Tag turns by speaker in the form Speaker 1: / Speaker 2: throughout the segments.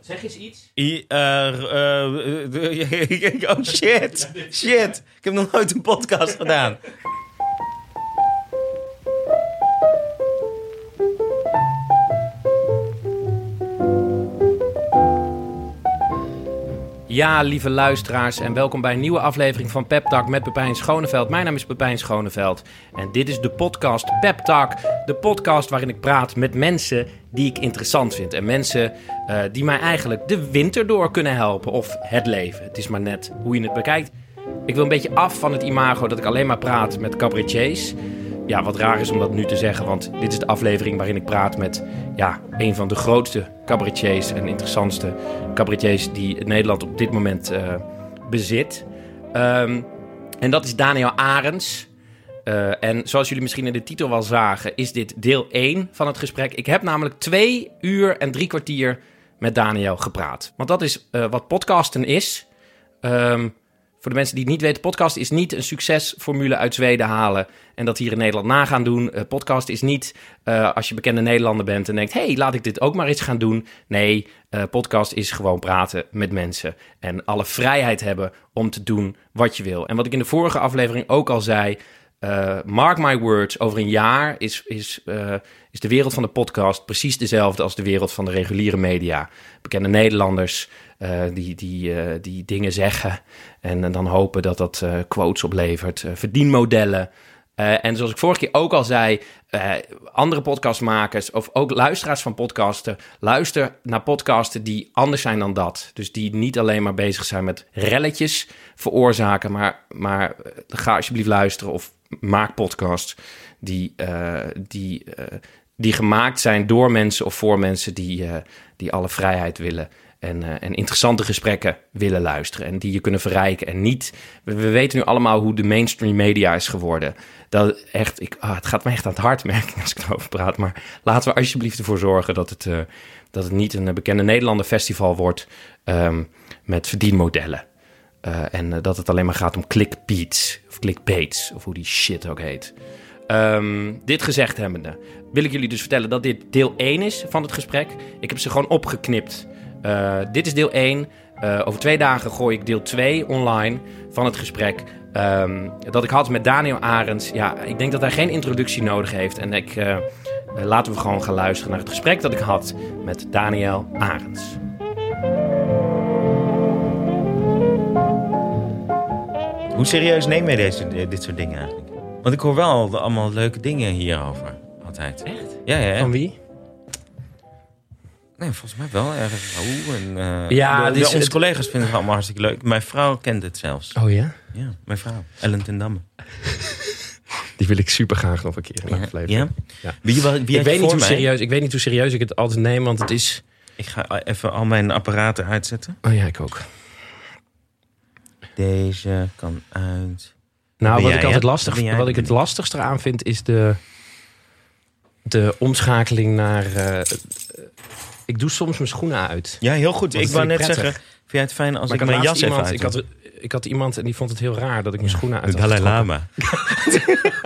Speaker 1: Zeg eens iets.
Speaker 2: I- eh, eh, eh, oh shit, shit. Ik heb nog nooit een podcast gedaan.
Speaker 1: Ja, lieve luisteraars en welkom bij een nieuwe aflevering van Pep Talk met Pepijn Schoneveld. Mijn naam is Pepijn Schoneveld en dit is de podcast Pep Talk. De podcast waarin ik praat met mensen die ik interessant vind. En mensen eh, die mij eigenlijk de winter door kunnen helpen of het leven. Het is maar net hoe je het bekijkt. Ik wil een beetje af van het imago dat ik alleen maar praat met cabaretiers. Ja, wat raar is om dat nu te zeggen, want dit is de aflevering waarin ik praat met ja, een van de grootste cabaretiers en interessantste cabaretiers die het Nederland op dit moment eh, bezit. Ehm, en dat is Daniel Arends. Eh, en zoals jullie misschien in de titel wel zagen, is dit deel 1 van het gesprek. Ik heb namelijk twee uur en drie kwartier met Daniel gepraat. Want dat is eh, wat podcasten is. Ehm, voor de mensen die het niet weten, podcast is niet een succesformule uit Zweden halen en dat hier in Nederland na gaan doen. Eh, podcast is niet eh, als je bekende Nederlander bent en denkt, hey, laat ik dit ook maar eens gaan doen. Nee, eh, podcast is gewoon praten met mensen en alle vrijheid hebben om te doen wat je wil. En wat ik in de vorige aflevering ook al zei, eh, mark my words, over een jaar is, is, eh, is de wereld van de podcast precies dezelfde als de wereld van de reguliere media. Bekende Nederlanders eh, die, die, eh, die dingen zeggen en, eh, dan hopen dat dat eh, quotes oplevert, eh, verdienmodellen. Eh, en zoals ik vorige keer ook al zei, eh, andere podcastmakers of ook luisteraars van podcasten, luister naar podcasten die anders zijn dan dat. Dus die niet alleen maar bezig zijn met relletjes veroorzaken, maar, maar eh, ga alsjeblieft luisteren of maak podcasts die, eh, die, eh, die gemaakt zijn door mensen of voor mensen die, eh, die alle vrijheid willen. En, eh, en interessante gesprekken willen luisteren. En die je kunnen verrijken. En niet. We, we weten nu allemaal hoe de mainstream media is geworden. Dat echt. Ik, ah, het gaat me echt aan het hart merken als ik erover praat. Maar laten we alsjeblieft ervoor zorgen dat het, eh, dat het niet een eh, bekende Nederlander festival wordt. ehm, met verdienmodellen. Eh, en eh, dat het alleen maar gaat om clickbeats. Of clickbaits. Of hoe die shit ook heet. Ehm, dit gezegd hebbende, wil ik jullie dus vertellen dat dit deel 1 is van het gesprek. Ik heb ze gewoon opgeknipt. Eh, dit is deel 1. Eh, over twee dagen gooi ik deel 2 online van het gesprek. ehm, dat ik had met Daniel Arends. Ja, ik denk dat hij geen introductie nodig heeft. En ik, eh, eh, laten we gewoon gaan luisteren naar het gesprek dat ik had met Daniel Arends.
Speaker 2: Hoe serieus neem je deze, dit soort dingen eigenlijk? Want ik hoor wel allemaal leuke dingen hierover. Altijd.
Speaker 1: Echt?
Speaker 2: Ja, ja.
Speaker 1: Van wie?
Speaker 2: Nee, volgens mij wel erg. Raoul en, eh,
Speaker 1: Ja,
Speaker 2: de-
Speaker 1: dit is
Speaker 2: onze
Speaker 1: het-
Speaker 2: collega's vinden het allemaal hartstikke leuk. Mijn vrouw kent het zelfs.
Speaker 1: Oh ja?
Speaker 2: Ja, mijn vrouw. Ellen ten Damme.
Speaker 1: Die wil ik super graag nog een keer
Speaker 2: Ja. ja? Wie, wa- wie had je
Speaker 1: Ik weet, niet
Speaker 2: voor
Speaker 1: hoe
Speaker 2: mij?
Speaker 1: serieus, ik weet niet hoe serieus ik het altijd neem, want het is...
Speaker 2: Ik ga even al mijn apparaten uitzetten.
Speaker 1: Oh ja, ik ook.
Speaker 2: Deze kan uit.
Speaker 1: Nou,
Speaker 2: Ben
Speaker 1: wat
Speaker 2: jij,
Speaker 1: ik altijd
Speaker 2: hè?
Speaker 1: lastig
Speaker 2: Ben jij?
Speaker 1: wat ik het lastigste aan vind, is de, de omschakeling naar. eh, eh, ik doe soms mijn schoenen uit.
Speaker 2: Ja, heel goed.
Speaker 1: Want
Speaker 2: Ik
Speaker 1: dat
Speaker 2: wou
Speaker 1: vind
Speaker 2: net
Speaker 1: ik prettig.
Speaker 2: zeggen, vind jij het fijn als
Speaker 1: Maar
Speaker 2: ik, mijn
Speaker 1: had
Speaker 2: jas
Speaker 1: laatst
Speaker 2: even
Speaker 1: iemand,
Speaker 2: uit
Speaker 1: ik had, ik had iemand en die vond het heel raar dat ik mijn schoenen uit
Speaker 2: De
Speaker 1: had
Speaker 2: Dalai
Speaker 1: getrokken.
Speaker 2: Lama.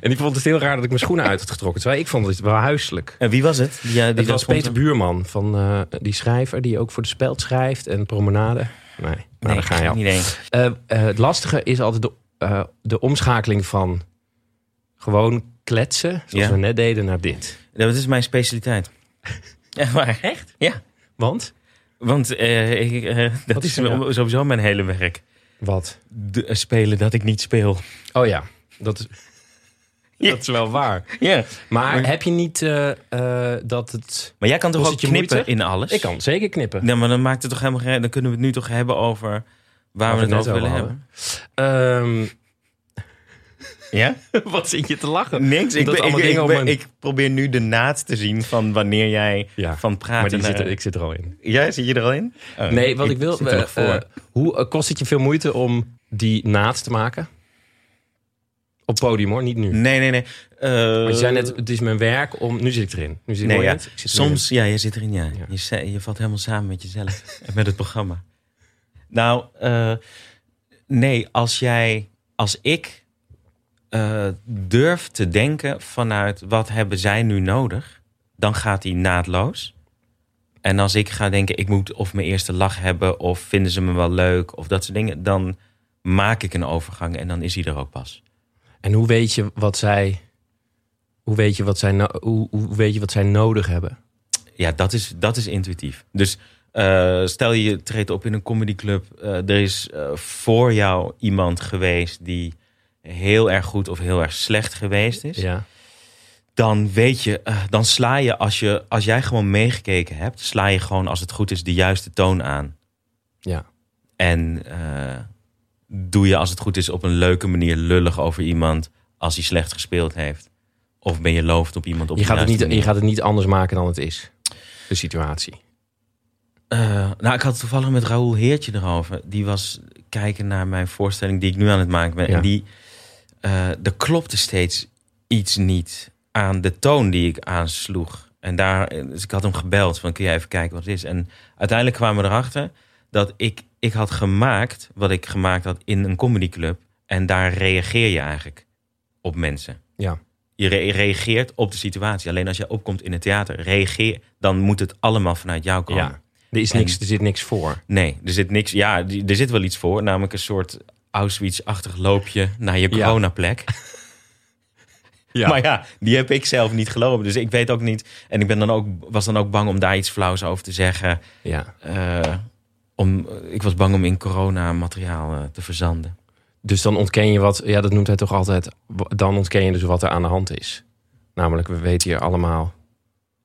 Speaker 1: En die vond het heel raar dat ik mijn schoenen uit had getrokken. Terwijl ik vond het wel huiselijk.
Speaker 2: En wie was het? Ja, die
Speaker 1: Dat was
Speaker 2: vond?
Speaker 1: Peter Buurman, van, eh, die schrijver die ook voor de Speld schrijft en Promenade. Nee, nou,
Speaker 2: Nee,
Speaker 1: daar ga je al.
Speaker 2: niet heen.
Speaker 1: Eh, eh, het lastige is altijd de, eh, de omschakeling van gewoon kletsen, zoals
Speaker 2: Ja.
Speaker 1: we net deden, naar dit.
Speaker 2: Dat is mijn specialiteit. Echt waar? Echt? Ja.
Speaker 1: Want?
Speaker 2: Want eh, ik, eh, dat
Speaker 1: Wat
Speaker 2: is
Speaker 1: is er nou?
Speaker 2: sowieso mijn hele werk.
Speaker 1: Wat?
Speaker 2: De- eh, spelen dat ik niet speel.
Speaker 1: Oh ja, dat is,
Speaker 2: Ja.
Speaker 1: dat is wel waar.
Speaker 2: Ja.
Speaker 1: Maar
Speaker 2: Maar-
Speaker 1: heb je niet eh, eh, dat het...
Speaker 2: Maar jij kan toch
Speaker 1: Was
Speaker 2: ook
Speaker 1: het je
Speaker 2: knippen
Speaker 1: moeite?
Speaker 2: in alles?
Speaker 1: Ik kan zeker knippen.
Speaker 2: Nee, maar dan maakt het toch helemaal geen... Dan kunnen we het nu toch hebben over waar
Speaker 1: Waar
Speaker 2: we
Speaker 1: we
Speaker 2: het
Speaker 1: het
Speaker 2: over
Speaker 1: net
Speaker 2: willen
Speaker 1: over
Speaker 2: hebben.
Speaker 1: Ehm,
Speaker 2: Ja?
Speaker 1: wat zit je te lachen?
Speaker 2: Niks. Ik,
Speaker 1: Omdat
Speaker 2: ben- ik,
Speaker 1: allemaal
Speaker 2: ik
Speaker 1: dingen om
Speaker 2: ben-
Speaker 1: een-
Speaker 2: ik probeer nu de naad te zien van wanneer jij
Speaker 1: Ja,
Speaker 2: van praat. eh,
Speaker 1: Maar die
Speaker 2: naar-
Speaker 1: zit er, ik zit er al in.
Speaker 2: Ja, zit je er al in? Oh,
Speaker 1: Nee, wat ik, wil...
Speaker 2: zit er nog
Speaker 1: eh,
Speaker 2: voor.
Speaker 1: eh, hoe eh, kost het je veel moeite om die naad te maken? Op podium hoor, niet nu.
Speaker 2: nee, nee, nee. Eh,
Speaker 1: Want je zei net, het is mijn werk om... Nu zit ik erin. Nu zit ik,
Speaker 2: Nee,
Speaker 1: hoor je
Speaker 2: ja.
Speaker 1: het? Ik zit erin.
Speaker 2: Soms, ja, je zit erin, ja.
Speaker 1: Ja.
Speaker 2: Je, ze- je valt helemaal samen met jezelf en met het programma. Nou, eh, nee, als jij, als ik eh, durf te denken vanuit wat hebben zij nu nodig, dan gaat die naadloos. En als ik ga denken, ik moet of mijn eerste lach hebben, of vinden ze me wel leuk, of dat soort dingen, dan maak ik een overgang en dan is hij er ook pas.
Speaker 1: En hoe weet je wat zij, hoe weet je wat zij, no- hoe, hoe weet je wat zij nodig hebben?
Speaker 2: Ja, dat is, dat is intuïtief. Dus eh, stel je treedt op in een comedyclub. eh, er is eh, voor jou iemand geweest die heel erg goed of heel erg slecht geweest is.
Speaker 1: Ja.
Speaker 2: Dan weet je, eh, dan sla je als, je als jij gewoon meegekeken hebt, sla je gewoon als het goed is de juiste toon aan.
Speaker 1: Ja.
Speaker 2: En eh, doe je als het goed is op een leuke manier lullig over iemand als hij slecht gespeeld heeft. Of ben je loofd op iemand op
Speaker 1: Je
Speaker 2: de
Speaker 1: gaat, het
Speaker 2: juiste
Speaker 1: niet, je
Speaker 2: manier.
Speaker 1: gaat het niet anders maken dan het is. De situatie.
Speaker 2: Eh, nou, ik had het toevallig met Raoul Heertje erover. Die was kijken naar mijn voorstelling die ik nu aan het maken ben.
Speaker 1: Ja.
Speaker 2: En die, eh er klopte steeds iets niet aan de toon die ik aansloeg. En daar, dus ik had hem gebeld van kun jij even kijken wat het is. En uiteindelijk kwamen we erachter dat ik, ik had gemaakt wat ik gemaakt had in een comedyclub. En daar reageer je eigenlijk op mensen.
Speaker 1: Ja.
Speaker 2: Je re- reageert op de situatie. Alleen als je opkomt in het theater, reageer, dan moet het allemaal vanuit jou komen.
Speaker 1: Ja. Er, is niks, er zit niks voor.
Speaker 2: Nee, er zit niks. Ja, die- er zit wel iets voor. Namelijk een soort Auschwitz-achtig loopje naar
Speaker 1: Ja.
Speaker 2: je coronaplek.
Speaker 1: Ja.
Speaker 2: Maar ja, die heb ik zelf niet gelopen. Dus ik weet ook niet. En ik ben dan ook, was dan ook bang om daar iets flauws over te zeggen.
Speaker 1: Ja.
Speaker 2: Eh, om, ik was bang om in corona-materiaal eh, te verzanden.
Speaker 1: Dus dan ontken je wat, ja, dat noemt hij toch altijd. w- Dan ontken je dus wat er aan de hand is. Namelijk, we weten hier allemaal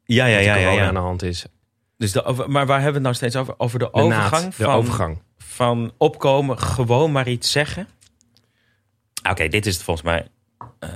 Speaker 2: Ja, ja,
Speaker 1: dat
Speaker 2: ja.
Speaker 1: er
Speaker 2: ja,
Speaker 1: corona
Speaker 2: ja.
Speaker 1: aan de hand is. De
Speaker 2: Dus de, over- maar waar hebben we het nou steeds over? Over de,
Speaker 1: naad,
Speaker 2: overgang,
Speaker 1: de
Speaker 2: van,
Speaker 1: overgang.
Speaker 2: van opkomen, gewoon maar iets zeggen. Ah, Oké, dit is het volgens mij. Eh,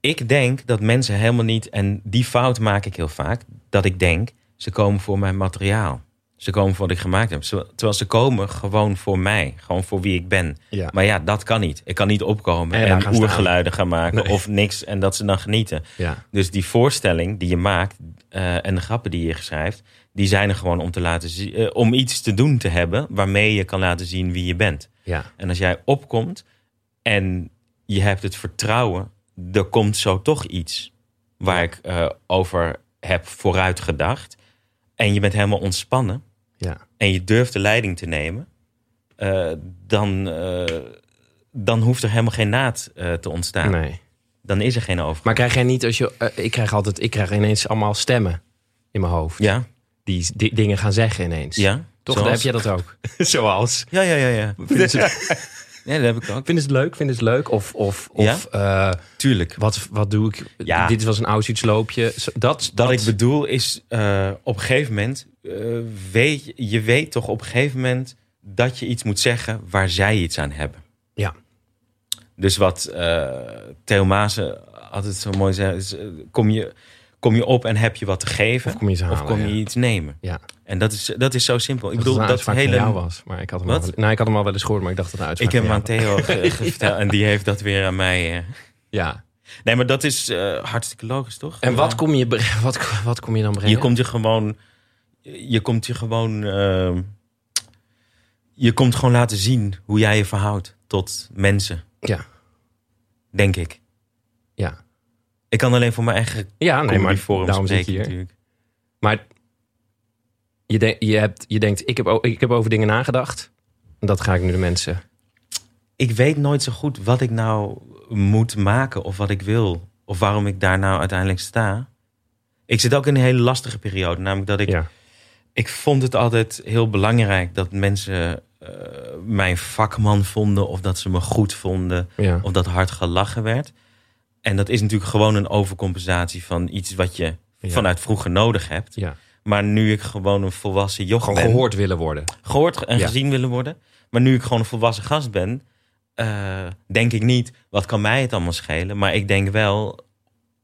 Speaker 2: ik denk dat mensen helemaal niet, en die fout maak ik heel vaak, dat ik denk, ze komen voor mijn materiaal. Ze komen voor wat ik gemaakt heb. Ze- Terwijl ze komen gewoon voor mij, gewoon voor wie ik ben.
Speaker 1: Ja.
Speaker 2: Maar ja, dat kan niet. Ik kan niet opkomen
Speaker 1: En daar
Speaker 2: en,
Speaker 1: gaan staan.
Speaker 2: oergeluiden gaan maken
Speaker 1: Nee.
Speaker 2: of niks en dat ze dan genieten.
Speaker 1: Ja.
Speaker 2: Dus die voorstelling die je maakt eh, en de grappen die je schrijft, die zijn er gewoon om te laten zien, eh, om iets te doen te hebben waarmee je kan laten zien wie je bent.
Speaker 1: Ja.
Speaker 2: En als jij opkomt en je hebt het vertrouwen, er komt zo toch iets waar ik eh, over heb vooruit gedacht. En je bent helemaal ontspannen
Speaker 1: Ja.
Speaker 2: en je durft de leiding te nemen, eh, dan, eh, dan hoeft er helemaal geen naad eh, te ontstaan.
Speaker 1: Nee.
Speaker 2: Dan is er geen over.
Speaker 1: Maar krijg jij niet als je. eh, ik krijg altijd. Ik krijg ineens allemaal stemmen in mijn hoofd.
Speaker 2: Ja,
Speaker 1: Die, die dingen gaan zeggen ineens.
Speaker 2: ja.
Speaker 1: Toch
Speaker 2: Zoals-
Speaker 1: heb jij dat ook. Zoals.
Speaker 2: Ja, ja, ja, ja.
Speaker 1: Vinden ze,
Speaker 2: Ja, dat heb ik ook.
Speaker 1: vinden ze het leuk? Vinden ze het leuk? Of, of, of eh,
Speaker 2: Tuurlijk.
Speaker 1: wat, wat doe ik?
Speaker 2: Ja.
Speaker 1: Dit was een Auschwitz-loopje. Zo- Dat,
Speaker 2: Wat ik bedoel is, eh, op een gegeven moment, eh, weet, je- je weet toch op een gegeven moment dat je iets moet zeggen waar zij iets aan hebben.
Speaker 1: Ja.
Speaker 2: Dus wat eh Theo Maassen altijd zo mooi zei, is, eh, kom, je, kom je op en heb je wat te geven
Speaker 1: Of kom je ze halen?
Speaker 2: of kom je
Speaker 1: ja.
Speaker 2: iets nemen.
Speaker 1: Ja.
Speaker 2: En dat is, dat is zo simpel. Ik
Speaker 1: Ik
Speaker 2: bedoel,
Speaker 1: bedoel,
Speaker 2: dat
Speaker 1: dat hele...
Speaker 2: hele...
Speaker 1: jou was. Maar ik had hem,
Speaker 2: Wat?
Speaker 1: al wel, nou, ik had hem al wel eens gehoord, maar ik dacht dat het een uitspraak
Speaker 2: Ik heb hem
Speaker 1: van
Speaker 2: aan Theo ge- ge- verteld en die heeft dat weer aan mij. eh.
Speaker 1: jou was. Ja.
Speaker 2: Nee, maar dat is eh, hartstikke logisch, toch?
Speaker 1: En wat
Speaker 2: Ja.
Speaker 1: kom, je, bre- wat, wat kom je dan brengen?
Speaker 2: Je komt je gewoon. Je komt je gewoon. ehm, je komt gewoon laten zien hoe jij je verhoudt tot mensen.
Speaker 1: Ja.
Speaker 2: Denk ik.
Speaker 1: Ja,
Speaker 2: Ik kan alleen voor mijn eigen
Speaker 1: ja nee, maar
Speaker 2: comedyvorm
Speaker 1: daarom zit
Speaker 2: spreken
Speaker 1: je hier.
Speaker 2: natuurlijk.
Speaker 1: Maar je, denk- je, hebt, je denkt, ik heb, o- ik heb over dingen nagedacht. En dat ga ik nu de mensen...
Speaker 2: Ik weet nooit zo goed wat ik nou moet maken of wat ik wil. Of waarom ik daar nou uiteindelijk sta. Ik zit ook in een hele lastige periode. Namelijk dat ik
Speaker 1: Ja.
Speaker 2: ik vond het altijd heel belangrijk dat mensen eh, mijn vakman vonden of dat ze me goed vonden
Speaker 1: Ja.
Speaker 2: of dat hard gelachen werd. En dat is natuurlijk gewoon een overcompensatie van iets wat je
Speaker 1: Ja.
Speaker 2: vanuit vroeger nodig hebt.
Speaker 1: ja.
Speaker 2: Maar nu ik gewoon een volwassen joch
Speaker 1: Gewoon
Speaker 2: ben,
Speaker 1: gehoord willen worden.
Speaker 2: gehoord en
Speaker 1: Ja.
Speaker 2: gezien willen worden. Maar nu ik gewoon een volwassen gast ben, eh, denk ik niet, wat kan mij het allemaal schelen? Maar ik denk wel,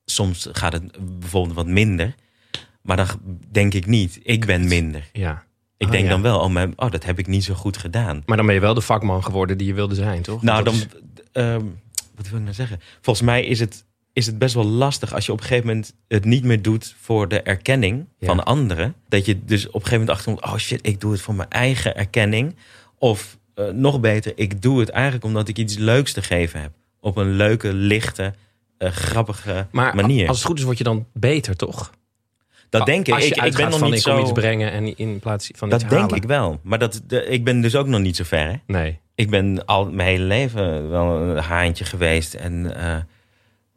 Speaker 2: soms gaat het bijvoorbeeld wat minder. Maar dan denk ik niet, ik ben minder.
Speaker 1: Ja.
Speaker 2: Ik
Speaker 1: Ah,
Speaker 2: denk
Speaker 1: ja.
Speaker 2: dan wel, oh, mijn, oh, dat heb ik niet zo goed gedaan.
Speaker 1: Maar dan ben je wel de vakman geworden die je wilde zijn, toch? Dat
Speaker 2: Nou, dan,
Speaker 1: is-
Speaker 2: ehm, wat wil ik nou zeggen? Volgens mij is het, is het best wel lastig als je op een gegeven moment het niet meer doet voor de erkenning
Speaker 1: Ja.
Speaker 2: van anderen. Dat je dus op een gegeven moment achterkomt, oh shit, ik doe het voor mijn eigen erkenning. Of eh, nog beter, ik doe het eigenlijk omdat ik iets leuks te geven heb. Op een leuke, lichte, eh, grappige
Speaker 1: maar
Speaker 2: manier.
Speaker 1: als het goed is, word je dan beter, toch?
Speaker 2: Dat denk ik.
Speaker 1: Ah, Als je
Speaker 2: Ik, ik ben
Speaker 1: uitgaat
Speaker 2: nog
Speaker 1: van
Speaker 2: niet
Speaker 1: ik kom
Speaker 2: zo...
Speaker 1: iets brengen en in plaats van
Speaker 2: Dat
Speaker 1: iets
Speaker 2: denk
Speaker 1: halen.
Speaker 2: ik wel. Maar dat, de- ik ben dus ook nog niet zo ver. Hè?
Speaker 1: Nee.
Speaker 2: Ik ben al mijn hele leven wel een haantje geweest. En eh,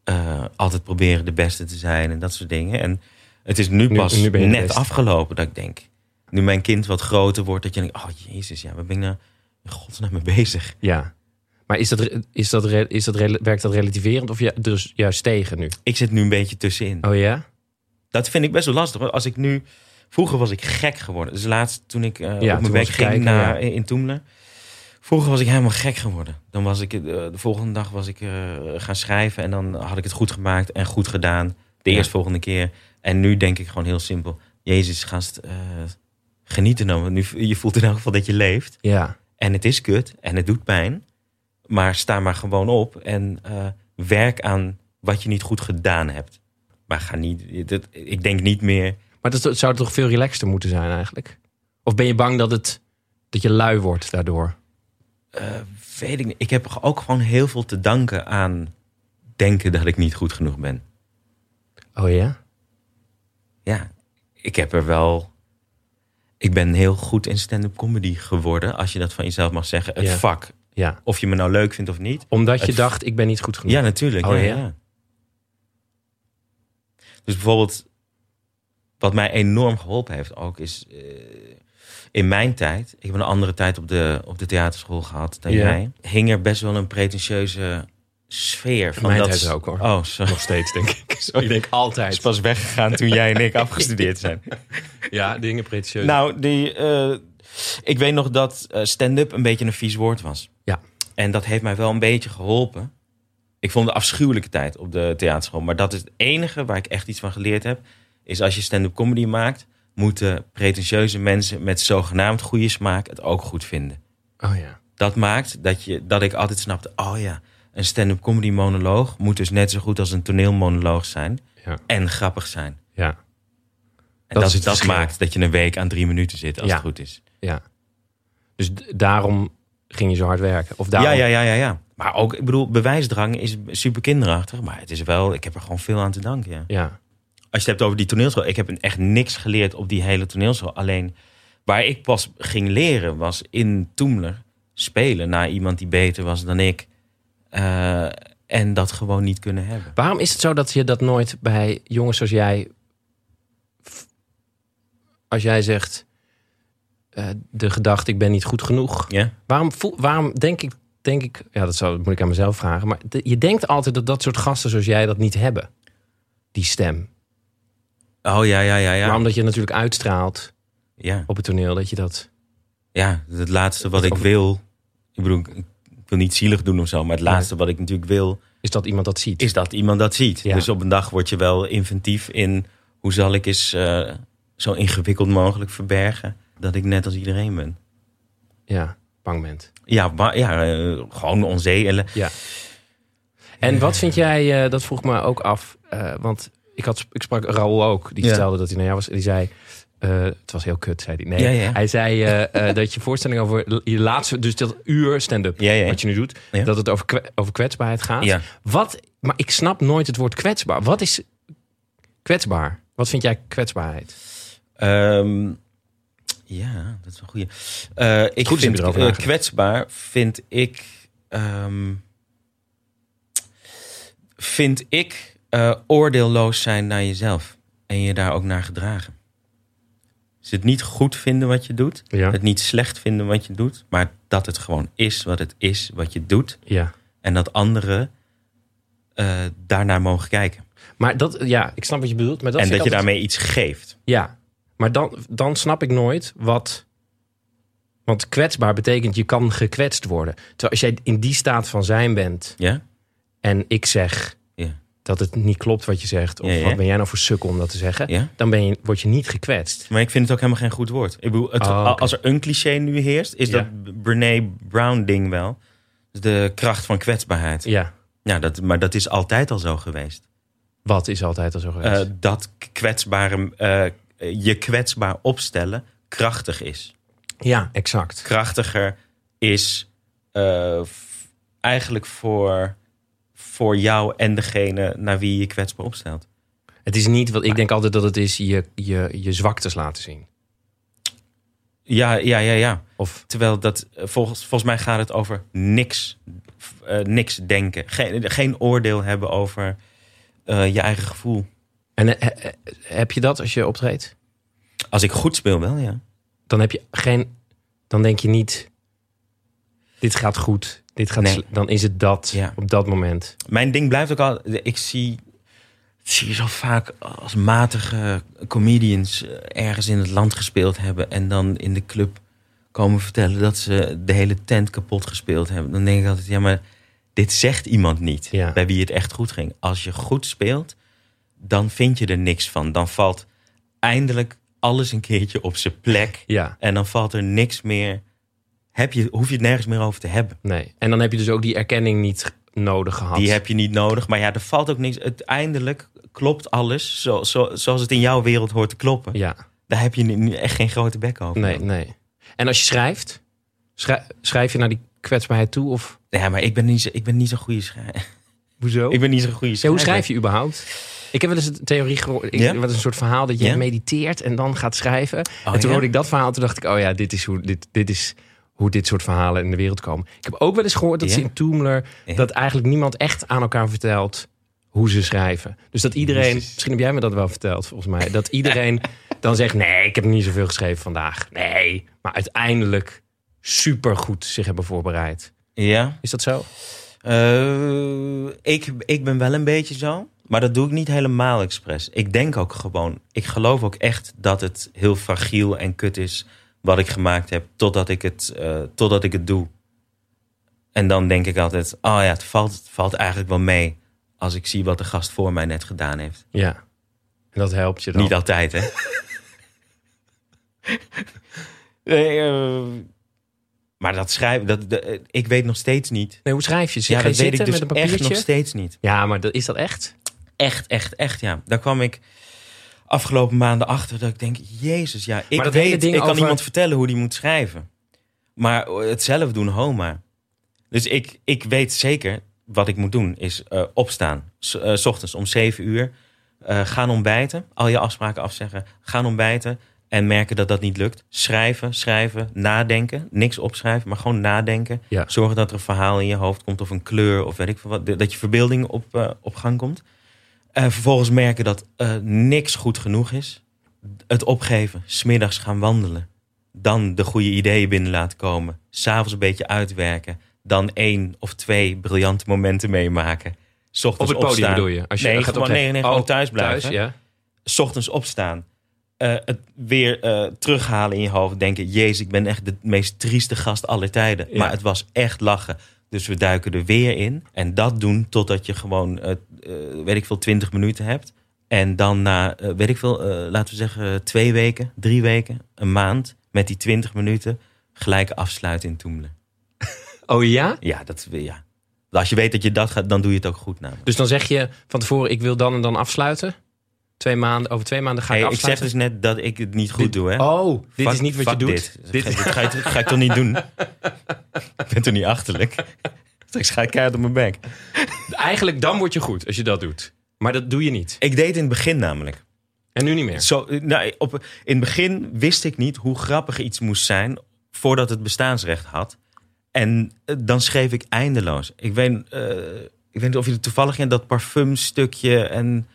Speaker 2: eh, altijd proberen de beste te zijn en dat soort dingen. En het is nu
Speaker 1: Nu-
Speaker 2: pas
Speaker 1: nu ben je de
Speaker 2: net
Speaker 1: beste.
Speaker 2: afgelopen dat ik denk... Nu mijn kind wat groter wordt, dat je denkt... Oh jezus, ja, waar ben ik nou in godsnaam mee bezig?
Speaker 1: Ja. Maar is dat, re- is dat, re- is dat, rela- werkt dat relativerend of ju- dus juist tegen nu?
Speaker 2: Ik zit nu een beetje tussenin.
Speaker 1: Oh ja?
Speaker 2: Dat vind ik best wel lastig. hoor. Als ik nu... Vroeger was ik gek geworden. Dus laatst toen ik eh, op
Speaker 1: toen
Speaker 2: mijn werk
Speaker 1: was
Speaker 2: ging
Speaker 1: je kijken,
Speaker 2: naar,
Speaker 1: ja.
Speaker 2: in Toemelen. Vroeger was ik helemaal gek geworden. Dan was ik, eh, de volgende dag was ik eh, gaan schrijven. En dan had ik het goed gemaakt en goed gedaan. De
Speaker 1: Ja.
Speaker 2: eerstvolgende keer. En nu denk ik gewoon heel simpel. Jezus, gast, eh, geniet er nou. Want Nu, je voelt in elk geval dat je leeft.
Speaker 1: Ja.
Speaker 2: En het is kut en het doet pijn. Maar sta maar gewoon op en eh, werk aan wat je niet goed gedaan hebt. Maar ga niet, dat, ik denk niet meer.
Speaker 1: Maar dat zou- zou toch veel relaxter moeten zijn eigenlijk? Of ben je bang dat, het, dat je lui wordt daardoor?
Speaker 2: eh, weet ik, niet. ik heb ook gewoon heel veel te danken aan denken dat ik niet goed genoeg ben.
Speaker 1: Oh ja?
Speaker 2: Ja, ik heb er wel. Ik ben heel goed in stand-up comedy geworden, als je dat van jezelf mag zeggen. Het
Speaker 1: Ja.
Speaker 2: vak.
Speaker 1: Ja.
Speaker 2: Of je me nou leuk vindt of niet.
Speaker 1: Omdat je
Speaker 2: Het-
Speaker 1: dacht, ik ben niet goed genoeg.
Speaker 2: Ja, natuurlijk.
Speaker 1: Oh,
Speaker 2: ja,
Speaker 1: ja?
Speaker 2: ja. Dus bijvoorbeeld, wat mij enorm geholpen heeft ook, is eh, in mijn tijd, ik heb een andere tijd op de, op de theaterschool gehad dan
Speaker 1: Ja.
Speaker 2: jij, hing er best wel een pretentieuze sfeer van
Speaker 1: Mijn
Speaker 2: dat.
Speaker 1: tijd is ook, hoor.
Speaker 2: Oh, sorry.
Speaker 1: Nog steeds, denk ik. ik denk altijd.
Speaker 2: Is pas weggegaan toen jij en ik afgestudeerd zijn.
Speaker 1: Ja, dingen pretentieus.
Speaker 2: Nou, die, eh, ik weet nog dat eh, stand-up een beetje een vies woord was.
Speaker 1: Ja.
Speaker 2: En dat heeft mij wel een beetje geholpen. Ik vond de afschuwelijke tijd op de theaterschool. Maar dat is het enige waar ik echt iets van geleerd heb. Is als je stand-up comedy maakt, moeten pretentieuze mensen met zogenaamd goede smaak het ook goed vinden.
Speaker 1: Oh ja.
Speaker 2: Dat maakt dat, je, dat ik altijd snapte, oh ja, een stand-up comedy monoloog moet dus net zo goed als een toneelmonoloog zijn.
Speaker 1: Ja.
Speaker 2: En grappig zijn.
Speaker 1: Ja.
Speaker 2: En
Speaker 1: Dat
Speaker 2: dat,
Speaker 1: is het
Speaker 2: dat,
Speaker 1: verschil.
Speaker 2: maakt dat je een week aan drie minuten zit als
Speaker 1: Ja.
Speaker 2: het goed is.
Speaker 1: ja. Dus d- daarom ging je zo hard werken. Of daarom...
Speaker 2: Ja, ja, ja, ja, ja. Maar ook, ik bedoel, bewijsdrang is super kinderachtig. Maar het is wel, ik heb er gewoon veel aan te danken. Ja.
Speaker 1: Ja.
Speaker 2: Als je het hebt over die toneelschool, ik heb echt niks geleerd op die hele toneelschool. Alleen waar ik pas ging leren was in Toemler spelen naar iemand die beter was dan ik. Eh, en dat gewoon niet kunnen hebben.
Speaker 1: Waarom is het zo dat je dat nooit bij jongens als jij... f- Als jij zegt eh, de gedachte ik ben niet goed genoeg.
Speaker 2: Ja?
Speaker 1: Waarom, voel, waarom denk, ik, denk ik... Ja, dat, zou, dat moet ik aan mezelf vragen. Maar de- je denkt altijd dat dat soort gasten zoals jij dat niet hebben. Die stem.
Speaker 2: Oh ja, ja, ja,
Speaker 1: Maar
Speaker 2: ja.
Speaker 1: omdat je natuurlijk uitstraalt
Speaker 2: Ja,
Speaker 1: op het toneel dat je dat...
Speaker 2: ja het laatste wat ik wil. Ik bedoel, ik wil niet zielig doen of zo. Maar het laatste wat ik natuurlijk wil
Speaker 1: Is dat iemand dat ziet?
Speaker 2: is dat iemand dat ziet.
Speaker 1: Ja.
Speaker 2: Dus op een dag word je wel inventief in hoe zal ik eens eh, zo ingewikkeld mogelijk verbergen dat ik net als iedereen ben.
Speaker 1: Ja, bang bent.
Speaker 2: Ja, maar, ja eh, gewoon onzedelen.
Speaker 1: En wat vind jij, eh, dat vroeg me ook af, eh, want ik, had, ik sprak Raoul ook, die
Speaker 2: Ja.
Speaker 1: vertelde dat hij naar jou was. en Die zei, eh, het was heel kut, zei hij. Nee,
Speaker 2: Ja, ja.
Speaker 1: hij zei eh, eh, dat je voorstelling over je laatste, dus dat uur stand-up,
Speaker 2: Ja, ja.
Speaker 1: wat je nu doet,
Speaker 2: Ja.
Speaker 1: dat het over, kwe- over kwetsbaarheid gaat.
Speaker 2: Ja.
Speaker 1: Wat, maar ik snap nooit het woord kwetsbaar. Wat is kwetsbaar? Wat vind jij kwetsbaarheid?
Speaker 2: Ehm, ja, dat is wel goed. Eh ik
Speaker 1: Goed is
Speaker 2: vind
Speaker 1: er erover
Speaker 2: eh,
Speaker 1: nagedacht.
Speaker 2: kwetsbaar vind ik. ehm, vind ik eh, oordeelloos zijn naar jezelf en je daar ook naar gedragen. Dus het niet goed vinden wat je doet,
Speaker 1: Ja.
Speaker 2: het niet slecht vinden wat je doet, maar dat het gewoon is wat het is wat je doet
Speaker 1: Ja.
Speaker 2: en dat anderen eh, daarnaar mogen kijken
Speaker 1: Maar dat, ja, ik snap wat je bedoelt. Maar dat
Speaker 2: en
Speaker 1: vind
Speaker 2: dat
Speaker 1: ik
Speaker 2: je
Speaker 1: altijd-
Speaker 2: daarmee iets geeft.
Speaker 1: Ja, maar dan, dan snap ik nooit wat. Want kwetsbaar betekent je kan gekwetst worden. Terwijl als jij in die staat van zijn bent
Speaker 2: Ja,
Speaker 1: en ik zeg
Speaker 2: Ja.
Speaker 1: dat het niet klopt wat je zegt, of
Speaker 2: Ja, ja.
Speaker 1: wat ben jij nou voor sukkel om dat te zeggen,
Speaker 2: ja.
Speaker 1: dan ben je, word je niet gekwetst.
Speaker 2: Maar ik vind het ook helemaal geen goed woord. Ik bedoel, het-
Speaker 1: Oh, oké.
Speaker 2: a- als er een cliché nu heerst, is
Speaker 1: Ja.
Speaker 2: dat Brene Brown ding wel. De kracht van kwetsbaarheid.
Speaker 1: Ja,
Speaker 2: Ja, dat, maar dat is altijd al zo geweest.
Speaker 1: wat is altijd al zo geweest?
Speaker 2: Eh, dat k- kwetsbare, eh, je kwetsbaar opstellen krachtig is.
Speaker 1: ja, exact.
Speaker 2: Krachtiger is eh, f- eigenlijk voor, voor jou en degene naar wie je kwetsbaar opstelt.
Speaker 1: Het is niet wat ik denk altijd dat het is je, je, je zwaktes laten zien.
Speaker 2: Ja, ja, ja, ja.
Speaker 1: Of
Speaker 2: Terwijl dat, eh, volgens, volgens mij gaat het over niks, eh, niks denken. Geen, geen oordeel hebben over eh, je eigen gevoel.
Speaker 1: en eh, eh, eh, heb je dat als je optreedt?
Speaker 2: Als ik goed speel wel, ja.
Speaker 1: Dan heb je geen. Dan denk je niet. Dit gaat goed. Dit gaat.
Speaker 2: Nee.
Speaker 1: sle- Dan is het dat
Speaker 2: Ja.
Speaker 1: op dat moment.
Speaker 2: Mijn ding blijft ook al. Ik zie, zie je zo vaak als matige comedians eh, ergens in het land gespeeld hebben. En dan in de club komen vertellen dat ze de hele tent kapot gespeeld hebben. Dan denk ik altijd, ja, maar dit zegt iemand niet.
Speaker 1: Ja.
Speaker 2: Bij wie het echt goed ging. Als je goed speelt, dan vind je er niks van. Dan valt eindelijk alles een keertje op zijn plek.
Speaker 1: Ja.
Speaker 2: En dan valt er niks meer. Heb je, hoef je het nergens meer over te hebben.
Speaker 1: Nee. En dan heb je dus ook die erkenning niet nodig gehad.
Speaker 2: Die heb je niet nodig. Maar ja, er valt ook niks. Uiteindelijk klopt alles zo, zo, zoals het in jouw wereld hoort te kloppen.
Speaker 1: Ja.
Speaker 2: Daar heb je nu echt geen grote bek over.
Speaker 1: Nee, nee. En als je schrijft, schrij- schrijf je naar die kwetsbaarheid toe of
Speaker 2: Ja, maar ik ben niet zo- ik ben niet zo'n goede schrijver.
Speaker 1: hoezo?
Speaker 2: Ik ben niet zo'n goede schrijver.
Speaker 1: hoe schrijf je überhaupt? Ik heb wel eens een theorie gehoord. Ik-
Speaker 2: Ja?
Speaker 1: Wat is een soort verhaal dat je
Speaker 2: Ja?
Speaker 1: mediteert en dan gaat schrijven. en
Speaker 2: Oh,
Speaker 1: toen
Speaker 2: ja?
Speaker 1: hoorde ik dat verhaal. Toen dacht ik, oh ja, dit is hoe dit, dit is hoe dit soort verhalen in de wereld komen. Ik heb ook wel eens gehoord dat
Speaker 2: Ja?
Speaker 1: ze in Toomler
Speaker 2: Ja.
Speaker 1: dat eigenlijk niemand echt aan elkaar vertelt hoe ze schrijven. Dus dat iedereen,
Speaker 2: Jezus.
Speaker 1: misschien heb jij me dat wel verteld volgens mij, dat iedereen dan zegt nee, ik heb niet zoveel geschreven vandaag. Nee, maar uiteindelijk supergoed zich hebben voorbereid.
Speaker 2: Ja.
Speaker 1: Is dat zo?
Speaker 2: Eh, ik, ik ben wel een beetje zo. Maar dat doe ik niet helemaal expres. Ik denk ook gewoon. Ik geloof ook echt dat het heel fragiel en kut is. wat ik gemaakt heb. totdat ik het, eh, totdat ik het doe. En dan denk ik altijd. Oh ja, het valt, het valt eigenlijk wel mee. als ik zie wat de gast voor mij net gedaan heeft.
Speaker 1: Ja. En dat helpt je dan.
Speaker 2: Niet altijd, hè? Nee, eh, maar dat schrijven. Dat, dat- ik weet nog steeds niet.
Speaker 1: Nee, hoe schrijf je? Zit
Speaker 2: Ja,
Speaker 1: ga je
Speaker 2: dat weet ik
Speaker 1: zitten
Speaker 2: dus
Speaker 1: met een
Speaker 2: echt nog
Speaker 1: papiertje?
Speaker 2: steeds niet.
Speaker 1: Ja, maar dat, is dat echt?
Speaker 2: Echt, echt, echt, ja. Daar kwam ik afgelopen maanden achter dat ik denk, jezus, ja, ik
Speaker 1: Maar dat hele
Speaker 2: weet,
Speaker 1: ding
Speaker 2: ik kan
Speaker 1: over-
Speaker 2: iemand vertellen hoe die moet schrijven. Maar het zelf doen, homa. Dus ik, ik weet zeker wat ik moet doen, is eh, opstaan. S eh, 's ochtends om 7 uur. eh, gaan ontbijten, al je afspraken afzeggen. Gaan ontbijten en merken dat dat niet lukt. Schrijven, schrijven, nadenken. Niks opschrijven, maar gewoon nadenken.
Speaker 1: Ja.
Speaker 2: Zorgen dat er een verhaal in je hoofd komt of een kleur of weet ik veel wat. Dat je verbeelding op, eh, op gang komt. En vervolgens merken dat eh, niks goed genoeg is. Het opgeven, smiddags gaan wandelen. Dan de goede ideeën binnen laten komen. S'avonds een beetje uitwerken. Dan één of twee briljante momenten meemaken. 's
Speaker 1: Op
Speaker 2: Ochtends
Speaker 1: het podium
Speaker 2: opstaan.
Speaker 1: bedoel je? Als je
Speaker 2: nee,
Speaker 1: gaat
Speaker 2: gewoon,
Speaker 1: optreden.
Speaker 2: nee, nee, gewoon
Speaker 1: Oh,
Speaker 2: thuis blijven.
Speaker 1: Thuis, ja.
Speaker 2: S Ochtends opstaan. Eh, het weer eh, terughalen in je hoofd. Denken, jezus, ik ben echt de meest trieste gast aller tijden.
Speaker 1: Ja.
Speaker 2: Maar het was echt lachen. Dus we duiken er weer in. En dat doen totdat je gewoon, eh, eh, weet ik veel, 20 minuten hebt. En dan na, eh, weet ik veel, eh, laten we zeggen twee weken, drie weken, een maand. Met die 20 minuten gelijk afsluiten in Toemelen.
Speaker 1: Oh ja?
Speaker 2: Ja, dat ja. Als je weet dat je dat gaat, dan doe je het ook goed namelijk.
Speaker 1: Dus dan zeg je van tevoren, ik wil dan en dan afsluiten. Twee maanden, over twee maanden ga ik
Speaker 2: Hey, ik zeg
Speaker 1: afsluiten.
Speaker 2: dus net dat ik het niet goed doe, hè?
Speaker 1: Oh, dit
Speaker 2: Fuck-
Speaker 1: is niet wat je
Speaker 2: fuck
Speaker 1: doet.
Speaker 2: Dit,
Speaker 1: Dit
Speaker 2: Dit ga, je, ga ik toch niet doen? ik ben toch niet achterlijk? Straks ga ik keihard op mijn bek.
Speaker 1: Eigenlijk dan word je goed als je dat doet. Maar dat doe je niet.
Speaker 2: Ik deed het in het begin namelijk.
Speaker 1: En nu niet meer.
Speaker 2: Zo, nou, op, in het begin wist ik niet hoe grappig iets moest zijn voordat het bestaansrecht had. En eh, dan schreef ik eindeloos. Ik weet, eh, ik weet niet of je het toevallig in dat parfumstukje en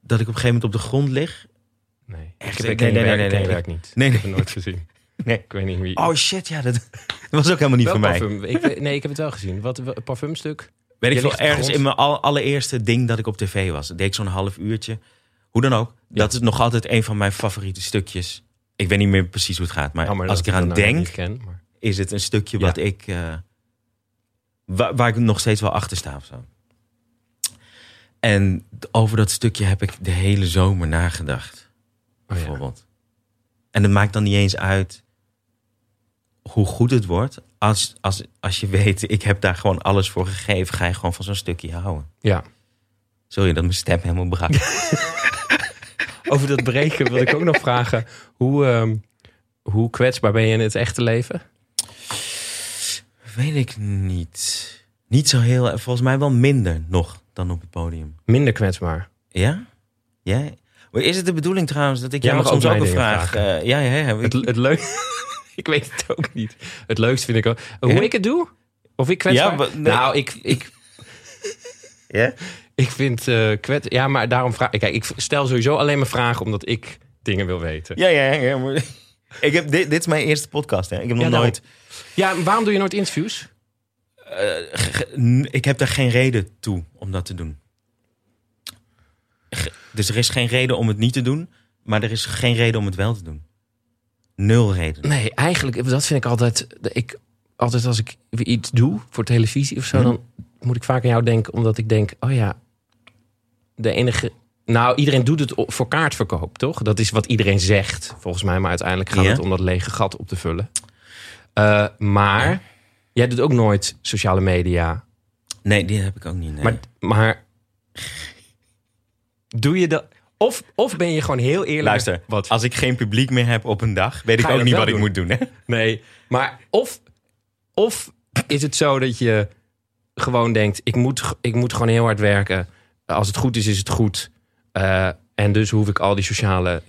Speaker 2: dat ik op een gegeven moment op de grond lig.
Speaker 1: Nee,
Speaker 2: Echt,
Speaker 1: Ik
Speaker 2: nee,
Speaker 1: ken
Speaker 2: nee,
Speaker 1: je
Speaker 2: nee,
Speaker 1: werk-
Speaker 2: nee,
Speaker 1: ken je
Speaker 2: nee.
Speaker 1: werk niet.
Speaker 2: Nee,
Speaker 1: Ik heb
Speaker 2: nee.
Speaker 1: het nooit gezien.
Speaker 2: Nee.
Speaker 1: Ik weet niet wie.
Speaker 2: Oh shit, ja, dat, dat was ook helemaal niet
Speaker 1: Welk
Speaker 2: voor mij.
Speaker 1: parfum? Ik, weet- nee, ik heb het wel gezien. Wat, wat- parfumstuk?
Speaker 2: Weet ik
Speaker 1: Je
Speaker 2: veel,
Speaker 1: ligt op de
Speaker 2: ergens
Speaker 1: grond.
Speaker 2: in mijn al- allereerste ding dat ik op tv was. Dat deed ik zo'n half uurtje. Hoe dan ook, dat is nog altijd een van mijn favoriete stukjes. Ik weet niet meer precies hoe het gaat, maar,
Speaker 1: Jammer
Speaker 2: als
Speaker 1: dat
Speaker 2: ik eraan
Speaker 1: dat nou
Speaker 2: denk,
Speaker 1: niet ken, maar-
Speaker 2: is het een stukje
Speaker 1: Ja.
Speaker 2: wat ik. eh, waar, waar ik nog steeds wel achter sta of zo. En over dat stukje heb ik de hele zomer nagedacht,
Speaker 1: Oh, ja.
Speaker 2: bijvoorbeeld. En het maakt dan niet eens uit hoe goed het wordt. Als, als, als je weet, ik heb daar gewoon alles voor gegeven, ga je gewoon van zo'n stukje houden.
Speaker 1: Ja.
Speaker 2: Sorry dat mijn stem helemaal brak.
Speaker 1: Over dat breken wil ik ook nog vragen. Hoe, ehm, hoe kwetsbaar ben je in het echte leven?
Speaker 2: Weet ik niet. Niet zo heel. Volgens mij wel minder nog dan op het podium.
Speaker 1: Minder kwetsbaar.
Speaker 2: Ja? Jij? Maar Is het de bedoeling trouwens dat ik
Speaker 1: Jij
Speaker 2: jou
Speaker 1: mag
Speaker 2: soms
Speaker 1: ook
Speaker 2: ook een
Speaker 1: mij dingen
Speaker 2: vraag... eh, ja, ja, ja.
Speaker 1: Het, het leuk. ik weet het ook niet. Het leukst vind ik ook.
Speaker 2: Ja?
Speaker 1: Hoe ik het doe? Of ik kwetsbaar?
Speaker 2: Ja, maar- nee.
Speaker 1: Nou, ik, ik,
Speaker 2: Ja?
Speaker 1: ik vind eh kwets... Ja, maar daarom vraag ik... Kijk, ik stel sowieso alleen maar vragen omdat ik dingen wil weten.
Speaker 2: Ja, ja, ja. maar- Ik heb, dit, dit is mijn eerste podcast. Hè. Ik heb nog
Speaker 1: Ja, nou, daarom.
Speaker 2: nooit.
Speaker 1: Ja, maar waarom doe je nooit interviews?
Speaker 2: Eh, ge- ge- n- ik heb daar geen reden toe om dat te doen. Ge- Dus er is geen reden om het niet te doen, maar er is geen reden om het wel te doen. Nul reden.
Speaker 1: Nee, eigenlijk, dat vind ik altijd... Ik, altijd als ik weer iets doe voor televisie of zo...
Speaker 2: Mhm.
Speaker 1: dan moet ik vaak aan jou denken, omdat ik denk... oh ja, de enige... Nou, iedereen doet het o- voor kaartverkoop, toch? Dat is wat iedereen zegt, volgens mij. Maar uiteindelijk gaat
Speaker 2: Ja.
Speaker 1: het om dat lege gat op te vullen. Eh, maar jij doet ook nooit sociale media.
Speaker 2: Nee, die heb ik ook niet. nee.
Speaker 1: Maar, maar doe je dat... Of, of ben je gewoon heel eerlijk...
Speaker 2: Luister,
Speaker 1: Wat?
Speaker 2: als ik geen publiek meer heb op een dag, weet ik
Speaker 1: Ga je
Speaker 2: ook
Speaker 1: dat
Speaker 2: niet
Speaker 1: wel
Speaker 2: wat ik
Speaker 1: doen?
Speaker 2: moet doen. Hè?
Speaker 1: Nee, maar of, of is het zo dat je gewoon denkt: ik moet, ik moet gewoon heel hard werken. Als het goed is, is het goed. Eh, en dus hoef ik al die sociale.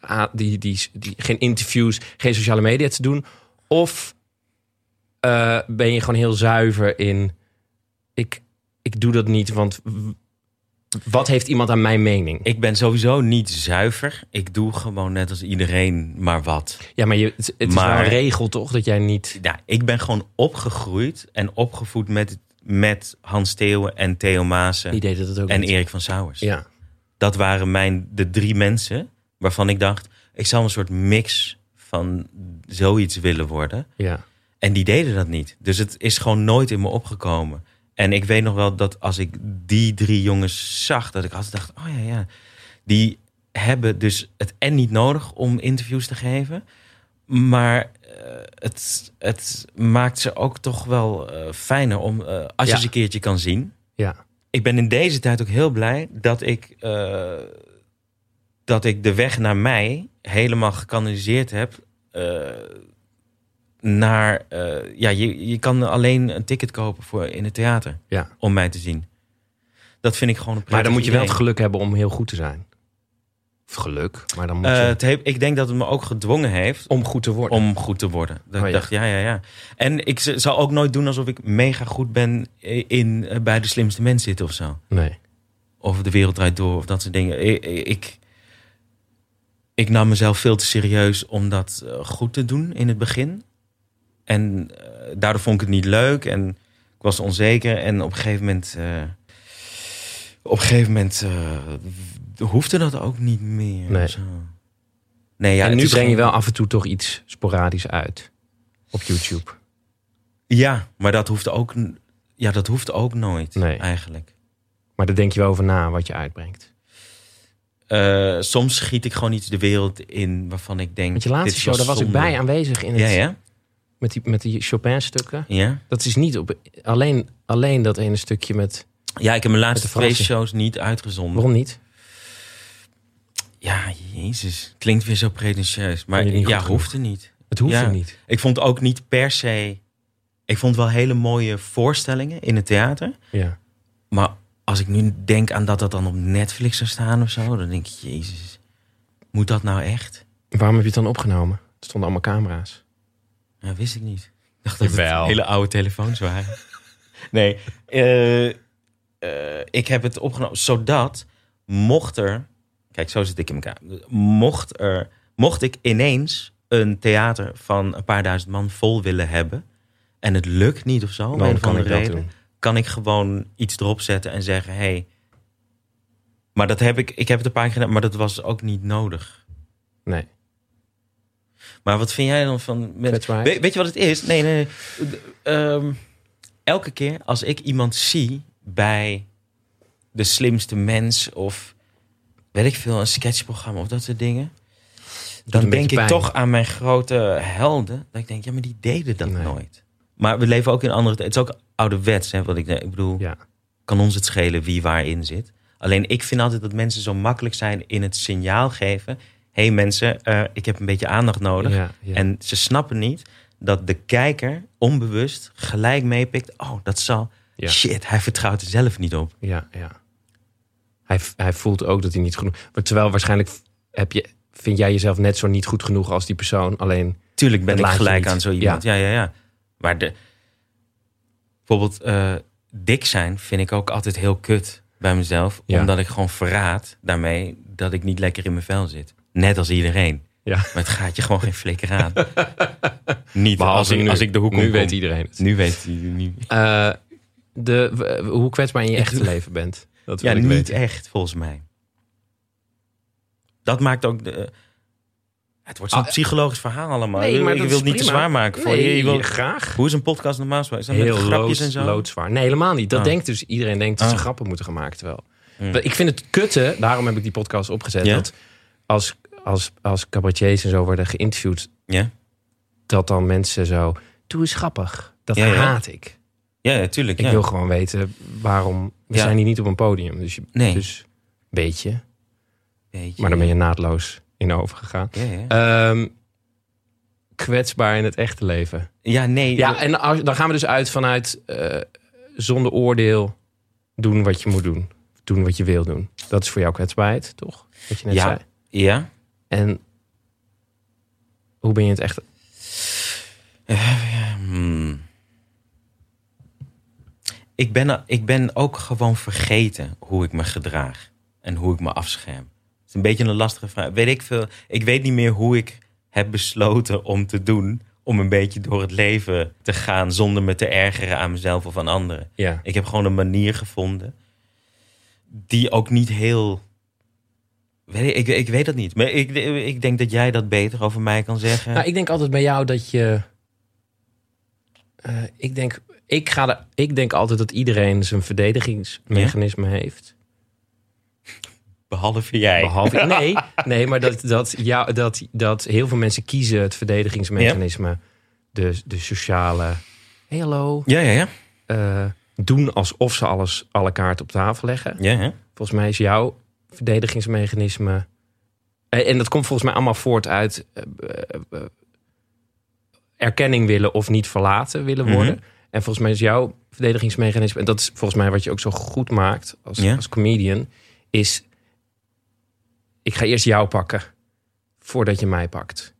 Speaker 1: eh, a- die, die, die, geen interviews, geen sociale media te doen. Of eh, ben je gewoon heel zuiver in. Ik, ik doe dat niet, want w- wat heeft iemand aan mijn mening?
Speaker 2: Ik ben sowieso niet zuiver. Ik doe gewoon net als iedereen maar wat.
Speaker 1: Ja, maar je, het, het is wel
Speaker 2: Maar-
Speaker 1: een regel toch dat jij niet.
Speaker 2: ja, ik ben gewoon opgegroeid en opgevoed met, met Hans Theeuwen en Theo
Speaker 1: Die
Speaker 2: Maassen
Speaker 1: deed dat ook.
Speaker 2: en
Speaker 1: niet.
Speaker 2: Erik van Souwers.
Speaker 1: Ja.
Speaker 2: Dat waren mijn, de drie mensen waarvan ik dacht... ik zou een soort mix van zoiets willen worden.
Speaker 1: ja.
Speaker 2: En die deden dat niet. Dus het is gewoon nooit in me opgekomen. En ik weet nog wel dat als ik die drie jongens zag... dat ik altijd dacht, oh ja, ja. Die hebben dus het en niet nodig om interviews te geven... maar eh, het, het maakt ze ook toch wel eh, fijner om... eh, als je
Speaker 1: Ja.
Speaker 2: ze een keertje kan zien.
Speaker 1: ja.
Speaker 2: Ik ben in deze tijd ook heel blij dat ik... eh, dat ik de weg naar mij helemaal gekanaliseerd heb... eh, naar. eh, ja, je, je kan alleen een ticket kopen voor in het theater
Speaker 1: Ja.
Speaker 2: om mij te zien. Dat vind ik gewoon een
Speaker 1: Maar dan
Speaker 2: prettig
Speaker 1: moet je wel het
Speaker 2: idee.
Speaker 1: geluk hebben om heel goed te zijn. Of geluk, maar dan moet je...
Speaker 2: Eh, het heeft- ik denk dat het me ook gedwongen heeft
Speaker 1: om goed te worden.
Speaker 2: om goed te worden. Dat
Speaker 1: Oh,
Speaker 2: ik
Speaker 1: ja.
Speaker 2: dacht, ja, ja, ja. En ik z- zal ook nooit doen alsof ik mega goed ben in, eh, bij de slimste mens zitten of zo.
Speaker 1: Nee.
Speaker 2: Of de wereld draait door of dat soort dingen. Ik, ik, ik nam mezelf veel te serieus om dat eh, goed te doen in het begin. En eh, daardoor vond ik het niet leuk en ik was onzeker. En op een gegeven moment, eh, op een gegeven moment eh, hoefde dat ook niet meer.
Speaker 1: Nee.
Speaker 2: Zo. Nee, ja,
Speaker 1: en
Speaker 2: het
Speaker 1: nu
Speaker 2: is
Speaker 1: breng je
Speaker 2: gewoon-
Speaker 1: wel af en toe toch iets sporadisch uit. Op YouTube.
Speaker 2: Ja, maar dat hoeft ook, n- ja, dat hoeft ook nooit
Speaker 1: Nee.
Speaker 2: eigenlijk.
Speaker 1: Maar daar denk je wel over na wat je uitbrengt.
Speaker 2: Eh, soms schiet ik gewoon iets de wereld in waarvan ik denk...
Speaker 1: Met je
Speaker 2: dit
Speaker 1: laatste
Speaker 2: was
Speaker 1: show, daar was ik
Speaker 2: zonde.
Speaker 1: bij aanwezig in het,
Speaker 2: Ja, ja,
Speaker 1: Met, die, met die Chopin-stukken.
Speaker 2: ja.
Speaker 1: Dat is niet op... Alleen, alleen dat ene stukje met...
Speaker 2: Ja, ik heb mijn laatste
Speaker 1: Met de
Speaker 2: twee
Speaker 1: verrassing.
Speaker 2: shows niet uitgezonden.
Speaker 1: Waarom niet?
Speaker 2: Ja, jezus. Klinkt weer zo pretentieus. Maar
Speaker 1: Vond je niet
Speaker 2: ja,
Speaker 1: goed genoeg?
Speaker 2: hoefde niet.
Speaker 1: Het hoeft
Speaker 2: Ja.
Speaker 1: er niet.
Speaker 2: Ik vond ook niet per se... Ik vond wel hele mooie voorstellingen in het theater.
Speaker 1: Ja.
Speaker 2: Maar als ik nu denk aan dat dat dan op Netflix zou staan of zo... dan denk ik, jezus, moet dat nou echt?
Speaker 1: Waarom heb je het dan opgenomen? Er stonden allemaal camera's.
Speaker 2: Ja, Nou, wist ik niet. Ik dacht dat
Speaker 1: Jawel.
Speaker 2: het hele oude telefoons waren. nee, eh, eh, ik heb het opgenomen zodat mocht er... Kijk, zo zit ik in elkaar. Mocht, er, mocht ik ineens een theater van een paar duizend man vol willen hebben... en het lukt niet of zo, om
Speaker 1: Dan
Speaker 2: een of
Speaker 1: kan ik
Speaker 2: andere
Speaker 1: dat
Speaker 2: reden,
Speaker 1: doen.
Speaker 2: kan ik gewoon iets erop zetten en zeggen... Hey, maar dat heb ik, ik heb het een paar keer gedaan, maar dat was ook niet nodig.
Speaker 1: Nee.
Speaker 2: Maar wat vind jij dan van... mensen-
Speaker 1: Kwetsbaarheid.
Speaker 2: We- weet je wat het is? Nee, nee. nee. Ehm, elke keer als ik iemand zie bij de slimste mens of weet ik veel, een sketchprogramma of dat soort dingen. Dan
Speaker 1: een
Speaker 2: denk
Speaker 1: beetje
Speaker 2: ik
Speaker 1: pijn.
Speaker 2: toch aan mijn grote helden. Dat ik denk, ja, maar die deden dat
Speaker 1: Nee.
Speaker 2: nooit. Maar we leven ook in andere... Het is ook ouderwets, hè, wat ik, ik bedoel
Speaker 1: Ja.
Speaker 2: kan ons het schelen wie waarin zit. Alleen ik vind altijd dat mensen zo makkelijk zijn in het signaal geven. Hé hey mensen, eh, ik heb een beetje aandacht nodig.
Speaker 1: Ja, ja.
Speaker 2: En ze snappen niet dat de kijker onbewust gelijk meepikt. Oh, dat zal.
Speaker 1: Ja.
Speaker 2: Shit, hij vertrouwt er zelf niet op.
Speaker 1: Ja, ja. Hij, hij voelt ook dat hij niet genoeg... Maar terwijl waarschijnlijk heb je, vind jij jezelf net zo niet goed genoeg als die persoon. Alleen,
Speaker 2: Tuurlijk ben
Speaker 1: Dat
Speaker 2: ik
Speaker 1: laat je
Speaker 2: gelijk
Speaker 1: niet.
Speaker 2: aan zo iemand. Ja, ja, ja. Maar de, bijvoorbeeld eh, dik zijn vind ik ook altijd heel kut bij mezelf.
Speaker 1: Ja.
Speaker 2: Omdat ik gewoon verraad daarmee dat ik niet lekker in mijn vel zit. Net als iedereen.
Speaker 1: Ja.
Speaker 2: Maar het gaat je gewoon geen flikker aan. niet
Speaker 1: Maar
Speaker 2: als,
Speaker 1: als ik
Speaker 2: ik,
Speaker 1: nu-
Speaker 2: als ik de hoek
Speaker 1: nu
Speaker 2: om
Speaker 1: weet
Speaker 2: kom.
Speaker 1: iedereen het.
Speaker 2: Nu weet hij niet.
Speaker 1: Eh, de, w- w- hoe kwetsbaar je in je echte leven bent. Dat wil
Speaker 2: Ja,
Speaker 1: ik
Speaker 2: niet
Speaker 1: weten.
Speaker 2: echt volgens mij. Dat maakt ook... De, eh, het wordt zo'n
Speaker 1: Ah,
Speaker 2: psychologisch verhaal allemaal.
Speaker 1: nee,
Speaker 2: je
Speaker 1: maar
Speaker 2: wil- je
Speaker 1: dat
Speaker 2: wilt
Speaker 1: is
Speaker 2: niet te
Speaker 1: prima.
Speaker 2: zwaar maken. Voor je,
Speaker 1: Nee,
Speaker 2: je wil-
Speaker 1: graag.
Speaker 2: Hoe is een podcast normaal? Is dat met
Speaker 1: Heel
Speaker 2: grapjes
Speaker 1: loods,
Speaker 2: en zo?
Speaker 1: loodzwaar. Nee, helemaal niet. Dat
Speaker 2: Ah.
Speaker 1: denkt dus iedereen denkt dat ze
Speaker 2: Ah.
Speaker 1: grappen moeten gaan maken. Terwijl.
Speaker 2: Hmm.
Speaker 1: Ik vind het kutte, daarom heb ik die podcast opgezet.
Speaker 2: Ja?
Speaker 1: Dat als, als, als cabaretiers en zo worden geïnterviewd,
Speaker 2: Ja,
Speaker 1: dat dan mensen zo. Doe eens grappig. Dat
Speaker 2: Ja, ja.
Speaker 1: haat ik.
Speaker 2: ja, ja tuurlijk.
Speaker 1: Ik
Speaker 2: Ja.
Speaker 1: wil gewoon weten waarom. We
Speaker 2: Ja.
Speaker 1: zijn hier niet op een podium. Dus, je,
Speaker 2: Nee.
Speaker 1: dus weet je.
Speaker 2: Beetje.
Speaker 1: Maar dan ben je naadloos in overgegaan.
Speaker 2: Ja, ja.
Speaker 1: Ehm, kwetsbaar in het echte leven.
Speaker 2: ja, nee.
Speaker 1: Ja, en als, dan gaan we dus uit vanuit eh, zonder oordeel doen wat je moet doen. Doen wat je wil doen. Dat is voor jou kwetsbaarheid, toch? Wat je net
Speaker 2: Ja.
Speaker 1: zei.
Speaker 2: ja?
Speaker 1: En hoe ben je in het echt?
Speaker 2: Hmm. Ik, ben, ik ben ook gewoon vergeten hoe ik me gedraag. En hoe ik me afscherm. Het is een beetje een lastige vraag. Weet ik, veel, ik weet niet meer hoe ik heb besloten om te doen. Om een beetje door het leven te gaan zonder me te ergeren aan mezelf of aan anderen.
Speaker 1: Ja.
Speaker 2: Ik heb gewoon een manier gevonden die ook niet heel. Weet ik, ik, ik weet dat niet. Maar ik, ik denk dat jij dat beter over mij kan zeggen.
Speaker 1: Nou, ik denk altijd bij jou dat je. eh, ik, denk, ik, ga er, ik denk altijd dat iedereen zijn verdedigingsmechanisme heeft.
Speaker 2: Behalve jij.
Speaker 1: Behalve, nee, nee, maar dat, dat, ja, dat, dat heel veel mensen kiezen het verdedigingsmechanisme. De, de sociale. Hey, hallo.
Speaker 2: ja, ja, ja.
Speaker 1: eh, doen alsof ze alles, alle kaarten op tafel leggen.
Speaker 2: ja, hè?
Speaker 1: Volgens mij is jouw verdedigingsmechanisme. En en dat komt volgens mij allemaal voort uit. eh, eh, eh, erkenning willen of niet verlaten willen
Speaker 2: Mhm.
Speaker 1: worden. En volgens mij is jouw verdedigingsmechanisme. En dat is volgens mij wat je ook zo goed maakt als,
Speaker 2: Ja.
Speaker 1: als comedian. Is. Ik ga eerst jou pakken. Voordat je mij pakt.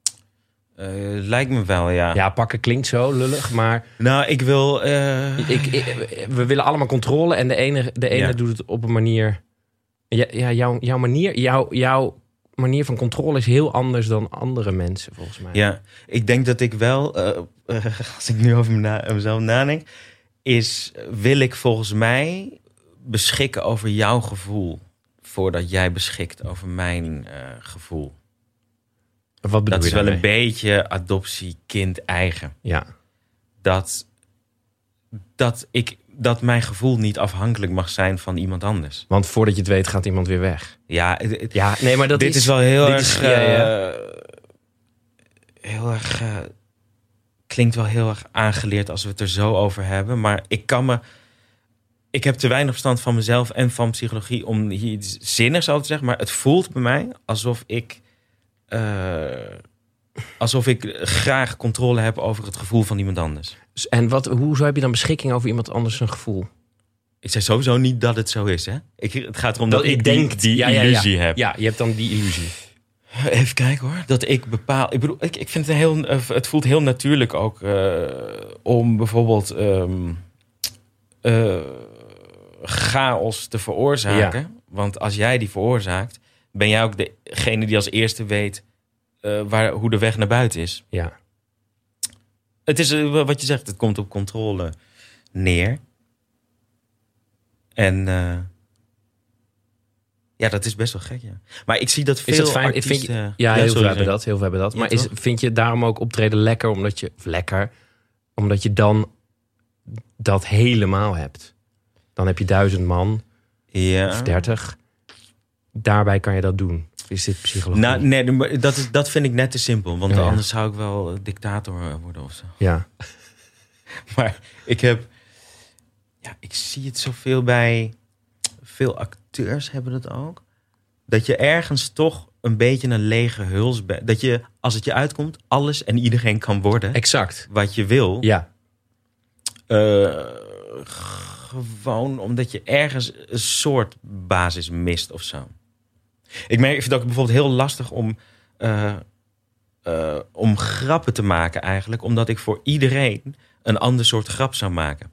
Speaker 2: Eh, lijkt me wel, ja.
Speaker 1: Ja, pakken klinkt zo lullig, maar
Speaker 2: Nou, ik wil. eh,
Speaker 1: ik, ik- we willen allemaal controle en de ene, de ene
Speaker 2: Ja.
Speaker 1: doet het op een manier. Ja, ja jouw, jouw manier, jouw, jouw manier van controle is heel anders dan andere mensen, volgens mij.
Speaker 2: Ja, ik denk dat ik wel, eh, eh, als ik nu over me na- mezelf nadenk, is eh, wil ik volgens mij beschikken over jouw gevoel voordat jij beschikt over mijn eh, gevoel.
Speaker 1: Wat bedoel
Speaker 2: Dat
Speaker 1: je
Speaker 2: is wel een
Speaker 1: daarmee?
Speaker 2: beetje adoptie kind eigen.
Speaker 1: Ja.
Speaker 2: Dat, dat, ik, dat mijn gevoel niet afhankelijk mag zijn van iemand anders.
Speaker 1: Want voordat je het weet, gaat iemand weer weg.
Speaker 2: Ja, het- het-
Speaker 1: Ja, nee, maar dat
Speaker 2: dit
Speaker 1: is,
Speaker 2: is, wel heel
Speaker 1: dit
Speaker 2: erg.
Speaker 1: is- ja, ja.
Speaker 2: eh, heel erg. eh, klinkt wel heel erg aangeleerd als we het er zo over hebben. Maar ik kan me. Ik heb te weinig verstand van mezelf en van psychologie om hier iets zinnigs over te zeggen. Maar het voelt bij mij alsof ik. eh, alsof ik graag controle heb over het gevoel van iemand anders.
Speaker 1: En wat, hoezo heb je dan beschikking over iemand anders zijn gevoel?
Speaker 2: Ik zeg sowieso niet dat het zo is, hè? Ik, het gaat erom dat,
Speaker 1: Dat
Speaker 2: ik
Speaker 1: ik
Speaker 2: denk die,
Speaker 1: denk- ja, ja, ja.
Speaker 2: illusie heb.
Speaker 1: Ja, je hebt dan die illusie.
Speaker 2: Even kijken hoor. Dat ik bepaal. Ik bedoel, ik, ik vind het een heel. eh, Het voelt heel natuurlijk ook eh, om bijvoorbeeld ehm, eh, chaos te veroorzaken. Want als jij die veroorzaakt, ben jij ook degene die als eerste weet eh, waar, hoe de weg naar buiten is.
Speaker 1: Ja.
Speaker 2: Het is eh, wat je zegt, het komt op controle neer. En eh, ja, dat is best wel gek, ja. Maar ik zie dat veel
Speaker 1: Is dat fijn? Ik
Speaker 2: artiesten...
Speaker 1: vind, ja, heel veel
Speaker 2: sorry,
Speaker 1: hebben
Speaker 2: sorry.
Speaker 1: dat. Heel veel hebben dat.
Speaker 2: Ja,
Speaker 1: maar is,
Speaker 2: toch?
Speaker 1: vind je daarom ook optreden lekker omdat je. of lekker. Omdat je dan dat helemaal hebt. Dan heb je duizend man of
Speaker 2: Ja.
Speaker 1: dertig. Daarbij kan je dat doen. Is dit psychologie?
Speaker 2: Nou, nee, maar dat, is, dat vind ik net te simpel. Want
Speaker 1: Ja.
Speaker 2: anders zou ik wel eh, dictator eh, worden of zo.
Speaker 1: ja.
Speaker 2: Maar ik heb... Ja, ik zie het zoveel bij... Veel acteurs hebben dat ook. Dat je ergens toch een beetje een lege huls bent. Dat je, als het je uitkomt, alles en iedereen kan worden
Speaker 1: Exact.
Speaker 2: wat je wil.
Speaker 1: Ja.
Speaker 2: Eh, g- gewoon omdat je ergens een soort basis mist of zo. Ik merk, ik vind het ook bijvoorbeeld heel lastig om, eh, eh, om grappen te maken eigenlijk. Omdat ik voor iedereen een ander soort grap zou maken.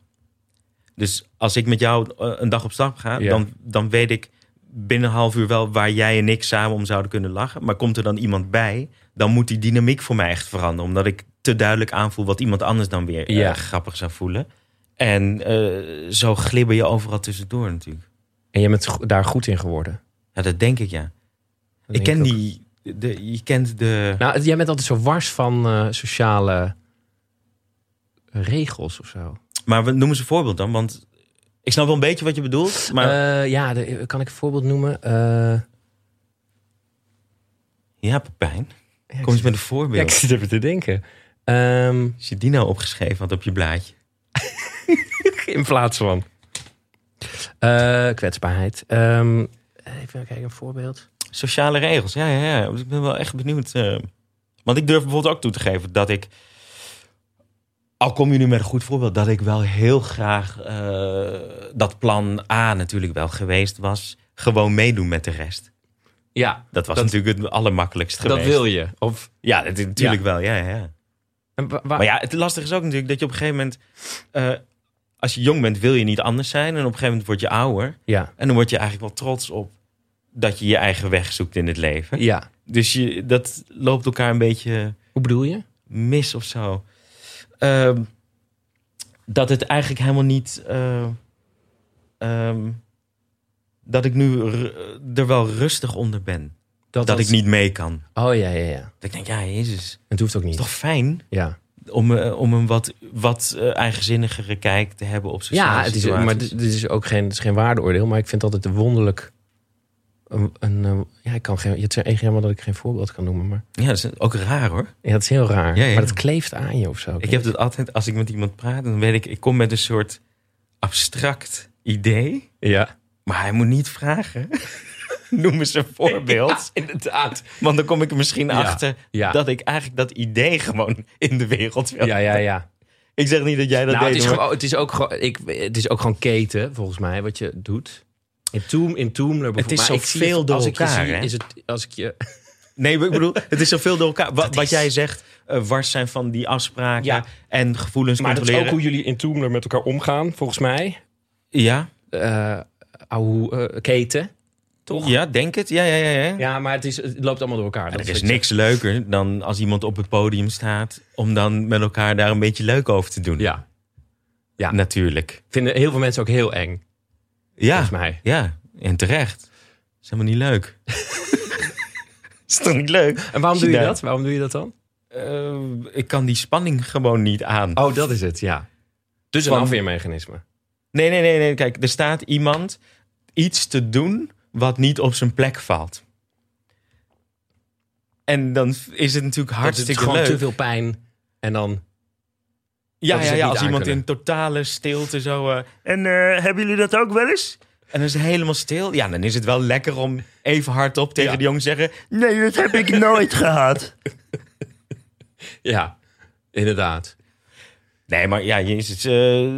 Speaker 2: Dus als ik met jou eh, een dag op stap ga,
Speaker 1: Ja.
Speaker 2: dan, dan weet ik binnen een half uur wel waar jij en ik samen om zouden kunnen lachen. Maar komt er dan iemand bij, dan moet die dynamiek voor mij echt veranderen. Omdat ik te duidelijk aanvoel wat iemand anders dan weer eh,
Speaker 1: Ja.
Speaker 2: grappig zou voelen. En eh, zo glibber je overal tussendoor natuurlijk.
Speaker 1: En je bent go- daar goed in geworden.
Speaker 2: Ja, dat denk ik ja.
Speaker 1: Dat
Speaker 2: ik
Speaker 1: denk
Speaker 2: ken
Speaker 1: ook.
Speaker 2: die. De, je kent de.
Speaker 1: Nou, het- jij bent altijd zo wars van eh, sociale regels of zo.
Speaker 2: Maar we noemen ze een voorbeeld dan, want ik snap wel een beetje wat je bedoelt. Maar
Speaker 1: Eh, ja, de- kan ik een voorbeeld noemen? Eh,
Speaker 2: ja, Pepijn,
Speaker 1: ja, ik
Speaker 2: kom eens
Speaker 1: zit-
Speaker 2: met een
Speaker 1: ja, ik
Speaker 2: voorbeeld.
Speaker 1: zit even te denken. Ehm,
Speaker 2: Als je die nou opgeschreven had op je blaadje.
Speaker 1: in plaats van. Eh, kwetsbaarheid. Ehm, even kijken, een voorbeeld.
Speaker 2: Sociale regels, ja, ja, ja. Ik ben wel echt benieuwd. eh. want ik durf bijvoorbeeld ook toe te geven dat ik... Al kom je nu met een goed voorbeeld, dat ik wel heel graag eh, dat plan A natuurlijk wel geweest was. Gewoon meedoen met de rest.
Speaker 1: Ja,
Speaker 2: Dat was
Speaker 1: Dat-
Speaker 2: natuurlijk het allermakkelijkst geweest.
Speaker 1: dat wil je. Ah. Of,
Speaker 2: Ja, dat is natuurlijk wel, ja, ja, ja.
Speaker 1: en wa- wa-
Speaker 2: Maar ja, het lastige is ook natuurlijk dat je op een gegeven moment... eh, als je jong bent wil je niet anders zijn. En op een gegeven moment word je ouder.
Speaker 1: ja,
Speaker 2: En dan word je eigenlijk wel trots op dat je je eigen weg zoekt in het leven.
Speaker 1: ja.
Speaker 2: Dus je, dat loopt elkaar een beetje
Speaker 1: Hoe bedoel je?
Speaker 2: mis of zo. Ehm, dat het eigenlijk helemaal niet... eh, ehm, dat ik nu ru- er wel rustig onder ben. Dat,
Speaker 1: als-
Speaker 2: ik niet mee kan.
Speaker 1: Oh ja, ja, ja.
Speaker 2: Dat ik denk, ja, jezus.
Speaker 1: Het hoeft ook
Speaker 2: Is
Speaker 1: niet.
Speaker 2: toch fijn?
Speaker 1: Ja,
Speaker 2: om, eh, om een wat, wat eh, eigenzinnigere kijk te hebben op sociale
Speaker 1: ja het is,
Speaker 2: situaties.
Speaker 1: maar dit, dit is ook geen, het is geen waardeoordeel. Maar ik vind altijd een wonderlijk. Een, een, eh, ja, ik kan geen, het is echt jammer dat ik geen voorbeeld kan noemen. Maar
Speaker 2: Ja, dat is ook raar hoor.
Speaker 1: ja, dat is heel raar.
Speaker 2: Ja, ja.
Speaker 1: Maar het kleeft aan je of zo.
Speaker 2: Ik heb dat altijd, als ik met iemand praat, dan weet ik, ik kom met een soort abstract idee.
Speaker 1: Ja,
Speaker 2: Maar hij moet niet vragen. Noem eens een voorbeeld.
Speaker 1: inderdaad.
Speaker 2: Want dan kom ik er misschien
Speaker 1: Ja,
Speaker 2: achter
Speaker 1: ja.
Speaker 2: dat ik eigenlijk dat idee gewoon in de wereld wil.
Speaker 1: Ja, ja, ja.
Speaker 2: Ik zeg niet dat jij dat
Speaker 1: nou, het
Speaker 2: deed.
Speaker 1: is,
Speaker 2: hoor.
Speaker 1: gewoon, het, is ook gewoon, ik, het is ook gewoon keten, volgens mij, wat je doet. In Toom, in Toomler bijvoorbeeld.
Speaker 2: is
Speaker 1: Maar
Speaker 2: zo
Speaker 1: ik zie
Speaker 2: veel door
Speaker 1: als ik je
Speaker 2: elkaar,
Speaker 1: zie,
Speaker 2: hè?
Speaker 1: is het, als ik je,
Speaker 2: Nee, maar ik bedoel, het is zoveel door elkaar. Wa- Wat,
Speaker 1: Dat is-
Speaker 2: jij zegt, eh, wars zijn van die afspraken
Speaker 1: Ja.
Speaker 2: en gevoelens
Speaker 1: maar dat is
Speaker 2: controleren.
Speaker 1: ook hoe jullie in Toomler met elkaar omgaan, volgens mij.
Speaker 2: Ja,
Speaker 1: Eh ouwe, eh, keten. Toch?
Speaker 2: ja, denk het. Ja, ja, ja, ja.
Speaker 1: Ja, maar het, is, het loopt allemaal door elkaar.
Speaker 2: Ja,
Speaker 1: Dat
Speaker 2: er is
Speaker 1: wat ik
Speaker 2: niks leuker dan als iemand op het podium staat. om dan met elkaar daar een beetje leuk over te doen.
Speaker 1: zeg. Ja, Ja.
Speaker 2: Natuurlijk.
Speaker 1: vinden heel veel mensen ook heel eng,
Speaker 2: Ja,
Speaker 1: volgens mij.
Speaker 2: ja, en terecht. is helemaal niet leuk. is toch niet leuk?
Speaker 1: En waarom
Speaker 2: Zie
Speaker 1: doe je
Speaker 2: daar.
Speaker 1: dat? Waarom doe je dat dan?
Speaker 2: Eh, ik kan die spanning gewoon niet aan.
Speaker 1: Oh, dat is het, ja. Dus een
Speaker 2: Van-
Speaker 1: afweermechanisme.
Speaker 2: Nee, nee, nee, nee. Kijk, er staat iemand iets te doen wat niet op zijn plek valt. En dan is het natuurlijk
Speaker 1: Dat
Speaker 2: hartstikke
Speaker 1: is gewoon
Speaker 2: leuk.
Speaker 1: te veel pijn. En dan...
Speaker 2: Ja,
Speaker 1: Dat is het
Speaker 2: ja, ja
Speaker 1: niet
Speaker 2: als iemand in
Speaker 1: aankunnen.
Speaker 2: totale stilte zo. eh, en eh, hebben jullie dat ook wel eens? En dan is het helemaal stil. Ja, dan is het wel lekker om even hardop tegen
Speaker 1: Ja.
Speaker 2: die jongen te zeggen: Nee, dat heb ik nooit gehad.
Speaker 1: Ja, inderdaad.
Speaker 2: Nee, maar ja, Jezus. eh,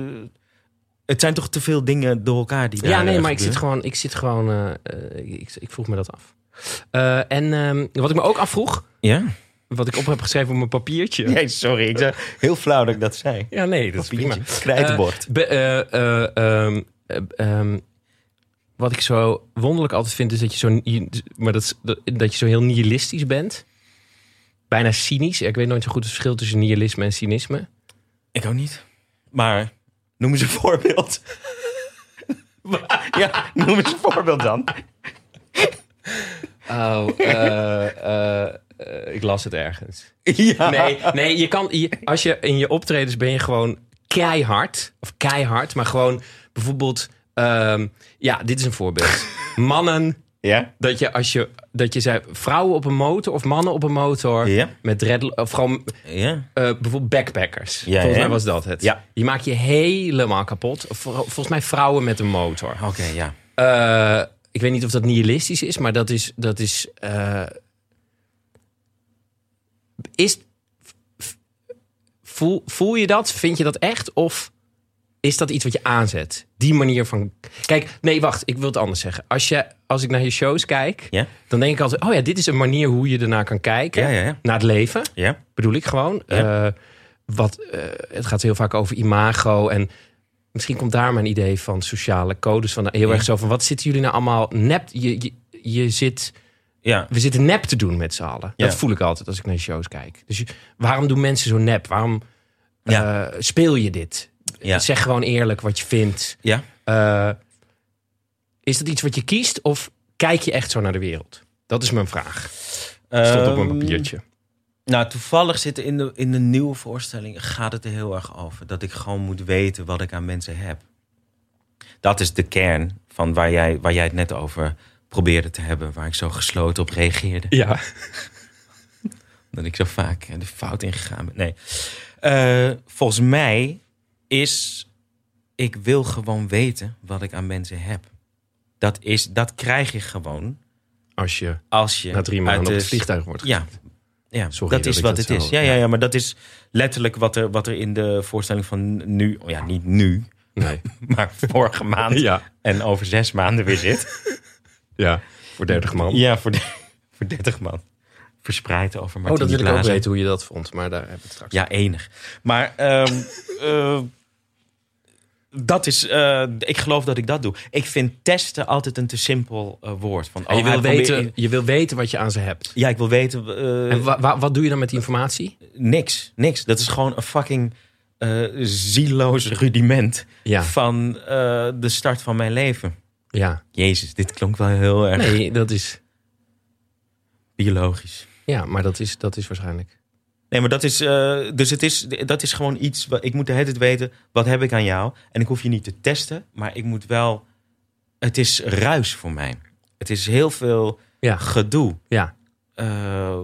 Speaker 2: het zijn toch te veel dingen door elkaar die.
Speaker 1: Ja,
Speaker 2: daar,
Speaker 1: nee,
Speaker 2: eh,
Speaker 1: maar ik zit
Speaker 2: gebeuren.
Speaker 1: gewoon... Ik, zit gewoon eh, eh, ik, ik vroeg me dat af. Eh, en ehm, wat ik me ook afvroeg... Wat ik op heb geschreven op mijn papiertje.
Speaker 2: Ja? Nee, sorry. Ik zei heel flauw dat ik dat zei.
Speaker 1: Ja, nee, dat is prima.
Speaker 2: Krijtenbord.
Speaker 1: Eh, be- eh, eh, ehm, eh, ehm, wat ik zo wonderlijk altijd vind, is dat je zo, ni- maar dat, is- dat, dat je zo heel nihilistisch bent. Bijna cynisch. Ik weet nooit zo goed het verschil tussen nihilisme en cynisme.
Speaker 2: ik ook niet. Maar noem eens een voorbeeld. ja, noem eens een voorbeeld dan.
Speaker 1: Oh, eh, ik las het ergens.
Speaker 2: Ja.
Speaker 1: Nee, nee je kan, je- als je in je optredens ben je gewoon keihard. Of keihard, maar gewoon bijvoorbeeld... ehm, ja, dit is een voorbeeld. Mannen
Speaker 2: Ja?
Speaker 1: Dat je als je dat je zei vrouwen op een motor of mannen op een motor
Speaker 2: Ja.
Speaker 1: met dread of gewoon
Speaker 2: Ja.
Speaker 1: eh, bijvoorbeeld backpackers.
Speaker 2: Ja,
Speaker 1: volgens
Speaker 2: ja.
Speaker 1: mij was dat het.
Speaker 2: Ja.
Speaker 1: Die maak je helemaal kapot. Vol- volgens mij vrouwen met een motor.
Speaker 2: Oké, ja.
Speaker 1: Eh, ik weet niet of dat nihilistisch is, maar dat is dat is eh, is voel, voel je dat? Vind je dat echt of Is dat iets wat je aanzet? Die manier van. Kijk, nee, wacht, ik wil het anders zeggen. Als, je, als ik naar je shows kijk,
Speaker 2: Ja.
Speaker 1: dan denk ik altijd: oh ja, dit is een manier hoe je ernaar kan kijken.
Speaker 2: Ja, ja, ja.
Speaker 1: Naar het leven,
Speaker 2: Ja,
Speaker 1: bedoel ik gewoon. Eh, wat, eh, het gaat heel vaak over imago en. Misschien komt daar mijn idee van sociale codes van. Heel
Speaker 2: Ja.
Speaker 1: erg zo van: wat zitten jullie nou allemaal nep? Je, je, je zit
Speaker 2: ja.
Speaker 1: we zitten nep te doen met z'n allen.
Speaker 2: Ja.
Speaker 1: Dat voel ik altijd als ik naar shows kijk. Dus je- waarom doen mensen zo nep? Waarom eh,
Speaker 2: Ja.
Speaker 1: speel je dit?
Speaker 2: Ja.
Speaker 1: Zeg gewoon eerlijk wat je vindt.
Speaker 2: ja.
Speaker 1: Eh, is dat iets wat je kiest of kijk je echt zo naar de wereld? Dat is mijn vraag. Stond op
Speaker 2: Ehm,
Speaker 1: mijn papiertje.
Speaker 2: Nou, toevallig zit er in de, in de nieuwe voorstelling gaat het er heel erg over. Dat ik gewoon moet weten wat ik aan mensen heb. Dat is de kern van waar jij, waar jij het net over probeerde te hebben. Waar ik zo gesloten op reageerde.
Speaker 1: Ja.
Speaker 2: Dat ik zo vaak eh, de fout ingegaan ben. Nee. Eh, volgens mij is... Ik wil gewoon weten wat ik aan mensen heb. Dat, is, dat krijg je gewoon
Speaker 1: Als je
Speaker 2: als je...
Speaker 1: na drie
Speaker 2: uit
Speaker 1: maanden op
Speaker 2: de
Speaker 1: het vliegtuig wordt.
Speaker 2: ja. ja
Speaker 1: Sorry
Speaker 2: dat
Speaker 1: dat
Speaker 2: is
Speaker 1: ik
Speaker 2: wat
Speaker 1: dat
Speaker 2: het
Speaker 1: zo-
Speaker 2: is. Ja, ja. Ja, maar dat is letterlijk wat er, wat er in de voorstelling van nu... oh Ja, niet nu,
Speaker 1: Nee.
Speaker 2: maar vorige maand
Speaker 1: ja.
Speaker 2: en over zes maanden weer zit.
Speaker 1: ja. Voor 30 man.
Speaker 2: Ja, voor, de, voor 30 man. Verspreid over
Speaker 1: Oh, dat
Speaker 2: Martini
Speaker 1: wil ik ook
Speaker 2: Blazer.
Speaker 1: weten hoe je dat vond. Maar daar hebben we het straks.
Speaker 2: Ja, enig. Maar ehm, eh, dat is... eh, ik geloof dat ik dat doe. Ik vind testen altijd een te simpel eh, woord. Van,
Speaker 1: En je,
Speaker 2: oh, hij
Speaker 1: wil
Speaker 2: probeert-
Speaker 1: weten, je wil weten wat je aan ze hebt.
Speaker 2: Ja, ik wil weten... eh,
Speaker 1: En wa- wa- wat doe je dan met die informatie?
Speaker 2: niks, niks. Dat is gewoon een fucking eh zieloos rudiment
Speaker 1: Ja.
Speaker 2: van eh, de start van mijn leven.
Speaker 1: ja.
Speaker 2: Jezus, dit klonk wel heel erg
Speaker 1: Nee, dat is...
Speaker 2: biologisch.
Speaker 1: Ja, maar dat is, dat is waarschijnlijk.
Speaker 2: Nee, maar dat is, eh, dus het is, dat is gewoon iets. Wat, ik moet de hele tijd weten: wat heb ik aan jou? En ik hoef je niet te testen, maar ik moet wel. Het is ruis voor mij. Het is heel veel
Speaker 1: Ja,
Speaker 2: gedoe.
Speaker 1: ja.
Speaker 2: Eh,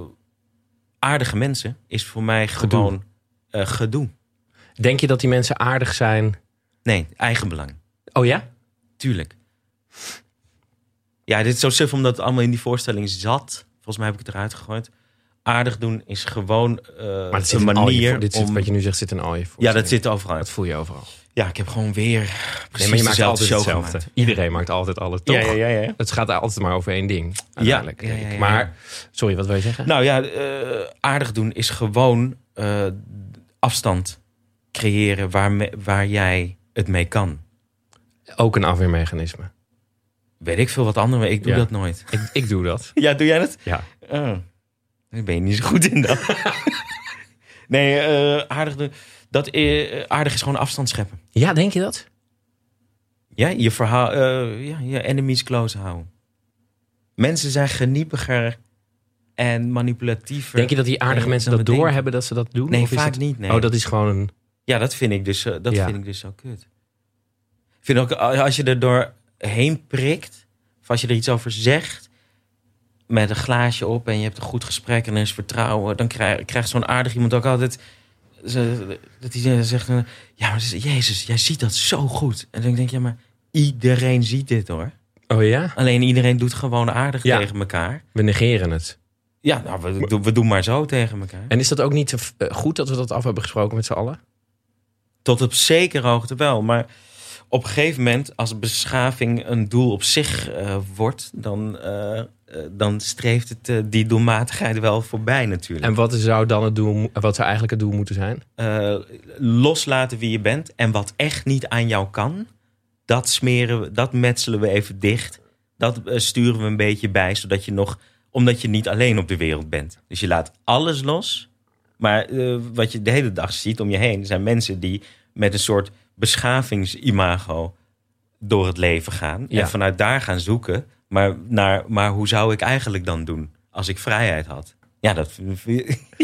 Speaker 2: aardige mensen is voor mij
Speaker 1: Gedoe.
Speaker 2: gewoon eh, gedoe.
Speaker 1: Denk je dat die mensen aardig zijn?
Speaker 2: Nee, eigenbelang.
Speaker 1: Oh ja?
Speaker 2: Tuurlijk. Ja, dit is zo suf omdat het allemaal in die voorstelling zat. Volgens mij heb ik het eruit gegooid. Aardig doen is gewoon eh,
Speaker 1: Maar het zit
Speaker 2: een
Speaker 1: een
Speaker 2: manier
Speaker 1: manier dit zit,
Speaker 2: om...
Speaker 1: Wat je nu zegt zit een al je voor.
Speaker 2: ja, dat zit overal. uit.
Speaker 1: Dat voel je overal.
Speaker 2: Ja, ik heb gewoon weer
Speaker 1: Nee,
Speaker 2: precies
Speaker 1: maar je maakt
Speaker 2: dezelfde
Speaker 1: altijd
Speaker 2: show
Speaker 1: hetzelfde.
Speaker 2: gemaakt.
Speaker 1: Iedereen maakt altijd alles, toch?
Speaker 2: ja, ja.
Speaker 1: Het gaat altijd maar over één ding. Uiteindelijk,
Speaker 2: Ja,
Speaker 1: denk
Speaker 2: ja,
Speaker 1: ik.
Speaker 2: ja, ja.
Speaker 1: Maar, sorry, wat wil je zeggen?
Speaker 2: Nou ja, eh, aardig doen is gewoon eh, afstand creëren waar, me- waar jij het mee kan.
Speaker 1: Ook een afweermechanisme.
Speaker 2: Weet ik veel wat anderen, ik doe
Speaker 1: Ja.
Speaker 2: dat nooit.
Speaker 1: Ik, ik doe dat.
Speaker 2: Ja, doe jij dat?
Speaker 1: Ja.
Speaker 2: Oh, daar ben je niet zo goed in dan. nee, eh, aardig, doen- dat, eh, aardig is gewoon afstand scheppen.
Speaker 1: Ja, denk je dat?
Speaker 2: Ja, je verhaal, eh, ja, je enemies close houden. Mensen zijn geniepiger en manipulatiever.
Speaker 1: Denk je dat die aardige
Speaker 2: Nee,
Speaker 1: mensen
Speaker 2: dan
Speaker 1: dat
Speaker 2: bedenk-
Speaker 1: doorhebben dat ze dat doen?
Speaker 2: Nee,
Speaker 1: Of is
Speaker 2: vaak
Speaker 1: het-
Speaker 2: niet. Nee.
Speaker 1: Oh, dat is gewoon een...
Speaker 2: Ja, dat vind ik dus, eh, dat
Speaker 1: Ja.
Speaker 2: vind ik dus zo kut. Ik vind ook eh, als je er doorheen prikt, of als je er iets over zegt, met een glaasje op en je hebt een goed gesprek en er is vertrouwen, dan krijg- krijgt zo'n aardig iemand ook altijd. ze- Dat hij eh, zegt: eh, Ja, maar ze- Jezus, jij ziet dat zo goed. En dan denk je, ja, maar iedereen ziet dit hoor.
Speaker 1: Oh ja?
Speaker 2: Alleen iedereen doet gewoon aardig
Speaker 1: Ja.
Speaker 2: tegen elkaar.
Speaker 1: We negeren het.
Speaker 2: Ja, nou, we, doen- we doen maar zo tegen elkaar.
Speaker 1: En is dat ook niet te f- eh, goed dat we dat af hebben gesproken met z'n allen?
Speaker 2: Tot op zekere hoogte wel. Maar op een gegeven moment, als beschaving een doel op zich eh, wordt, dan, eh, eh, dan streeft het eh, die doelmatigheid wel voorbij natuurlijk.
Speaker 1: En wat zou dan het doel, mo- wat zou eigenlijk het doel moeten zijn?
Speaker 2: Eh, loslaten wie je bent en wat echt niet aan jou kan, dat smeren we, dat metselen we even dicht. Dat eh, sturen we een beetje bij, zodat je nog, omdat je niet alleen op de wereld bent. Dus je laat alles los. Maar eh, wat je de hele dag ziet om je heen zijn mensen die met een soort beschavingsimago door het leven gaan.
Speaker 1: Ja.
Speaker 2: En vanuit daar gaan zoeken. Maar, naar, maar hoe zou ik eigenlijk dan doen als ik vrijheid had? Ja, dat, ja,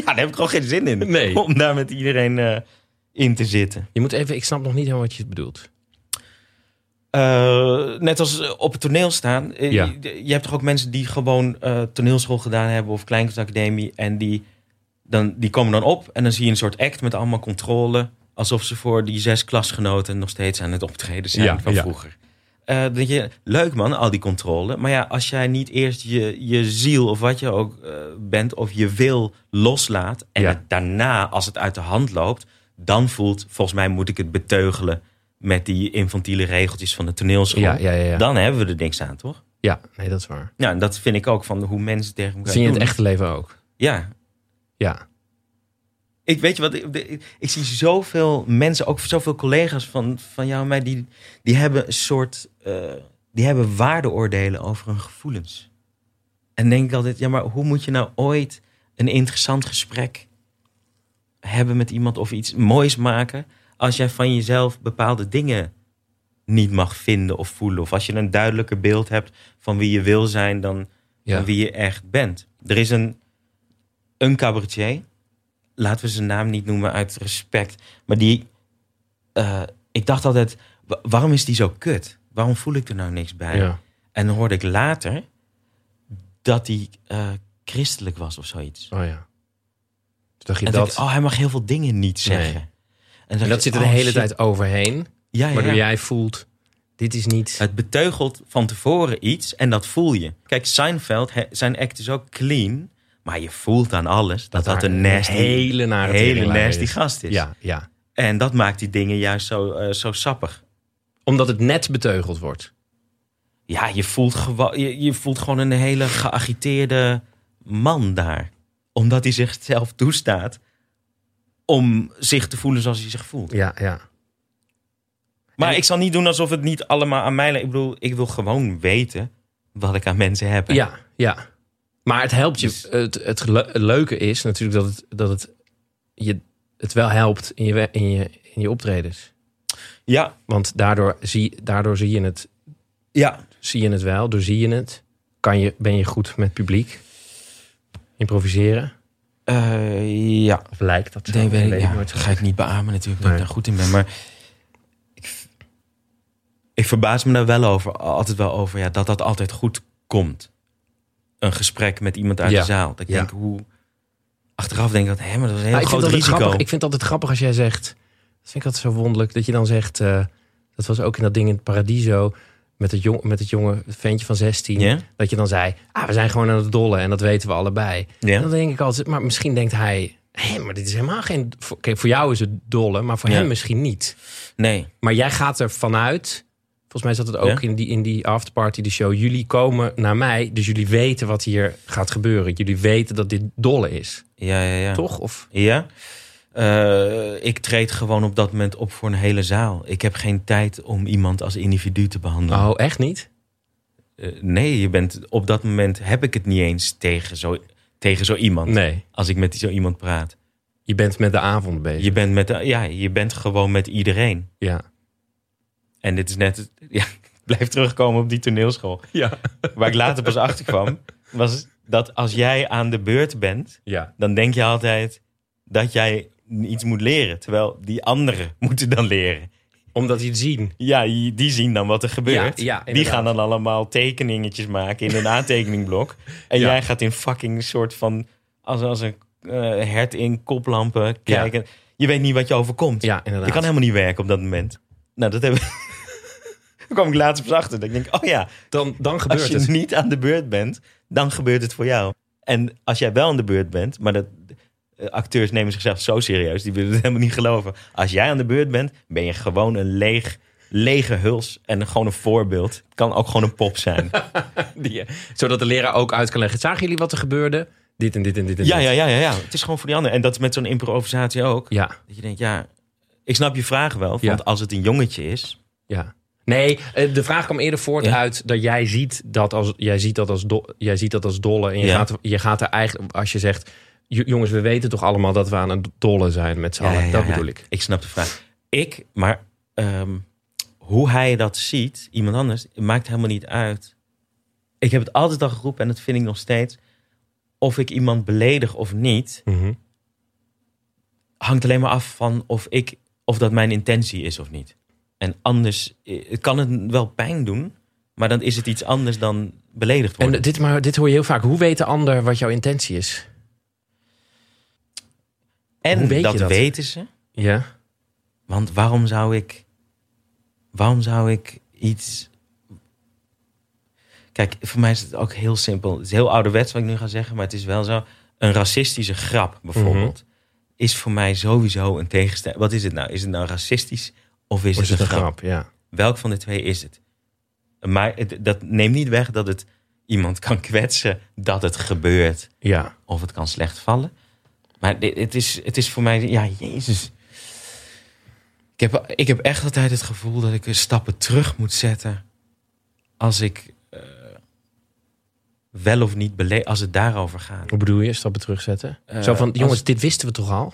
Speaker 2: daar heb ik gewoon geen zin in.
Speaker 1: Nee.
Speaker 2: Om daar met iedereen eh, in te zitten.
Speaker 1: Je moet even, ik snap nog niet helemaal wat je bedoelt.
Speaker 2: Eh, net als eh, op het toneel staan. Eh,
Speaker 1: Ja.
Speaker 2: je, je hebt toch ook mensen die gewoon eh, toneelschool gedaan hebben of kleinkunstacademie. En die, dan, die komen dan op en dan zie je een soort act met allemaal controle. Alsof ze voor die zes klasgenoten nog steeds aan het optreden zijn
Speaker 1: Ja,
Speaker 2: van
Speaker 1: ja.
Speaker 2: vroeger. Eh, dan denk je, leuk man, al die controle. Maar ja, als jij niet eerst je, je ziel of wat je ook eh, bent of je wil loslaat. En
Speaker 1: Ja.
Speaker 2: het daarna, als het uit de hand loopt, dan voelt, volgens mij moet ik het beteugelen met die infantiele regeltjes van de toneelschool.
Speaker 1: Ja, ja, ja. ja.
Speaker 2: Dan hebben we er niks aan, toch?
Speaker 1: ja, nee, dat is waar.
Speaker 2: Nou, en dat vind ik ook van hoe mensen tegen elkaar
Speaker 1: Dat zie je in het
Speaker 2: doen.
Speaker 1: echte leven ook.
Speaker 2: Ja,
Speaker 1: Ja.
Speaker 2: Ik weet je wat, ik, ik, ik zie zoveel mensen, ook zoveel collega's van, van jou en mij, die, die hebben een soort, eh, die hebben waardeoordelen over hun gevoelens. En denk ik altijd, ja, maar hoe moet je nou ooit een interessant gesprek hebben met iemand of iets moois maken als jij van jezelf bepaalde dingen niet mag vinden of voelen? Of als je een duidelijker beeld hebt van wie je wil zijn dan
Speaker 1: ja.
Speaker 2: van wie je echt bent. Er is een, een cabaretier, laten we zijn naam niet noemen uit respect, maar die, eh, ik dacht altijd, wa- waarom is die zo kut? Waarom voel ik er nou niks bij?
Speaker 1: ja.
Speaker 2: En dan hoorde ik later dat hij eh, christelijk was of zoiets.
Speaker 1: Oh ja. Toen dacht je
Speaker 2: En
Speaker 1: dat.
Speaker 2: dat... dacht ik, oh, hij mag heel veel dingen niet zeggen.
Speaker 1: Nee.
Speaker 2: En
Speaker 1: en
Speaker 2: dacht
Speaker 1: dat
Speaker 2: ik,
Speaker 1: zit er de
Speaker 2: oh,
Speaker 1: hele
Speaker 2: shit.
Speaker 1: tijd overheen.
Speaker 2: Ja, ja,
Speaker 1: Waardoor
Speaker 2: ja.
Speaker 1: jij voelt, dit is niet...
Speaker 2: Het beteugelt van tevoren iets en dat voel je. Kijk, Seinfeld, he- zijn act is ook clean. Maar je voelt aan alles dat dat,
Speaker 1: daar
Speaker 2: een nasty,
Speaker 1: hele nare
Speaker 2: hele
Speaker 1: teringlijn
Speaker 2: nasty
Speaker 1: is.
Speaker 2: gast is.
Speaker 1: Ja, ja.
Speaker 2: En dat maakt die dingen juist zo, eh, zo sappig.
Speaker 1: Omdat het net beteugeld wordt.
Speaker 2: Ja, je voelt, gewo- je, je voelt gewoon een hele geagiteerde man daar. Omdat hij zichzelf toestaat om zich te voelen zoals hij zich voelt.
Speaker 1: Ja, ja.
Speaker 2: Maar ik zal niet doen alsof het niet allemaal aan mij ligt. Ik bedoel, ik wil gewoon weten wat ik aan mensen heb.
Speaker 1: Ja, ja. Maar het helpt je.
Speaker 2: Dus-
Speaker 1: Het, het, le- het leuke is natuurlijk dat het, dat het je het wel helpt in je, we- in je, in je optredens.
Speaker 2: ja,
Speaker 1: Want daardoor zie, daardoor zie, je, het,
Speaker 2: ja.
Speaker 1: zie je het wel, door zie je het. Kan je, ben je goed met publiek? Improviseren?
Speaker 2: Eh, ja.
Speaker 1: Of lijkt dat zo?
Speaker 2: Nee, weet ik,
Speaker 1: Weet
Speaker 2: ja,
Speaker 1: ik nooit
Speaker 2: dat ga ik niet beamen natuurlijk, dat
Speaker 1: Nee.
Speaker 2: ik daar goed in ben. Maar ik, ik verbaas me daar wel over, altijd wel over, ja, dat dat altijd goed komt. Een gesprek met iemand uit
Speaker 1: Ja.
Speaker 2: de zaal. Dat ik
Speaker 1: Ja.
Speaker 2: denk, hoe... Achteraf denk ik dat, hè, maar dat is een heel
Speaker 1: Maar Nou, ik, vind
Speaker 2: groot
Speaker 1: het altijd
Speaker 2: risico.
Speaker 1: grappig, ik vind het altijd grappig als jij zegt... Dat vind ik altijd zo wonderlijk. Dat je dan zegt... eh, dat was ook in dat ding in het Paradiso... met het, jong, met het jonge ventje van 16.
Speaker 2: Ja?
Speaker 1: Dat je dan zei... Ah, we zijn gewoon aan het dollen en dat weten we allebei. En
Speaker 2: Ja?
Speaker 1: dan denk ik altijd... Maar misschien denkt hij... Hé, maar dit is helemaal geen... voor- Kijk, voor jou is het dolle, maar voor
Speaker 2: Ja.
Speaker 1: hem misschien niet.
Speaker 2: Nee.
Speaker 1: Maar jij gaat er vanuit... Volgens mij zat het ook in, die, in die afterparty, de show. Jullie komen naar mij, dus jullie weten wat hier gaat gebeuren. Jullie weten dat dit dolle is.
Speaker 2: Ja, ja, ja.
Speaker 1: Toch? Of...
Speaker 2: Ja. Eh, ik treed gewoon op dat moment op voor een hele zaal. Ik heb geen tijd om iemand als individu te behandelen.
Speaker 1: Oh, echt niet?
Speaker 2: Eh, nee, je bent, op dat moment heb ik het niet eens tegen zo, tegen zo iemand.
Speaker 1: Nee,
Speaker 2: Als ik met zo iemand praat.
Speaker 1: je bent met de avond bezig.
Speaker 2: Je bent, met, de- ja, je bent gewoon met iedereen.
Speaker 1: Ja.
Speaker 2: En dit is net... het- Ja, ik blijf terugkomen op die toneelschool.
Speaker 1: Ja.
Speaker 2: Waar ik later pas achter kwam, was dat als jij aan de beurt bent...
Speaker 1: ja.
Speaker 2: dan denk je altijd dat jij iets moet leren. Terwijl die anderen moeten dan leren.
Speaker 1: Omdat die het zien.
Speaker 2: Ja, die zien dan wat er gebeurt.
Speaker 1: Ja, ja,
Speaker 2: die
Speaker 1: inderdaad.
Speaker 2: gaan dan allemaal tekeningetjes maken in een aantekeningblok. En
Speaker 1: Ja.
Speaker 2: jij gaat in fucking soort van... als, als een eh, hert in koplampen kijken. Je weet niet wat je overkomt.
Speaker 1: Ja, inderdaad.
Speaker 2: Je kan helemaal niet werken op dat moment. Nou, dat hebben Daar kwam ik laatst pas achter. Dat ik denk, oh ja,
Speaker 1: dan, dan
Speaker 2: als
Speaker 1: gebeurt
Speaker 2: je
Speaker 1: het.
Speaker 2: niet aan de beurt bent, dan gebeurt het voor jou. En als jij wel aan de beurt bent, maar dat, eh, acteurs nemen zichzelf zo serieus, die willen het helemaal niet geloven. Als jij aan de beurt bent, ben je gewoon een leeg, lege huls en gewoon een voorbeeld. Het kan ook gewoon een pop zijn.
Speaker 1: Die, eh, zodat de leraar ook uit kan leggen. Zagen jullie wat er gebeurde? Dit en dit en dit en
Speaker 2: ja,
Speaker 1: dit.
Speaker 2: ja, ja, ja, ja. Het is gewoon voor die anderen. En dat is met zo'n improvisatie ook.
Speaker 1: Ja,
Speaker 2: Dat je denkt, ja, ik snap je vraag wel. Want
Speaker 1: Ja.
Speaker 2: als het een jongetje is,
Speaker 1: ja. Nee, eh, de vraag kwam eerder voort
Speaker 2: Ja.
Speaker 1: uit dat jij ziet dat als, jij ziet dat als, do- jij ziet dat als dolle. En je,
Speaker 2: Ja.
Speaker 1: gaat, je gaat er eigenlijk, als je zegt... "Jo- Jongens, we weten toch allemaal dat we aan het dolle zijn met z'n allen. dat bedoel ik.
Speaker 2: Ik snap de vraag. Ik, maar ehm, hoe hij dat ziet, iemand anders, maakt helemaal niet uit. Ik heb het altijd al geroepen en dat vind ik nog steeds. Of ik iemand beledig of niet,
Speaker 1: Mhm.
Speaker 2: hangt alleen maar af van of, ik, of dat mijn intentie is of niet. En anders eh, kan het wel pijn doen, maar dan is het iets anders dan beledigd worden.
Speaker 1: En dit, maar, dit hoor je heel vaak. Hoe weet de ander wat jouw intentie is?
Speaker 2: En,
Speaker 1: hoe weet je
Speaker 2: dat,
Speaker 1: dat?
Speaker 2: weten ze.
Speaker 1: Ja.
Speaker 2: Want waarom zou ik. Waarom zou ik iets. Kijk, voor mij is het ook heel simpel. Het is heel ouderwets wat ik nu ga zeggen, maar het is wel zo. Een racistische Mhm. grap bijvoorbeeld. Is voor mij sowieso een tegenstelling. Wat is het nou? Is het nou racistisch of is
Speaker 1: Is
Speaker 2: het een grap?
Speaker 1: Ja.
Speaker 2: Welk van de twee is het? Maar het- dat neemt niet weg dat het iemand kan kwetsen dat het gebeurt.
Speaker 1: ja.
Speaker 2: Of het kan slecht vallen. Maar dit- het is, het is voor mij, ja, jezus. Ik heb, ik heb echt altijd het gevoel dat ik weer stappen terug moet zetten. Als ik eh, wel of niet beleef, als het daarover gaat.
Speaker 1: Hoe bedoel je? Stappen terugzetten?
Speaker 2: Eh,
Speaker 1: Zo van,
Speaker 2: als-
Speaker 1: jongens, dit wisten we toch al?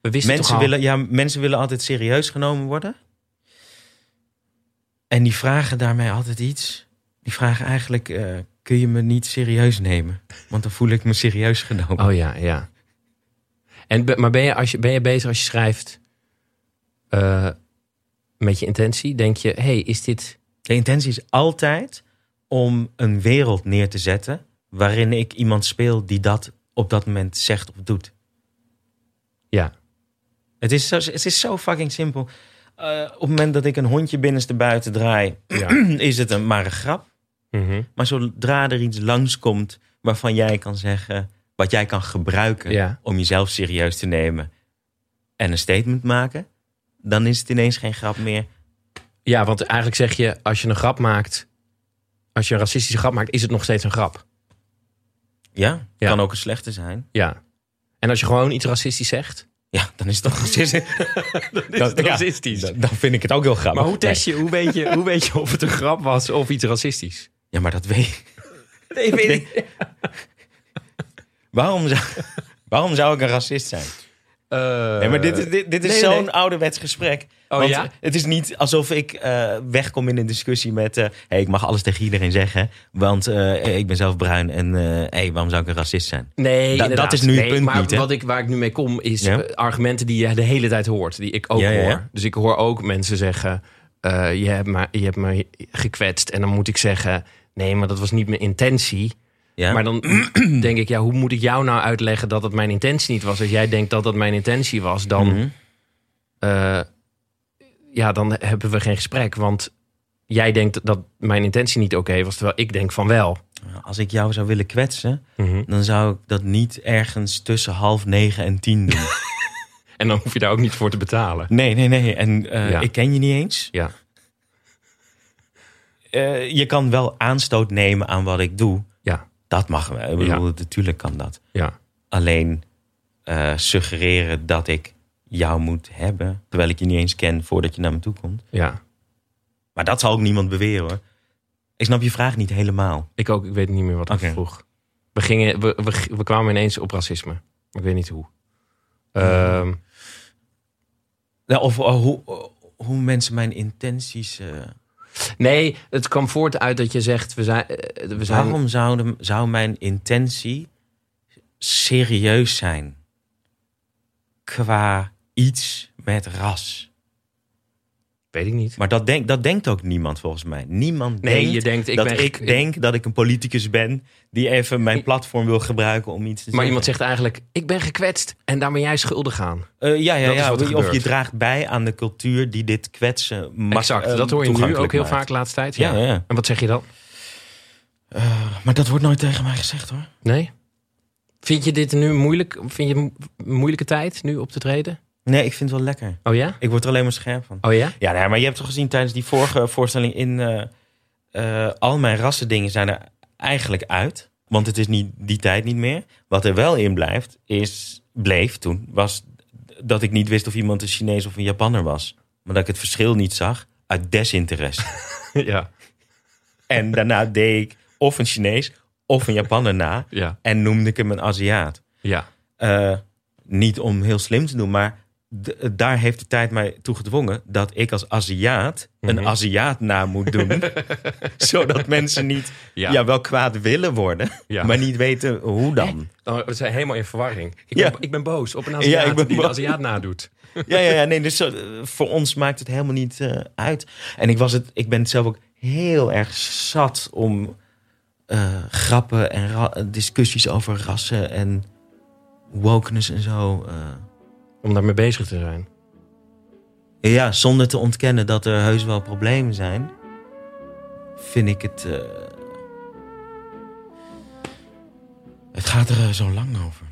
Speaker 1: We wisten toch
Speaker 2: Mensen
Speaker 1: al?
Speaker 2: willen, ja, mensen willen altijd serieus genomen worden. En die vragen daarmee altijd iets. Die vragen eigenlijk, eh, kun je me niet serieus nemen? Want dan voel ik me serieus genomen.
Speaker 1: Oh ja, ja. En, be- maar ben je, als je, ben je bezig als je schrijft eh, met je intentie? Denk je, hey, is dit...
Speaker 2: De intentie is altijd om een wereld neer te zetten... waarin ik iemand speel die dat op dat moment zegt of doet.
Speaker 1: Ja,
Speaker 2: Het is zo, het is zo fucking simpel. Eh, op het moment dat ik een hondje binnenste buiten draai...
Speaker 1: ja.
Speaker 2: is het een, maar een grap.
Speaker 1: Mhm.
Speaker 2: Maar zodra er iets langskomt waarvan jij kan zeggen, wat jij kan gebruiken
Speaker 1: ja.
Speaker 2: om jezelf serieus te nemen en een statement maken, dan is het ineens geen grap meer.
Speaker 1: ja, want eigenlijk zeg je, als je een grap maakt... Als je een racistische grap maakt, is het nog steeds een grap.
Speaker 2: Ja,
Speaker 1: Ja.
Speaker 2: kan ook een slechte zijn.
Speaker 1: Ja. En als je gewoon iets racistisch zegt...
Speaker 2: Ja, dan is het toch racistisch.
Speaker 1: Dat
Speaker 2: ja,
Speaker 1: racistisch.
Speaker 2: dan, dan vind ik het ook heel grappig.
Speaker 1: Maar hoe test je, hoe weet je, hoe weet je of het een grap was of iets racistisch?
Speaker 2: Nee. Ja, maar dat weet ik. weet ik. waarom, zou, waarom zou ik een racist zijn?
Speaker 1: Eh,
Speaker 2: Nee, maar dit, is- dit, dit is
Speaker 1: nee,
Speaker 2: zo'n
Speaker 1: nee.
Speaker 2: ouderwets gesprek.
Speaker 1: Oh,
Speaker 2: Want
Speaker 1: ja?
Speaker 2: Het is niet alsof ik eh, wegkom in een discussie met... eh, hey, ik mag alles tegen iedereen zeggen, want eh, ik ben zelf bruin. En eh hey, waarom zou ik een racist zijn?
Speaker 1: Nee,
Speaker 2: dat
Speaker 1: inderdaad.
Speaker 2: is nu het
Speaker 1: Nee,
Speaker 2: punt
Speaker 1: maar
Speaker 2: niet, hè?
Speaker 1: Wat ik, waar ik nu mee kom, is
Speaker 2: Ja.
Speaker 1: eh, argumenten die je de hele tijd hoort. Die ik ook
Speaker 2: Ja, ja, ja.
Speaker 1: hoor. Dus ik hoor ook mensen zeggen... eh, je, hebt me, je hebt me gekwetst. En dan moet ik zeggen... Nee, maar dat was niet mijn intentie.
Speaker 2: Ja?
Speaker 1: Maar dan denk ik, ja, hoe moet ik jou nou uitleggen dat dat mijn intentie niet was? Als jij denkt dat dat mijn intentie was, dan,
Speaker 2: Mhm.
Speaker 1: eh, ja, dan hebben we geen gesprek. Want jij denkt dat mijn intentie niet oké was, terwijl ik denk van wel.
Speaker 2: Als ik jou zou willen kwetsen, dan zou ik dat niet ergens tussen half negen en tien doen.
Speaker 1: En dan hoef je daar ook niet voor te betalen.
Speaker 2: nee, nee, nee. En eh,
Speaker 1: Ja.
Speaker 2: ik ken je niet eens.
Speaker 1: Ja,
Speaker 2: Eh, je kan wel aanstoot nemen aan wat ik doe.
Speaker 1: ja,
Speaker 2: Dat mag wel. Ik bedoel, natuurlijk kan dat.
Speaker 1: ja.
Speaker 2: alleen eh, suggereren dat ik jou moet hebben. Terwijl ik je niet eens ken voordat je naar me toe komt.
Speaker 1: Ja,
Speaker 2: Maar dat zal ook niemand beweren hoor. Ik snap je vraag niet helemaal.
Speaker 1: ik ook. Ik weet niet meer wat ik
Speaker 2: Oké.
Speaker 1: vroeg. We, gingen, we, we, we kwamen ineens op racisme. Maar ik weet niet hoe. Ehm,
Speaker 2: Nou, of eh, hoe, eh, hoe mensen mijn intenties. eh,
Speaker 1: nee, het kwam voort uit dat je zegt... We zijn, eh, we zijn,
Speaker 2: Waarom zouden, zou mijn intentie serieus zijn? Qua iets met ras.
Speaker 1: Weet ik niet.
Speaker 2: Maar dat, denk, dat denkt ook niemand volgens mij. Niemand
Speaker 1: Nee,
Speaker 2: denkt
Speaker 1: je denkt... Ik
Speaker 2: dat
Speaker 1: ben,
Speaker 2: ik denk dat ik een politicus ben die even mijn platform wil gebruiken om iets te
Speaker 1: Maar
Speaker 2: zeggen.
Speaker 1: iemand zegt eigenlijk, ik ben gekwetst en daar ben jij schuldig aan.
Speaker 2: Eh, ja, ja,
Speaker 1: dat is
Speaker 2: ja.
Speaker 1: wat er
Speaker 2: of je
Speaker 1: gebeurt.
Speaker 2: draagt bij aan de cultuur die dit kwetsen mag,
Speaker 1: exact,
Speaker 2: eh,
Speaker 1: dat hoor je nu ook
Speaker 2: toegankelijk
Speaker 1: heel
Speaker 2: maakt.
Speaker 1: vaak de laatste tijd.
Speaker 2: Ja, ja, ja.
Speaker 1: En wat zeg je dan?
Speaker 2: Eh, maar dat wordt nooit tegen mij gezegd hoor.
Speaker 1: Nee? Vind je dit nu moeilijk? Vind je het een moeilijke tijd nu op te treden?
Speaker 2: Nee, ik vind het wel lekker.
Speaker 1: Oh ja?
Speaker 2: Ik word er alleen maar scherp van.
Speaker 1: Oh ja?
Speaker 2: Ja, nee, maar je hebt toch gezien tijdens die vorige voorstelling in... eh, eh, al mijn rassendingen zijn er eigenlijk uit. Want het is niet, die tijd niet meer. Wat er wel in blijft, is, bleef toen, was dat ik niet wist of iemand een Chinees of een Japanner was. Maar dat ik het verschil niet zag uit desinteresse.
Speaker 1: ja,
Speaker 2: En daarna deed ik of een Chinees of een Japanner na.
Speaker 1: ja,
Speaker 2: En noemde ik hem een Aziat.
Speaker 1: ja.
Speaker 2: Eh, niet om heel slim te doen, maar d- daar heeft de tijd mij toe gedwongen dat ik als Aziat een
Speaker 1: Mhm.
Speaker 2: Aziat na moet doen. zodat mensen niet ja.
Speaker 1: Ja.
Speaker 2: wel kwaad willen worden,
Speaker 1: Ja.
Speaker 2: maar niet weten hoe dan.
Speaker 1: Oh, we zijn helemaal in verwarring. Ik,
Speaker 2: Ja.
Speaker 1: ben, ik ben boos op een
Speaker 2: Ja,
Speaker 1: Aziat
Speaker 2: ik ben
Speaker 1: die een
Speaker 2: boos.
Speaker 1: Aziat nadoet.
Speaker 2: Ja, ja, ja nee, dus zo, eh, voor ons maakt het helemaal niet eh, uit. En ik, was het, ik ben het zelf ook heel erg zat om eh, grappen en ra- discussies over rassen en wokeness en zo. eh.
Speaker 1: Om daarmee bezig te zijn.
Speaker 2: ja, zonder te ontkennen dat er heus wel problemen zijn, vind ik het. eh, het gaat er eh, zo lang over.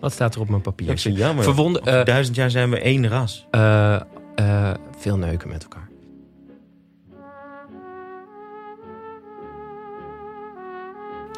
Speaker 3: Wat staat er op mijn
Speaker 2: Dat is
Speaker 3: papiertje?
Speaker 2: zo jammer.
Speaker 3: Verwonder,
Speaker 1: eh,
Speaker 2: Over duizend jaar zijn we één ras.
Speaker 3: eh, eh, eh, veel neuken met elkaar.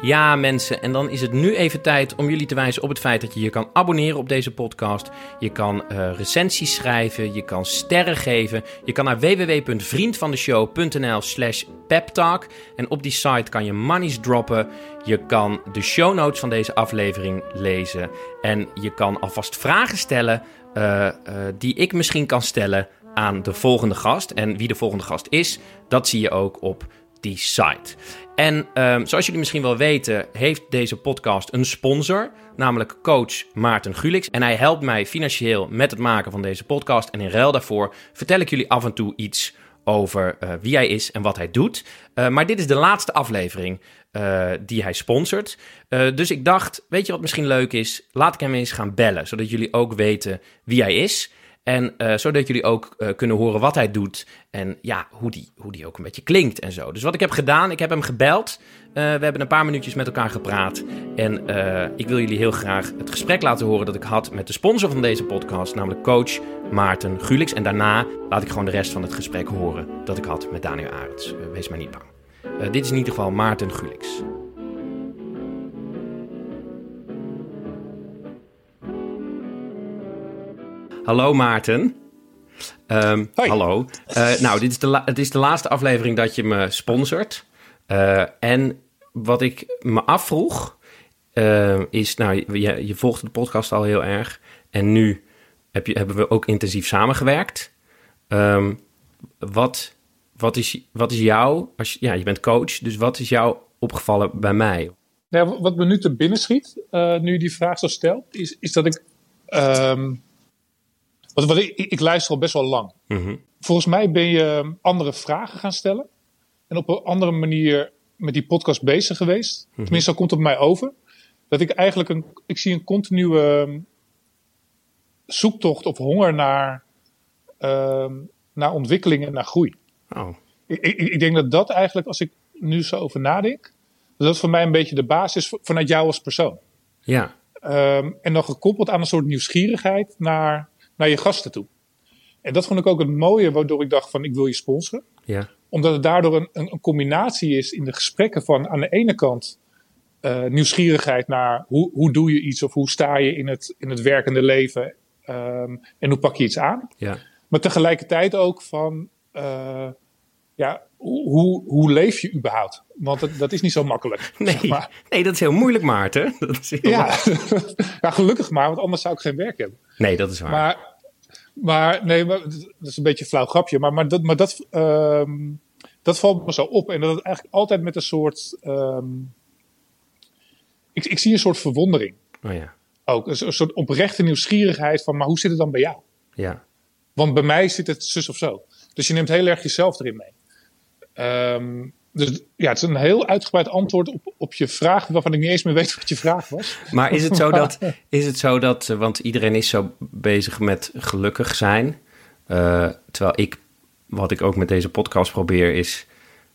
Speaker 1: Ja, mensen, en dan is het nu even tijd om jullie te wijzen op het feit dat je je kan abonneren op deze podcast. Je kan eh, recensies schrijven, je kan sterren geven. Je kan naar www.vriendvandeshow.nl/slash peptalk. En op die site kan je monies droppen. Je kan de show notes van deze aflevering lezen. En je kan alvast vragen stellen eh, eh, die ik misschien kan stellen aan de volgende gast. En wie de volgende gast is, dat zie je ook op die site. En ehm, zoals jullie misschien wel weten, heeft deze podcast een sponsor, namelijk coach Maarten Gulix. En hij helpt mij financieel met het maken van deze podcast. En in ruil daarvoor vertel ik jullie af en toe iets over eh, wie hij is en wat hij doet. Eh, maar dit is de laatste aflevering eh, die hij sponsort. Eh, dus ik dacht, weet je wat misschien leuk is? Laat ik hem eens gaan bellen, zodat jullie ook weten wie hij is. En eh, zodat jullie ook eh, kunnen horen wat hij doet en ja, hoe die, hoe die ook een beetje klinkt en zo. Dus wat ik heb gedaan, ik heb hem gebeld. Eh, we hebben een paar minuutjes met elkaar gepraat. En eh, ik wil jullie heel graag het gesprek laten horen dat ik had met de sponsor van deze podcast, namelijk coach Maarten Gulix. En daarna laat ik gewoon de rest van het gesprek horen dat ik had met Daniel Arends. Eh, wees maar niet bang. Eh, dit is in ieder geval Maarten Gulix. Hallo Maarten. Ehm,
Speaker 4: Hoi.
Speaker 1: Hallo. Eh, nou, dit is de la- het is de laatste aflevering dat je me sponsort. Eh, en wat ik me afvroeg eh, is, nou, je, je volgt de podcast al heel erg. En nu heb je, hebben we ook intensief samengewerkt. Ehm, wat, wat, is, wat is jou, als je, ja, je bent coach, dus wat is jou opgevallen bij mij?
Speaker 4: Nou, ja, wat me nu te binnen schiet, eh, nu je die vraag zo stelt, is, is dat ik. ehm, wat, wat ik, ik luister al best wel lang. Volgens mij ben je ehm, andere vragen gaan stellen. En op een andere manier met die podcast bezig geweest. Tenminste, zo komt het op mij over. Dat ik eigenlijk een. Ik zie een continue ehm, zoektocht of honger naar. ehm, naar ontwikkeling en naar groei.
Speaker 1: Oh,
Speaker 4: Ik, ik, ik denk dat dat eigenlijk, als ik nu zo over nadenk, dat dat voor mij een beetje de basis is vanuit jou als persoon.
Speaker 1: ja.
Speaker 4: Ehm, en dan gekoppeld aan een soort nieuwsgierigheid naar, naar je gasten toe. En dat vond ik ook het mooie, waardoor ik dacht van ik wil je sponsoren.
Speaker 1: Ja,
Speaker 4: Omdat het daardoor een, een, een combinatie is in de gesprekken van aan de ene kant eh, nieuwsgierigheid naar hoe, hoe doe je iets of hoe sta je in het, in het werkende leven ehm, en hoe pak je iets aan.
Speaker 1: ja,
Speaker 4: Maar tegelijkertijd ook van, eh, ja, hoe, hoe, hoe leef je überhaupt? Want dat, dat is niet zo makkelijk. zeg
Speaker 1: Nee,
Speaker 4: maar.
Speaker 1: nee, dat is heel moeilijk, Maarten. Dat is heel
Speaker 4: Ja. ja, gelukkig maar, want anders zou ik geen werk hebben.
Speaker 1: Nee, dat is waar.
Speaker 4: Maar, maar nee, maar, dat is een beetje een flauw grapje. Maar, maar, dat, maar dat, ehm, dat valt me zo op. En dat het eigenlijk altijd met een soort, ehm, ik, ik zie een soort verwondering
Speaker 1: Oh ja,
Speaker 4: ook. Een, een soort oprechte nieuwsgierigheid van, maar hoe zit het dan bij jou?
Speaker 1: ja,
Speaker 4: Want bij mij zit het zus of zo. Dus je neemt heel erg jezelf erin mee. Ehm, dus ja, het is een heel uitgebreid antwoord op, op je vraag, waarvan ik niet eens meer weet wat je vraag was.
Speaker 1: Maar is het zo dat, is het zo dat eh, want iedereen is zo bezig met gelukkig zijn. eh, terwijl ik, wat ik ook met deze podcast probeer, is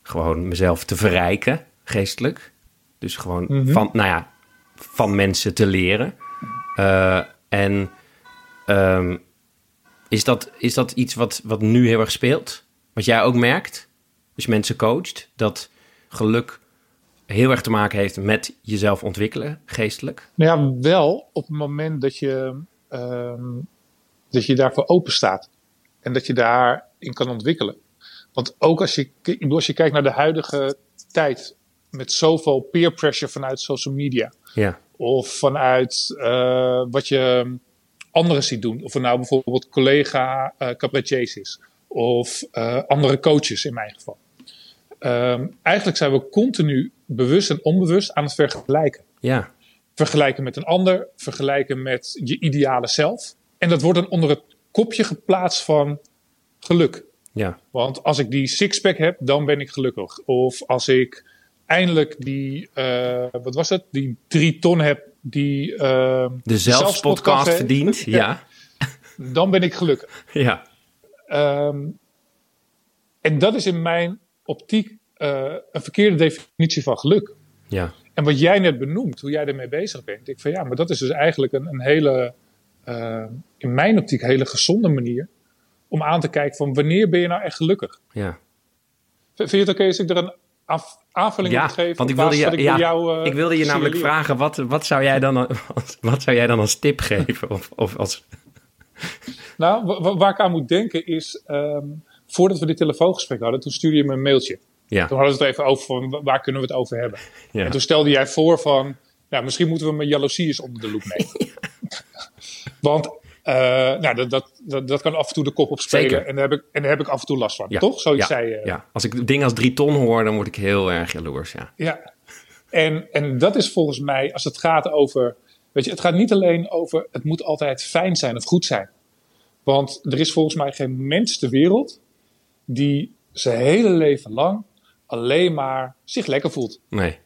Speaker 1: gewoon mezelf te verrijken, geestelijk. Dus gewoon van, nou ja, van mensen te leren. Eh, en ehm, is, dat, is dat iets wat, wat nu heel erg speelt? Wat jij ook merkt, als je mensen coacht, dat geluk heel erg te maken heeft met jezelf ontwikkelen, geestelijk.
Speaker 4: Nou ja, wel op het moment dat je, ehm, dat je daarvoor open staat. En dat je daarin kan ontwikkelen. Want ook als je, ik bedoel, als je kijkt naar de huidige tijd. Met zoveel peer pressure vanuit social media.
Speaker 1: Ja,
Speaker 4: Of vanuit eh, wat je anderen ziet doen. Of er nou bijvoorbeeld collega eh cabaretiers is. Of eh, andere coaches in mijn geval. Ehm, eigenlijk zijn we continu bewust en onbewust aan het vergelijken.
Speaker 1: ja,
Speaker 4: Vergelijken met een ander. Vergelijken met je ideale zelf. En dat wordt dan onder het kopje geplaatst van geluk.
Speaker 1: ja,
Speaker 4: Want als ik die sixpack heb, dan ben ik gelukkig. Of als ik eindelijk die, eh, wat was het? Die drie ton heb die eh,
Speaker 1: de zelfspodcast
Speaker 4: heeft,
Speaker 1: verdient. Ja,
Speaker 4: Dan ben ik gelukkig.
Speaker 1: ja,
Speaker 4: Ehm, en dat is in mijn optiek eh, een verkeerde definitie van geluk.
Speaker 1: ja,
Speaker 4: En wat jij net benoemt, hoe jij ermee bezig bent. Ik van ja, maar dat is dus eigenlijk een, een hele, eh, in mijn optiek, hele gezonde manier. Om aan te kijken van wanneer ben je nou echt gelukkig?
Speaker 5: Ja,
Speaker 4: V- Vind je het oké als ik er een af- aanvulling
Speaker 5: ja
Speaker 4: op geef?
Speaker 5: want
Speaker 4: op
Speaker 5: ik wilde
Speaker 4: basis
Speaker 5: je,
Speaker 4: wat
Speaker 5: ja,
Speaker 4: bij jou, eh,
Speaker 5: ik wilde je
Speaker 4: zie
Speaker 5: namelijk
Speaker 4: leren?
Speaker 5: vragen, wat, wat, zou jij dan, als- wat zou jij dan als tip geven? Of, of als,
Speaker 4: Nou, wa- wa- waar ik aan moet denken is, ehm, voordat we dit telefoongesprek hadden, toen stuurde je me een mailtje.
Speaker 5: ja,
Speaker 4: Toen hadden we het even over van wa- waar kunnen we het over hebben.
Speaker 5: ja.
Speaker 4: En toen stelde jij voor van, nou, misschien moeten we mijn jaloezie eens onder de loep nemen. Want eh, nou, dat, dat, dat, dat kan af en toe de kop op spelen.
Speaker 5: Zeker.
Speaker 4: En daar, heb ik, en daar heb ik af en toe last van,
Speaker 5: Ja.
Speaker 4: toch? Zoiets
Speaker 5: ja.
Speaker 4: zei je.
Speaker 5: ja, als ik dingen als drie ton hoor, dan word ik heel erg jaloers, ja.
Speaker 4: Ja. En, en dat is volgens mij, als het gaat over. Weet je, het gaat niet alleen over het moet altijd fijn zijn of goed zijn. Want er is volgens mij geen mens ter wereld die zijn hele leven lang alleen maar zich lekker voelt.
Speaker 5: Nee,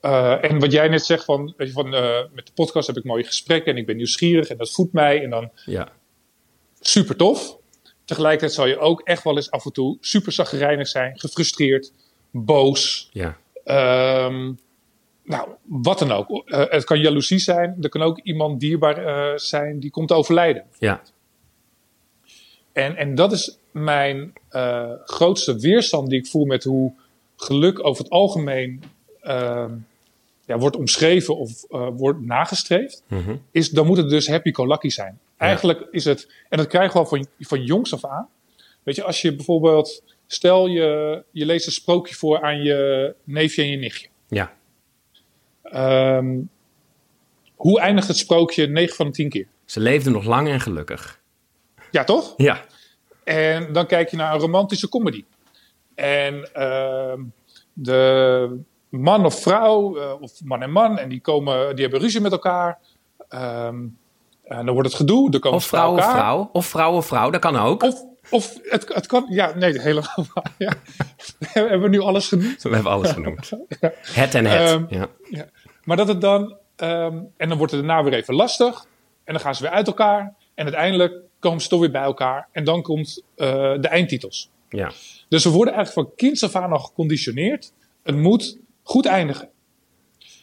Speaker 4: Eh, en wat jij net zegt van, weet je, van eh, met de podcast heb ik mooie gesprekken en ik ben nieuwsgierig en dat voedt mij en dan
Speaker 5: ja,
Speaker 4: super tof. Tegelijkertijd zal je ook echt wel eens af en toe super zagrijnig zijn, gefrustreerd, boos,
Speaker 5: ja,
Speaker 4: Ehm, nou, wat dan ook. Eh, het kan jaloezie zijn. Er kan ook iemand dierbaar eh, zijn die komt te overlijden.
Speaker 5: ja,
Speaker 4: En, en dat is mijn eh, grootste weerstand die ik voel met hoe geluk over het algemeen ehm, ja, wordt omschreven of eh, wordt nagestreefd.
Speaker 5: mhm,
Speaker 4: Is, dan moet het dus happy-go-lucky zijn. Eigenlijk is het, en dat krijgen we al van, van jongs af aan. Weet je, als je bijvoorbeeld, stel je, je leest een sprookje voor aan je neefje en je nichtje.
Speaker 5: ja,
Speaker 4: Ehm, hoe eindigt het sprookje 9 van de 10 keer?
Speaker 5: Ze leefden nog lang en gelukkig.
Speaker 4: Ja, toch?
Speaker 5: Ja,
Speaker 4: En dan kijk je naar een romantische comedy. En ehm, de man of vrouw, eh, of man en man, en die, komen, die hebben ruzie met elkaar. Ehm, en dan wordt het gedoe, dan komen
Speaker 5: of
Speaker 4: ze bij elkaar.
Speaker 5: vrouw of vrouw. Of vrouw of vrouw, dat kan ook.
Speaker 4: Of, of het, het kan, ja, nee, helemaal. waar, Ja. We hebben we nu alles genoemd.
Speaker 5: We hebben alles genoemd. Het en het.
Speaker 4: Ehm,
Speaker 5: ja.
Speaker 4: Maar dat het dan, ehm, en dan wordt het daarna weer even lastig. En dan gaan ze weer uit elkaar. En uiteindelijk komen ze toch weer bij elkaar. En dan komt eh, de eindtitels.
Speaker 5: Ja.
Speaker 4: Dus we worden eigenlijk van kinds af aan al geconditioneerd. Het moet goed eindigen.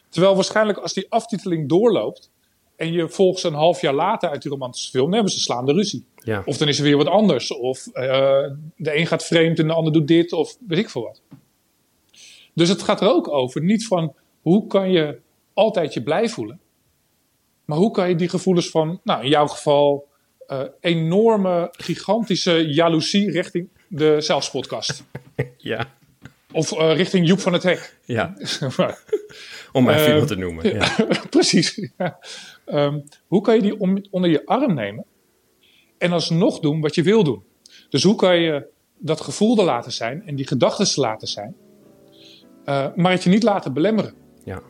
Speaker 4: Terwijl waarschijnlijk als die aftiteling doorloopt. En je volgt ze een half jaar later uit die romantische film. Dan hebben ze slaande ruzie.
Speaker 5: Ja.
Speaker 4: Of dan is er weer wat anders. Of eh, de een gaat vreemd en de ander doet dit. Of weet ik veel wat. Dus het gaat er ook over. Niet van hoe kan je altijd je blij voelen. Maar hoe kan je die gevoelens van, nou in jouw geval, eh, enorme, gigantische jaloezie richting de zelfspodcast.
Speaker 5: Ja.
Speaker 4: of eh, richting Joep van het Hek.
Speaker 5: ja, om maar even
Speaker 4: Ehm,
Speaker 5: iemand te noemen. Ja.
Speaker 4: Precies. ja. Ehm, hoe kan je die om- onder je arm nemen en alsnog doen wat je wil doen? Dus hoe kan je dat gevoel er laten zijn en die gedachten er laten zijn, eh, maar het je niet laten belemmeren?
Speaker 5: Ja.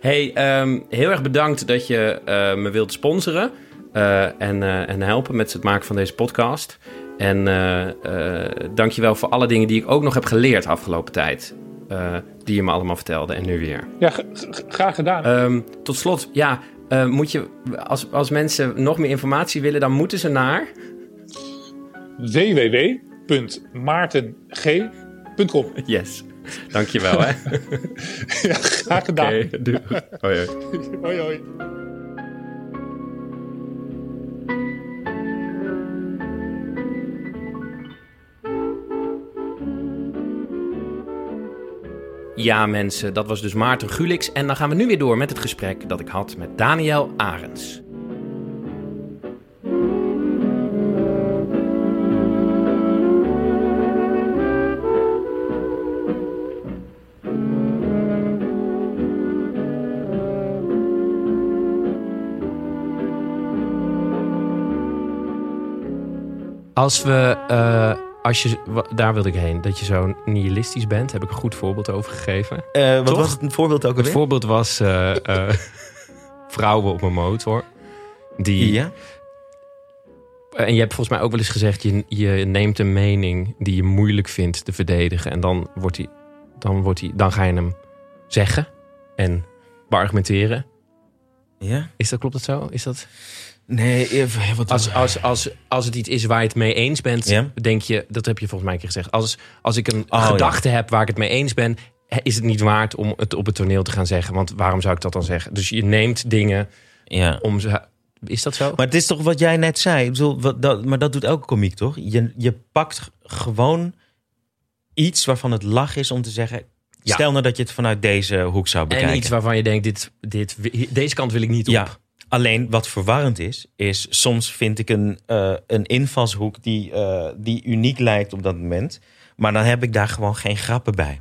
Speaker 5: Hey, ehm, heel erg bedankt dat je eh, me wilt sponsoren eh, en, eh, en helpen met het maken van deze podcast. En eh eh dankjewel voor alle dingen die ik ook nog heb geleerd afgelopen tijd. eh, die je me allemaal vertelde en nu weer.
Speaker 4: Ja, g- g- graag gedaan.
Speaker 1: Eh.
Speaker 5: Ehm, tot slot, ja, eh, moet je, als, als mensen nog meer informatie willen, dan moeten ze naar.
Speaker 4: www.maarteng.com.
Speaker 5: Yes. Dankjewel, hè.
Speaker 4: Ja, graag gedaan.
Speaker 5: Oké, doei. Hoi, hoi.
Speaker 4: Hoi, hoi.
Speaker 5: Ja, mensen, dat was dus Maarten Gulix. En dan gaan we nu weer door met het gesprek dat ik had met Daniel Arends.
Speaker 1: Als we, eh, als je, wa- daar wilde ik heen, dat je zo nihilistisch bent, heb ik een goed voorbeeld over gegeven.
Speaker 2: Eh, wat
Speaker 1: Toch?
Speaker 2: was het een voorbeeld ook
Speaker 1: Het
Speaker 2: alweer?
Speaker 1: voorbeeld was eh, eh, vrouwen op een motor. Die,
Speaker 2: Ja.
Speaker 1: En je hebt volgens mij ook wel eens gezegd, je, je neemt een mening die je moeilijk vindt te verdedigen. En dan, wordt die, dan, wordt die, dan ga je hem zeggen en beargumenteren.
Speaker 2: Ja?
Speaker 1: Is dat, klopt dat zo? Is dat...
Speaker 2: Nee, eh, wat
Speaker 1: Als, als, als, als het iets is waar je het mee eens bent,
Speaker 2: Ja.
Speaker 1: denk je, dat heb je volgens mij een keer gezegd. Als, als ik een
Speaker 2: Oh,
Speaker 1: gedachte heb waar ik het mee eens ben, is het niet waard om het op het toneel te gaan zeggen. Want waarom zou ik dat dan zeggen? Dus je neemt dingen
Speaker 2: Ja.
Speaker 1: om ze... Is dat zo?
Speaker 2: Maar het is toch wat jij net zei. Ik bedoel, wat, dat, maar dat doet elke komiek, toch? Je, je pakt g- gewoon iets waarvan het lach is om te zeggen...
Speaker 1: Ja.
Speaker 2: Stel nou dat je het vanuit deze hoek zou bekijken.
Speaker 1: En iets waarvan je denkt, dit, dit, deze kant wil ik niet op.
Speaker 2: Ja. Alleen wat verwarrend is, is soms vind ik een, eh, een invalshoek die, eh, die uniek lijkt op dat moment. Maar dan heb ik daar gewoon geen grappen bij.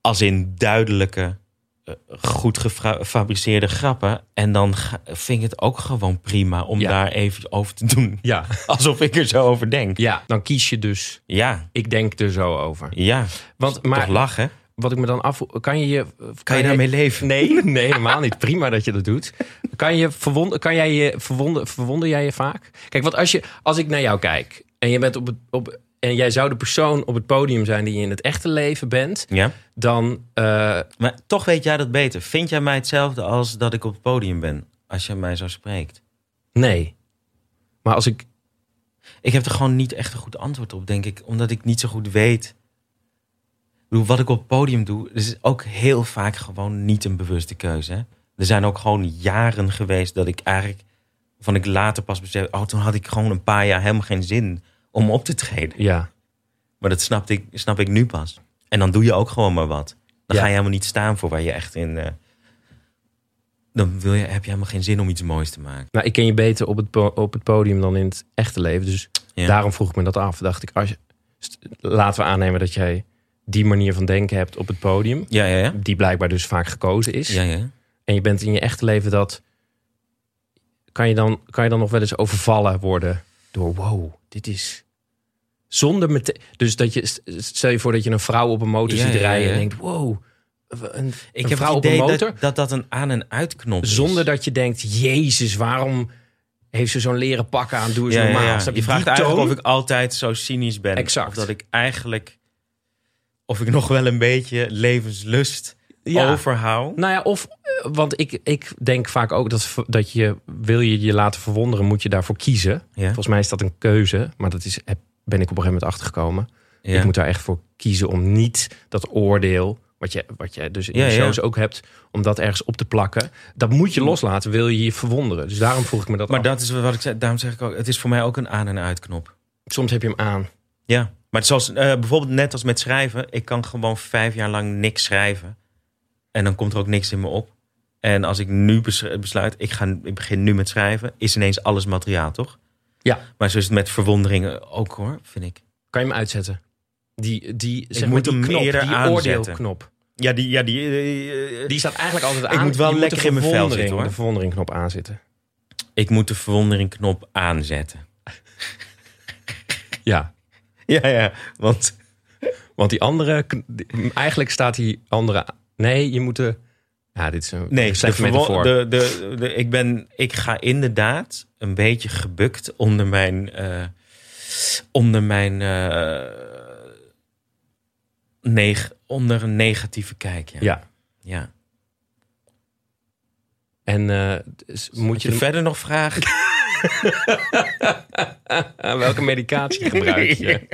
Speaker 2: Als in duidelijke, eh, goed gefra- gefabriceerde grappen. En dan ga- vind ik het ook gewoon prima om
Speaker 1: Ja.
Speaker 2: daar even over te doen.
Speaker 1: Ja.
Speaker 2: Alsof ik er zo over denk.
Speaker 1: ja, dan kies je dus.
Speaker 2: Ja,
Speaker 1: Ik denk er zo over.
Speaker 2: ja.
Speaker 1: Want,
Speaker 2: Toch
Speaker 1: maar
Speaker 2: lachen.
Speaker 1: wat ik me dan af... Kan je je...
Speaker 2: Kan je daarmee leven?
Speaker 1: Nee, nee, helemaal niet. Prima dat je dat doet. Kan, je verwonder, kan jij je verwonder, verwonder jij je vaak? Kijk, want als, je, als ik naar jou kijk en, je bent op het, op, en jij zou de persoon op het podium zijn die je in het echte leven bent,
Speaker 2: Ja.
Speaker 1: dan. eh,
Speaker 2: Maar toch weet jij dat beter. Vind jij mij hetzelfde als dat ik op het podium ben? Als je mij zo spreekt.
Speaker 1: nee. Maar als ik.
Speaker 2: Ik heb er gewoon niet echt een goed antwoord op, denk ik. Omdat ik niet zo goed weet. Ik bedoel, wat ik op het podium doe, is ook heel vaak gewoon niet een bewuste keuze. hè. Er zijn ook gewoon jaren geweest dat ik eigenlijk. van ik later pas besef. Oh, toen had ik gewoon een paar jaar helemaal geen zin om op te treden.
Speaker 1: Ja.
Speaker 2: Maar dat snap ik, snap ik nu pas. En dan doe je ook gewoon maar wat.
Speaker 1: Ja.
Speaker 2: Dan ga je helemaal niet staan voor waar je echt in. eh, dan wil je, heb je helemaal geen zin om iets moois te maken.
Speaker 1: Nou, ik ken je beter op het, po- op het podium dan in het echte leven. Dus
Speaker 2: Ja.
Speaker 1: daarom vroeg ik me dat af. Dacht ik, als je, st- laten we aannemen dat jij die manier van denken hebt op het podium.
Speaker 2: Ja, ja, ja.
Speaker 1: Die blijkbaar dus vaak gekozen is.
Speaker 2: ja, ja.
Speaker 1: en je bent in je echte leven dat. Kan je dan, kan je dan nog wel eens overvallen worden door wow, dit is. Zonder meteen. Dus dat je. Stel je voor dat je een vrouw op een motor
Speaker 2: Ja,
Speaker 1: ziet
Speaker 2: ja,
Speaker 1: rijden
Speaker 2: ja.
Speaker 1: en denkt: wow, een,
Speaker 2: Ik
Speaker 1: een
Speaker 2: heb
Speaker 1: vrouw
Speaker 2: het
Speaker 1: op een
Speaker 2: idee
Speaker 1: motor.
Speaker 2: dat, dat dat een aan- en uitknop is.
Speaker 1: Zonder dat je denkt: jezus, waarom heeft ze zo'n leren pak aan? Doe eens
Speaker 2: Ja, ja,
Speaker 1: normaal.
Speaker 2: ja.
Speaker 1: Snap
Speaker 2: Je vraagt
Speaker 1: die toon?
Speaker 2: eigenlijk of ik altijd zo cynisch ben.
Speaker 1: Exact.
Speaker 2: Of dat ik eigenlijk... Of ik nog wel een beetje levenslust
Speaker 1: Ja.
Speaker 2: overhoud.
Speaker 1: Nou ja, of, eh, want ik, ik denk vaak ook dat, v- dat je, wil je je laten verwonderen, moet je daarvoor kiezen.
Speaker 2: Ja.
Speaker 1: Volgens mij is dat een keuze, maar dat is, heb- ben ik op een gegeven moment achtergekomen.
Speaker 2: Ja.
Speaker 1: Ik moet daar echt voor kiezen om niet dat oordeel, wat je, wat je dus in
Speaker 2: Ja,
Speaker 1: de
Speaker 2: ja. Mm.
Speaker 1: shows ook hebt, om dat ergens op te plakken. Dat moet je loslaten, wil je je verwonderen. Dus daarom vroeg ik me dat
Speaker 2: Maar
Speaker 1: af.
Speaker 2: dat is wat ik zei. Daarom zeg ik ook, het is voor mij ook een aan- en uitknop.
Speaker 1: Soms heb je hem aan.
Speaker 2: Ja. Maar zoals, eh, bijvoorbeeld net als met schrijven. Ik kan gewoon vijf jaar lang niks schrijven. En dan komt er ook niks in me op. En als ik nu bes- besluit, ik, ga, ik begin nu met schrijven, is ineens alles materiaal, toch?
Speaker 1: Ja.
Speaker 2: Maar zo is het met verwonderingen ook hoor, vind ik.
Speaker 1: Kan je hem uitzetten? Die, die, zeg
Speaker 2: moet
Speaker 1: maar, die
Speaker 2: hem
Speaker 1: knop,
Speaker 2: eerder
Speaker 1: die
Speaker 2: aanzetten.
Speaker 1: oordeelknop.
Speaker 2: Ja, die. Ja, die, eh, eh,
Speaker 1: Die staat eigenlijk altijd aan.
Speaker 2: Ik moet wel
Speaker 1: Je
Speaker 2: lekker
Speaker 1: de
Speaker 2: in mijn vel
Speaker 1: verwondering-
Speaker 2: zitten, hoor.
Speaker 1: De verwonderingknop aanzitten.
Speaker 2: Ik moet de verwonderingknop aanzetten.
Speaker 1: Ja.
Speaker 2: Ja, ja. Want
Speaker 1: Want die andere, kn- die- eigenlijk staat die andere. Nee, je moet de. Ja, dit is een
Speaker 2: nee,
Speaker 1: nee, slecht
Speaker 2: de verwo-
Speaker 1: metafoor.
Speaker 2: de, de, de- ik, ben, ik ga inderdaad een beetje gebukt onder mijn. eh, onder mijn. eh, neg onder een negatieve kijk. Ja.
Speaker 1: Ja.
Speaker 2: Ja.
Speaker 1: En eh, dus moet
Speaker 2: Had
Speaker 1: je,
Speaker 2: je verder nog vragen?
Speaker 1: aan Eh, welke medicatie gebruik je?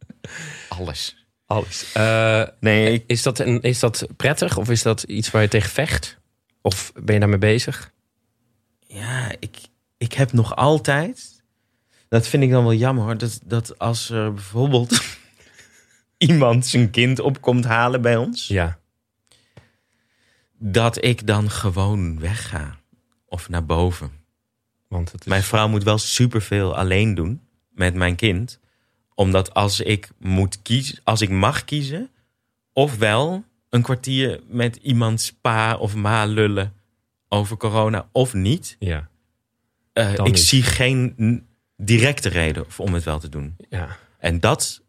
Speaker 2: Alles.
Speaker 1: Alles. Eh,
Speaker 2: Nee, ik,
Speaker 1: is, dat een, is dat prettig of is dat iets waar je tegen vecht? Of ben je daarmee bezig?
Speaker 2: Ja, ik, ik heb nog altijd. Dat vind ik dan wel jammer hoor. Dat, dat als er bijvoorbeeld iemand zijn kind op komt halen bij ons,
Speaker 1: Ja.
Speaker 2: dat ik dan gewoon wegga. Of naar boven.
Speaker 1: Want het is.
Speaker 2: Mijn vrouw moet wel superveel alleen doen met mijn kind. Omdat als ik moet kiezen, als ik mag kiezen, ofwel een kwartier met iemands pa of ma lullen over corona of niet.
Speaker 1: Ja.
Speaker 2: Eh,
Speaker 1: Dan
Speaker 2: ik
Speaker 1: niet.
Speaker 2: zie geen n- directe reden voor- om het wel te doen.
Speaker 1: ja.
Speaker 2: En dat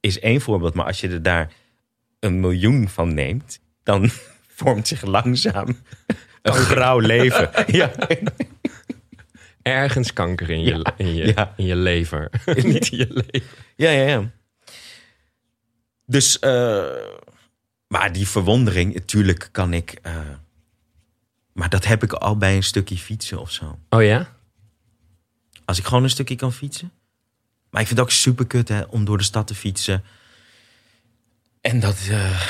Speaker 2: is één voorbeeld. Maar als je er daar een miljoen van neemt, dan vormt zich langzaam een grauw leven. Ja,
Speaker 1: Ergens kanker in je, in je,
Speaker 2: ja.
Speaker 1: In je lever. Niet in je lever.
Speaker 2: ja, ja. ja. Dus, eh, maar die verwondering, natuurlijk kan ik. eh, maar dat heb ik al bij een stukje fietsen of zo.
Speaker 1: Oh ja?
Speaker 2: Als ik gewoon een stukje kan fietsen. Maar ik vind het ook super kut hè, om door de stad te fietsen. En dat eh,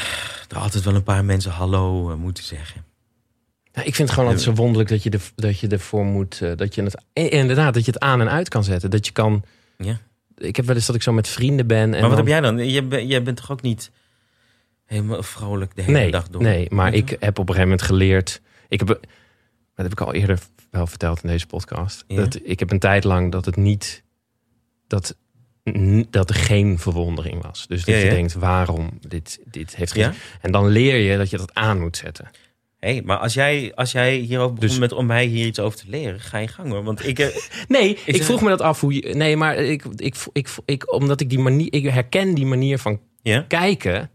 Speaker 2: er altijd wel een paar mensen hallo eh, moeten zeggen.
Speaker 1: Nou, ik vind het gewoon altijd zo wonderlijk dat je, er, dat je ervoor moet. eh, dat je het, eh, inderdaad, dat je het aan en uit kan zetten. Dat je kan.
Speaker 2: Ja.
Speaker 1: Ik heb wel eens dat ik zo met vrienden ben. En
Speaker 2: maar wat
Speaker 1: dan-
Speaker 2: heb jij dan? Jij, ben- jij bent toch ook niet helemaal vrolijk de hele
Speaker 1: nee,
Speaker 2: dag door?
Speaker 1: Nee, maar
Speaker 2: Ja.
Speaker 1: ik heb op een gegeven moment geleerd. Ik heb, dat heb ik al eerder wel verteld in deze podcast.
Speaker 2: Ja.
Speaker 1: Dat ik heb een tijd lang dat het niet. Dat, n- dat er geen verwondering was. Dus dat
Speaker 2: Ja,
Speaker 1: je
Speaker 2: ja.
Speaker 1: denkt, waarom dit, dit heeft geen.
Speaker 2: Ja?
Speaker 1: En dan leer je dat je dat aan moet zetten.
Speaker 2: Hey, maar als jij, als jij hierover begon
Speaker 1: Dus-
Speaker 2: met om mij hier iets over te leren, ga je gang hoor. Want ik, eh,
Speaker 1: Nee, ik,
Speaker 2: zeg-
Speaker 1: vroeg me dat af hoe je. Nee, maar ik, ik, ik, ik, omdat ik die manier. Ik herken die manier van
Speaker 2: ja.
Speaker 1: kijken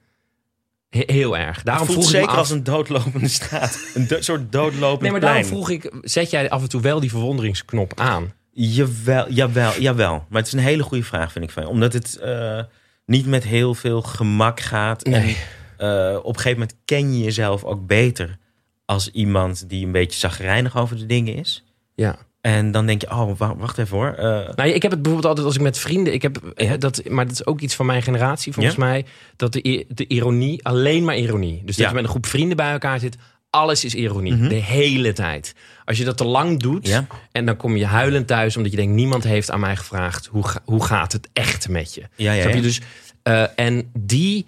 Speaker 1: he- heel erg. Daarom
Speaker 2: Het voelt
Speaker 1: vroeg ik me
Speaker 2: zeker
Speaker 1: af-
Speaker 2: als een doodlopende straat. Een do- soort doodlopend
Speaker 1: Nee, maar daarom
Speaker 2: plein.
Speaker 1: vroeg ik, zet jij af en toe wel die verwonderingsknop aan?
Speaker 2: Jawel, jawel, jawel. Maar het is een hele goede vraag, vind ik fijn. Omdat het eh, niet met heel veel gemak gaat.
Speaker 1: Nee.
Speaker 2: En, eh, op een gegeven moment ken je jezelf ook beter als iemand die een beetje zagrijnig over de dingen is.
Speaker 1: Ja.
Speaker 2: En dan denk je, oh, wa- wacht even hoor. eh,
Speaker 1: Nou, ik heb het bijvoorbeeld altijd als ik met vrienden. Ik heb, eh,
Speaker 2: Ja.
Speaker 1: dat, maar dat is ook iets van mijn generatie, volgens mij. Dat de, i- de ironie, alleen maar ironie. Dus dat
Speaker 2: Ja. Mhm.
Speaker 1: je met een groep vrienden bij elkaar zit. Alles is ironie. De hele tijd. Als je dat te lang doet.
Speaker 2: Ja.
Speaker 1: En dan kom je huilend thuis. Omdat je denkt, niemand heeft aan mij gevraagd. Hoe, ga- hoe gaat het echt met je?
Speaker 2: ja, ja,
Speaker 1: Snap
Speaker 2: ja.
Speaker 1: je? Dus, eh, en die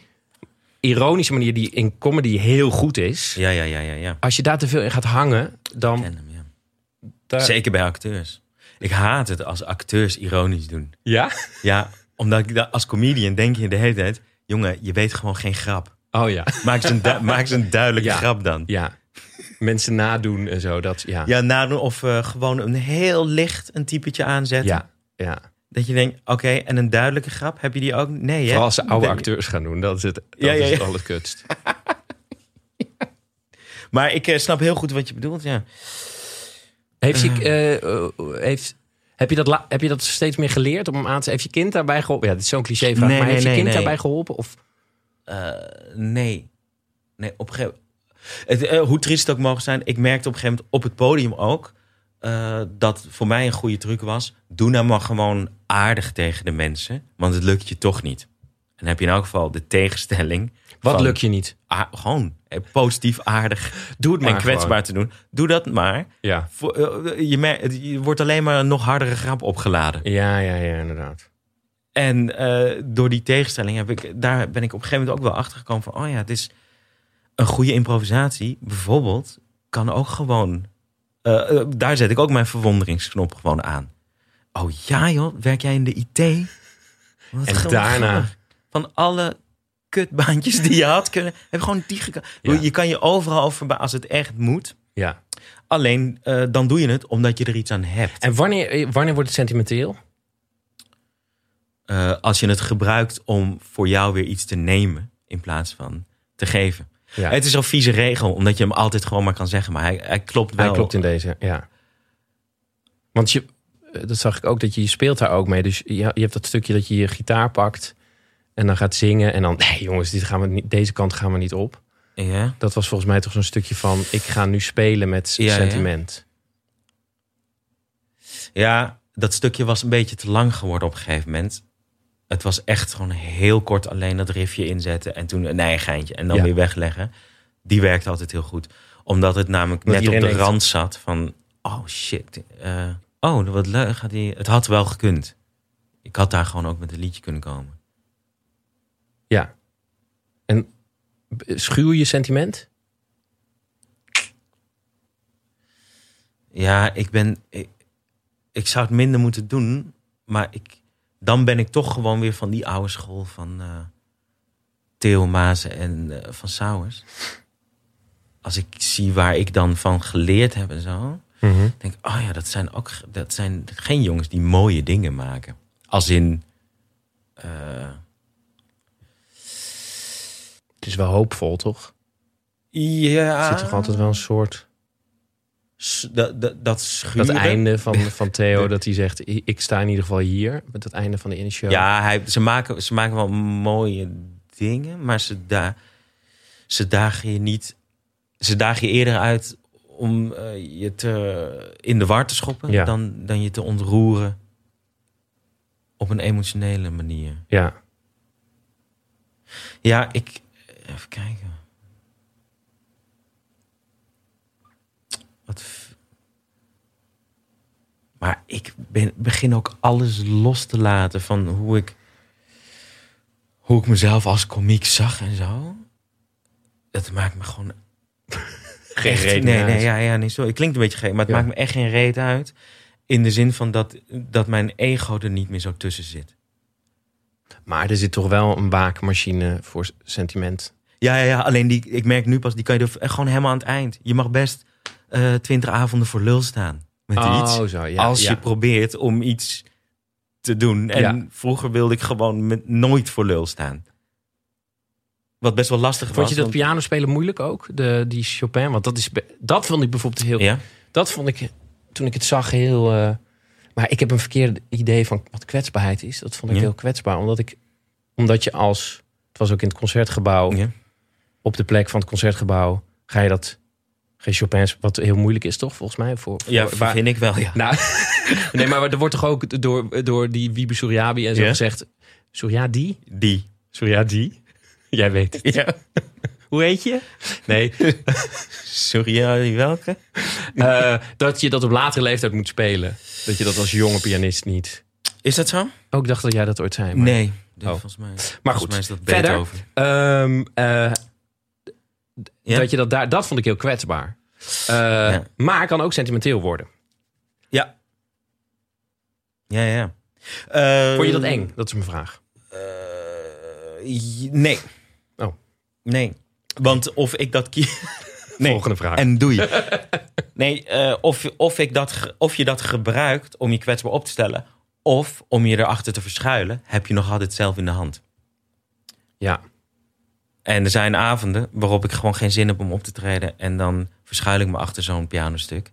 Speaker 1: ironische manier die in comedy heel goed is.
Speaker 2: ja, ja, ja, ja, ja.
Speaker 1: Als je daar te veel in gaat hangen,
Speaker 2: Ik
Speaker 1: dan...
Speaker 2: ken hem, ja.
Speaker 1: daar-
Speaker 2: Zeker bij acteurs. Ik haat het als acteurs ironisch doen.
Speaker 1: Ja?
Speaker 2: Ja, omdat ik da- als comedian denk je de hele tijd... jongen, je weet gewoon geen grap.
Speaker 1: Oh ja.
Speaker 2: Maak eens een, du- maak eens een duidelijke
Speaker 1: Ja.
Speaker 2: grap dan.
Speaker 1: Ja. Mensen nadoen en zo. Dat, ja.
Speaker 2: Ja, nadoen of eh, gewoon een heel licht een typetje aanzetten.
Speaker 1: Ja, ja.
Speaker 2: Dat je denkt, oké, en een duidelijke grap, heb je die ook? Nee, hè?
Speaker 1: Vooral als ze oude
Speaker 2: Ben-
Speaker 1: acteurs gaan doen. Dat is het, dat
Speaker 2: Ja, ja,
Speaker 1: Is het
Speaker 2: ja.
Speaker 1: allerkutst.
Speaker 2: Maar ik eh, snap heel goed wat je bedoelt, ja.
Speaker 1: Heeft je, eh, eh, heeft, heb, je dat la- heb je dat steeds meer geleerd om hem aan te... Heeft je kind daarbij geholpen? Ja, dit is zo'n cliché vraag.
Speaker 2: Nee,
Speaker 1: maar
Speaker 2: nee,
Speaker 1: heeft je
Speaker 2: nee,
Speaker 1: kind
Speaker 2: nee.
Speaker 1: daarbij geholpen? Of,
Speaker 2: Eh, nee. Nee, op een gegeven het, eh, Hoe triest het ook mogen zijn, ik merkte op een gegeven moment op het podium ook... eh, dat voor mij een goede truc was... doe nou maar gewoon aardig tegen de mensen, want het lukt je toch niet. En dan heb je in elk geval de tegenstelling...
Speaker 1: wat
Speaker 2: van
Speaker 1: lukt je niet?
Speaker 2: a- gewoon eh, positief, aardig
Speaker 1: Doe het maar
Speaker 2: en kwetsbaar te doen. Doe dat maar.
Speaker 1: gewoon. Ja.
Speaker 2: Voor- eh, je, mer- je wordt alleen maar een nog hardere grap opgeladen.
Speaker 1: Ja, ja, ja, inderdaad.
Speaker 2: En eh, door die tegenstelling heb ik, daar ben ik op een gegeven moment ook wel achter gekomen van, oh ja, het is een goede improvisatie, bijvoorbeeld, kan ook gewoon. eh, eh, daar zet ik ook mijn verwonderingsknop gewoon aan. Oh ja, joh, werk jij in de IT? Wat
Speaker 1: En
Speaker 2: geweldig.
Speaker 1: daarna...
Speaker 2: Van alle kutbaantjes die je had kunnen, heb je gewoon die gekant.
Speaker 1: Ja.
Speaker 2: Je kan je overal over als het echt moet.
Speaker 1: Ja.
Speaker 2: Alleen eh, dan doe je het omdat je er iets aan hebt.
Speaker 1: En wanneer, eh, wanneer wordt het sentimenteel?
Speaker 2: Eh, als je het gebruikt om voor jou weer iets te nemen in plaats van te geven.
Speaker 1: Ja.
Speaker 2: Het is een vieze regel, omdat je hem altijd gewoon maar kan zeggen. Maar hij, hij klopt wel.
Speaker 1: Hij klopt in deze, ja. Want je, eh, dat zag ik ook, dat je, je speelt daar ook mee. Dus je, je hebt dat stukje dat je je gitaar pakt en dan gaat zingen. En dan, nee jongens, dit gaan we niet, deze kant gaan we niet op.
Speaker 2: Ja.
Speaker 1: Dat was volgens mij toch zo'n stukje van, ik ga nu spelen met s-
Speaker 2: Ja, ja.
Speaker 1: sentiment.
Speaker 2: ja, dat stukje was een beetje te lang geworden op een gegeven moment. Het was echt gewoon heel kort alleen dat riffje inzetten. En toen een nee, geintje. En dan
Speaker 1: Ja.
Speaker 2: weer wegleggen. Die werkte altijd heel goed. Omdat het namelijk
Speaker 1: Want
Speaker 2: net op de
Speaker 1: iedereen denkt-
Speaker 2: rand zat van... Oh shit. eh, oh, wat leuk. Gaat die, het had wel gekund. Ik had daar gewoon ook met een liedje kunnen komen.
Speaker 1: Ja. En b- schuw je sentiment?
Speaker 2: Ja, ik ben. Ik, ik zou het minder moeten doen, maar ik, dan ben ik toch gewoon weer van die oude school van eh Theo Maassen en eh, van Sauers. Als ik zie waar ik dan van geleerd heb en zo, denk ik, oh ja, dat zijn ook dat zijn geen jongens die mooie dingen maken. Als in. eh,
Speaker 1: Het is wel hoopvol, toch?
Speaker 2: ja.
Speaker 1: Er
Speaker 2: Ah.
Speaker 1: zit toch altijd wel een soort...
Speaker 2: S- Dat, dat, dat
Speaker 1: Dat
Speaker 2: schuren.
Speaker 1: einde van, van Theo, dat hij zegt, "I- ik sta in ieder geval hier. Met dat einde van de ene show.
Speaker 2: Ja, hij, ze, maken, ze maken wel mooie dingen, maar ze, da, ze dagen je niet. Ze dagen je eerder uit om eh, je te, in de war te schoppen
Speaker 1: Ja.
Speaker 2: dan, dan je te ontroeren op een emotionele manier.
Speaker 1: ja.
Speaker 2: Ja, ik. Even kijken. Wat. f- Maar ik ben, begin ook alles los te laten van hoe ik. Hoe ik mezelf als komiek zag en zo. Dat maakt me gewoon.
Speaker 1: Geen
Speaker 2: echt-
Speaker 1: reden
Speaker 2: Nee,
Speaker 1: uit.
Speaker 2: nee, ja, ja, nee, sorry. Het klinkt een beetje gek, maar het
Speaker 1: Ja.
Speaker 2: maakt me echt geen reet uit. In de zin van dat, dat mijn ego er niet meer zo tussen zit.
Speaker 1: Maar er zit toch wel een waakmachine voor sentiment.
Speaker 2: Ja, ja, ja, alleen die, ik merk nu pas, die kan je er gewoon helemaal aan het eind. Je mag best eh, twintig avonden voor lul staan met iets.
Speaker 1: Oh, zo. Ja,
Speaker 2: als
Speaker 1: ja.
Speaker 2: je probeert om iets te doen. En
Speaker 1: Ja.
Speaker 2: vroeger wilde ik gewoon met, nooit voor lul staan. Wat best wel lastig was.
Speaker 1: Vond je dat
Speaker 2: want-
Speaker 1: pianospelen moeilijk ook? De, die Chopin? Want dat, is, be- dat vond ik bijvoorbeeld heel...
Speaker 2: Ja?
Speaker 1: Dat vond ik, toen ik het zag, heel... eh, maar ik heb een verkeerd idee van wat kwetsbaarheid is. Dat vond ik
Speaker 2: Ja.
Speaker 1: heel kwetsbaar. Omdat, ik, omdat je als... Het was ook in het concertgebouw.
Speaker 2: Ja.
Speaker 1: Op de plek van het concertgebouw ga je dat... Geen Chopin, wat heel moeilijk is toch, volgens mij? Voor, voor,
Speaker 2: Ja,
Speaker 1: waar-
Speaker 2: vind ik wel, ja.
Speaker 1: Nou, nee, maar er wordt toch ook door, door die Wiebe Suryabi en zo
Speaker 2: Ja.
Speaker 1: gezegd... Suryadi?
Speaker 2: Die.
Speaker 1: Suryadi? Jij weet het.
Speaker 2: Ja.
Speaker 1: Hoe heet je? Nee,
Speaker 2: Sorry, ja, welke?
Speaker 1: eh, dat je dat op latere leeftijd moet spelen. Dat je dat als jonge pianist niet...
Speaker 2: Is dat zo?
Speaker 1: Ook Oh, dacht dat jij dat ooit zei. Maar,
Speaker 2: Nee. Dat-
Speaker 1: Oh.
Speaker 2: Volgens mij,
Speaker 1: maar
Speaker 2: volgens
Speaker 1: goed,
Speaker 2: mij is dat
Speaker 1: verder.
Speaker 2: Beethoven.
Speaker 1: Ehm, eh,
Speaker 2: Ja?
Speaker 1: dat, je dat, daar, dat vond ik heel kwetsbaar. Eh, Maar het kan ook sentimenteel worden.
Speaker 2: Ja. Ja, ja. ja.
Speaker 1: Vond je dat
Speaker 2: Eh,
Speaker 1: eng? Dat is mijn vraag.
Speaker 2: Eh, j- nee.
Speaker 1: Oh.
Speaker 2: Nee. Want of ik dat kies. Nee.
Speaker 1: Volgende vraag.
Speaker 2: En doe je. Nee, eh, of, of, ik dat, ge- of je dat gebruikt om je kwetsbaar op te stellen. Of om je erachter te verschuilen, heb je nog altijd zelf in de hand.
Speaker 1: Ja.
Speaker 2: En er zijn avonden waarop ik gewoon geen zin heb om op te treden. En dan verschuil ik me achter zo'n pianostuk.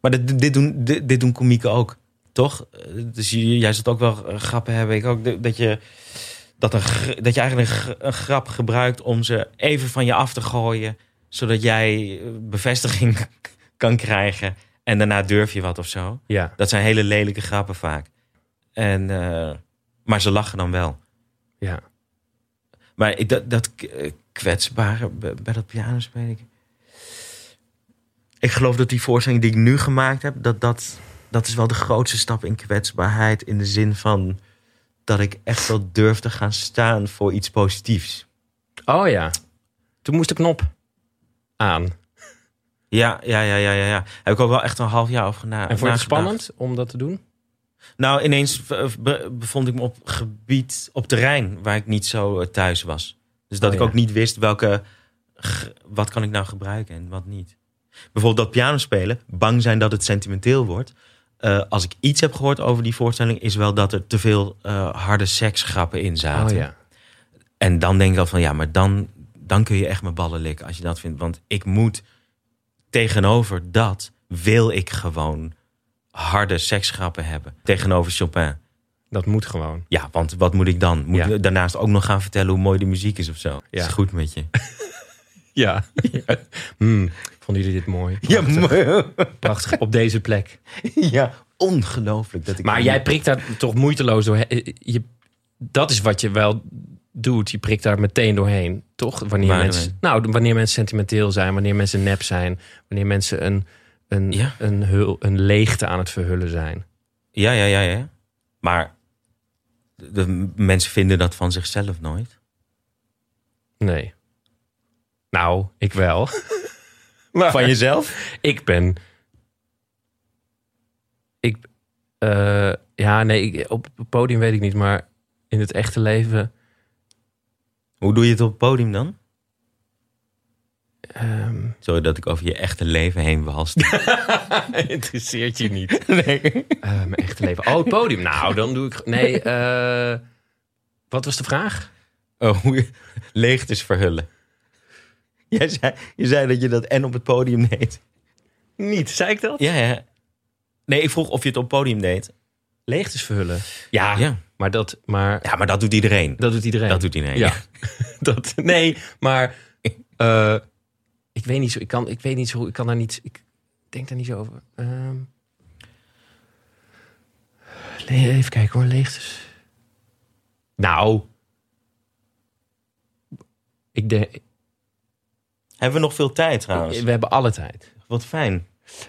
Speaker 2: Maar dit, dit, doen, dit, dit doen komieken ook, toch? Eh, Dus j- jij zult ook wel eh, grappen hebben. Ik ook. de- Dat je, dat een, gr- dat je eigenlijk een, gr- een grap gebruikt om ze even van je af te gooien. Zodat jij eh, bevestiging kan krijgen. En daarna durf je wat of zo.
Speaker 1: Ja.
Speaker 2: Dat zijn hele lelijke grappen vaak. En, eh, maar ze lachen dan wel.
Speaker 1: ja.
Speaker 2: Maar ik- dat, dat k- eh, kwetsbare bij bij dat pianospelen. Ik, ik geloof dat die voorstelling die ik nu gemaakt heb, dat, dat, dat is wel de grootste stap in kwetsbaarheid. In de zin van dat ik echt wel durf te gaan staan voor iets positiefs.
Speaker 1: Oh ja. Toen moest de knop aan.
Speaker 2: Ja, ja, ja, ja, ja. ja. Heb ik ook wel echt een half jaar over na.
Speaker 1: En vond je het
Speaker 2: nagedacht.
Speaker 1: spannend om dat te doen?
Speaker 2: Nou, ineens eh, be- bevond ik me op gebied, op terrein waar ik niet zo eh, thuis was. Dus dat
Speaker 1: Oh,
Speaker 2: ik
Speaker 1: ja.
Speaker 2: ook niet wist welke, g- wat kan ik nou gebruiken en wat niet. Bijvoorbeeld dat pianospelen, bang zijn dat het sentimenteel wordt. Eh, als ik iets heb gehoord over die voorstelling, is wel dat er te veel eh, harde seksgrappen in zaten.
Speaker 1: Oh ja.
Speaker 2: En dan denk ik al van ja, maar dan, dan kun je echt mijn ballen likken als je dat vindt. Want ik moet tegenover dat wil ik gewoon harde seksgrappen hebben. Tegenover Chopin.
Speaker 1: Dat moet gewoon.
Speaker 2: Ja, want wat moet ik dan? Moet
Speaker 1: Ja.
Speaker 2: ik daarnaast ook nog gaan vertellen hoe mooi de muziek is of zo?
Speaker 1: Ja.
Speaker 2: Is goed met je.
Speaker 1: Ja. Hmm. Vonden jullie dit mooi?
Speaker 2: mooi.
Speaker 1: Prachtig. Op deze plek.
Speaker 2: ja, ongelooflijk dat ik.
Speaker 1: Maar jij prikt daar toch moeiteloos doorheen. Je, dat is wat je wel doet. Je prikt daar meteen doorheen, toch? Wanneer
Speaker 2: Waar
Speaker 1: mensen, nou, wanneer mensen sentimenteel zijn, wanneer mensen nep zijn, wanneer mensen een, een,
Speaker 2: Ja.
Speaker 1: een, hul, een leegte aan het verhullen zijn.
Speaker 2: Ja, ja, ja, ja. Maar de, de mensen vinden dat van zichzelf nooit.
Speaker 1: Nee. Nou, ik wel.
Speaker 2: Van jezelf?
Speaker 1: Ik ben. Ik. eh, ja, nee, ik- op het podium weet ik niet, maar in het echte leven.
Speaker 2: Hoe doe je het op het podium dan?
Speaker 1: ehm,
Speaker 2: Sorry dat ik over je echte leven heen was.
Speaker 1: Interesseert je niet. Eh, mijn echte leven. Oh, het podium. Nou, dan doe ik. Nee, eh, wat was de vraag?
Speaker 2: Oh, hoe je leegtes verhullen. Jij zei, je zei dat je dat en op het podium deed.
Speaker 1: Niet, zei ik dat?
Speaker 2: Ja, ja. Nee, ik vroeg of je het op het podium deed.
Speaker 1: Leegtes verhullen. Ja,
Speaker 2: Ja.
Speaker 1: Maar, dat, maar
Speaker 2: Ja, maar dat doet iedereen.
Speaker 1: dat doet iedereen.
Speaker 2: Dat doet iedereen.
Speaker 1: Ja. dat, nee, maar. eh, ik weet niet zo. Ik kan, ik weet niet zo. Ik kan daar niet. Ik denk daar niet zo over. Ehm, le- even kijken hoor, leegtes. Nou. Ik denk,
Speaker 2: Hebben we nog veel tijd trouwens?
Speaker 1: we hebben alle tijd.
Speaker 2: Wat fijn.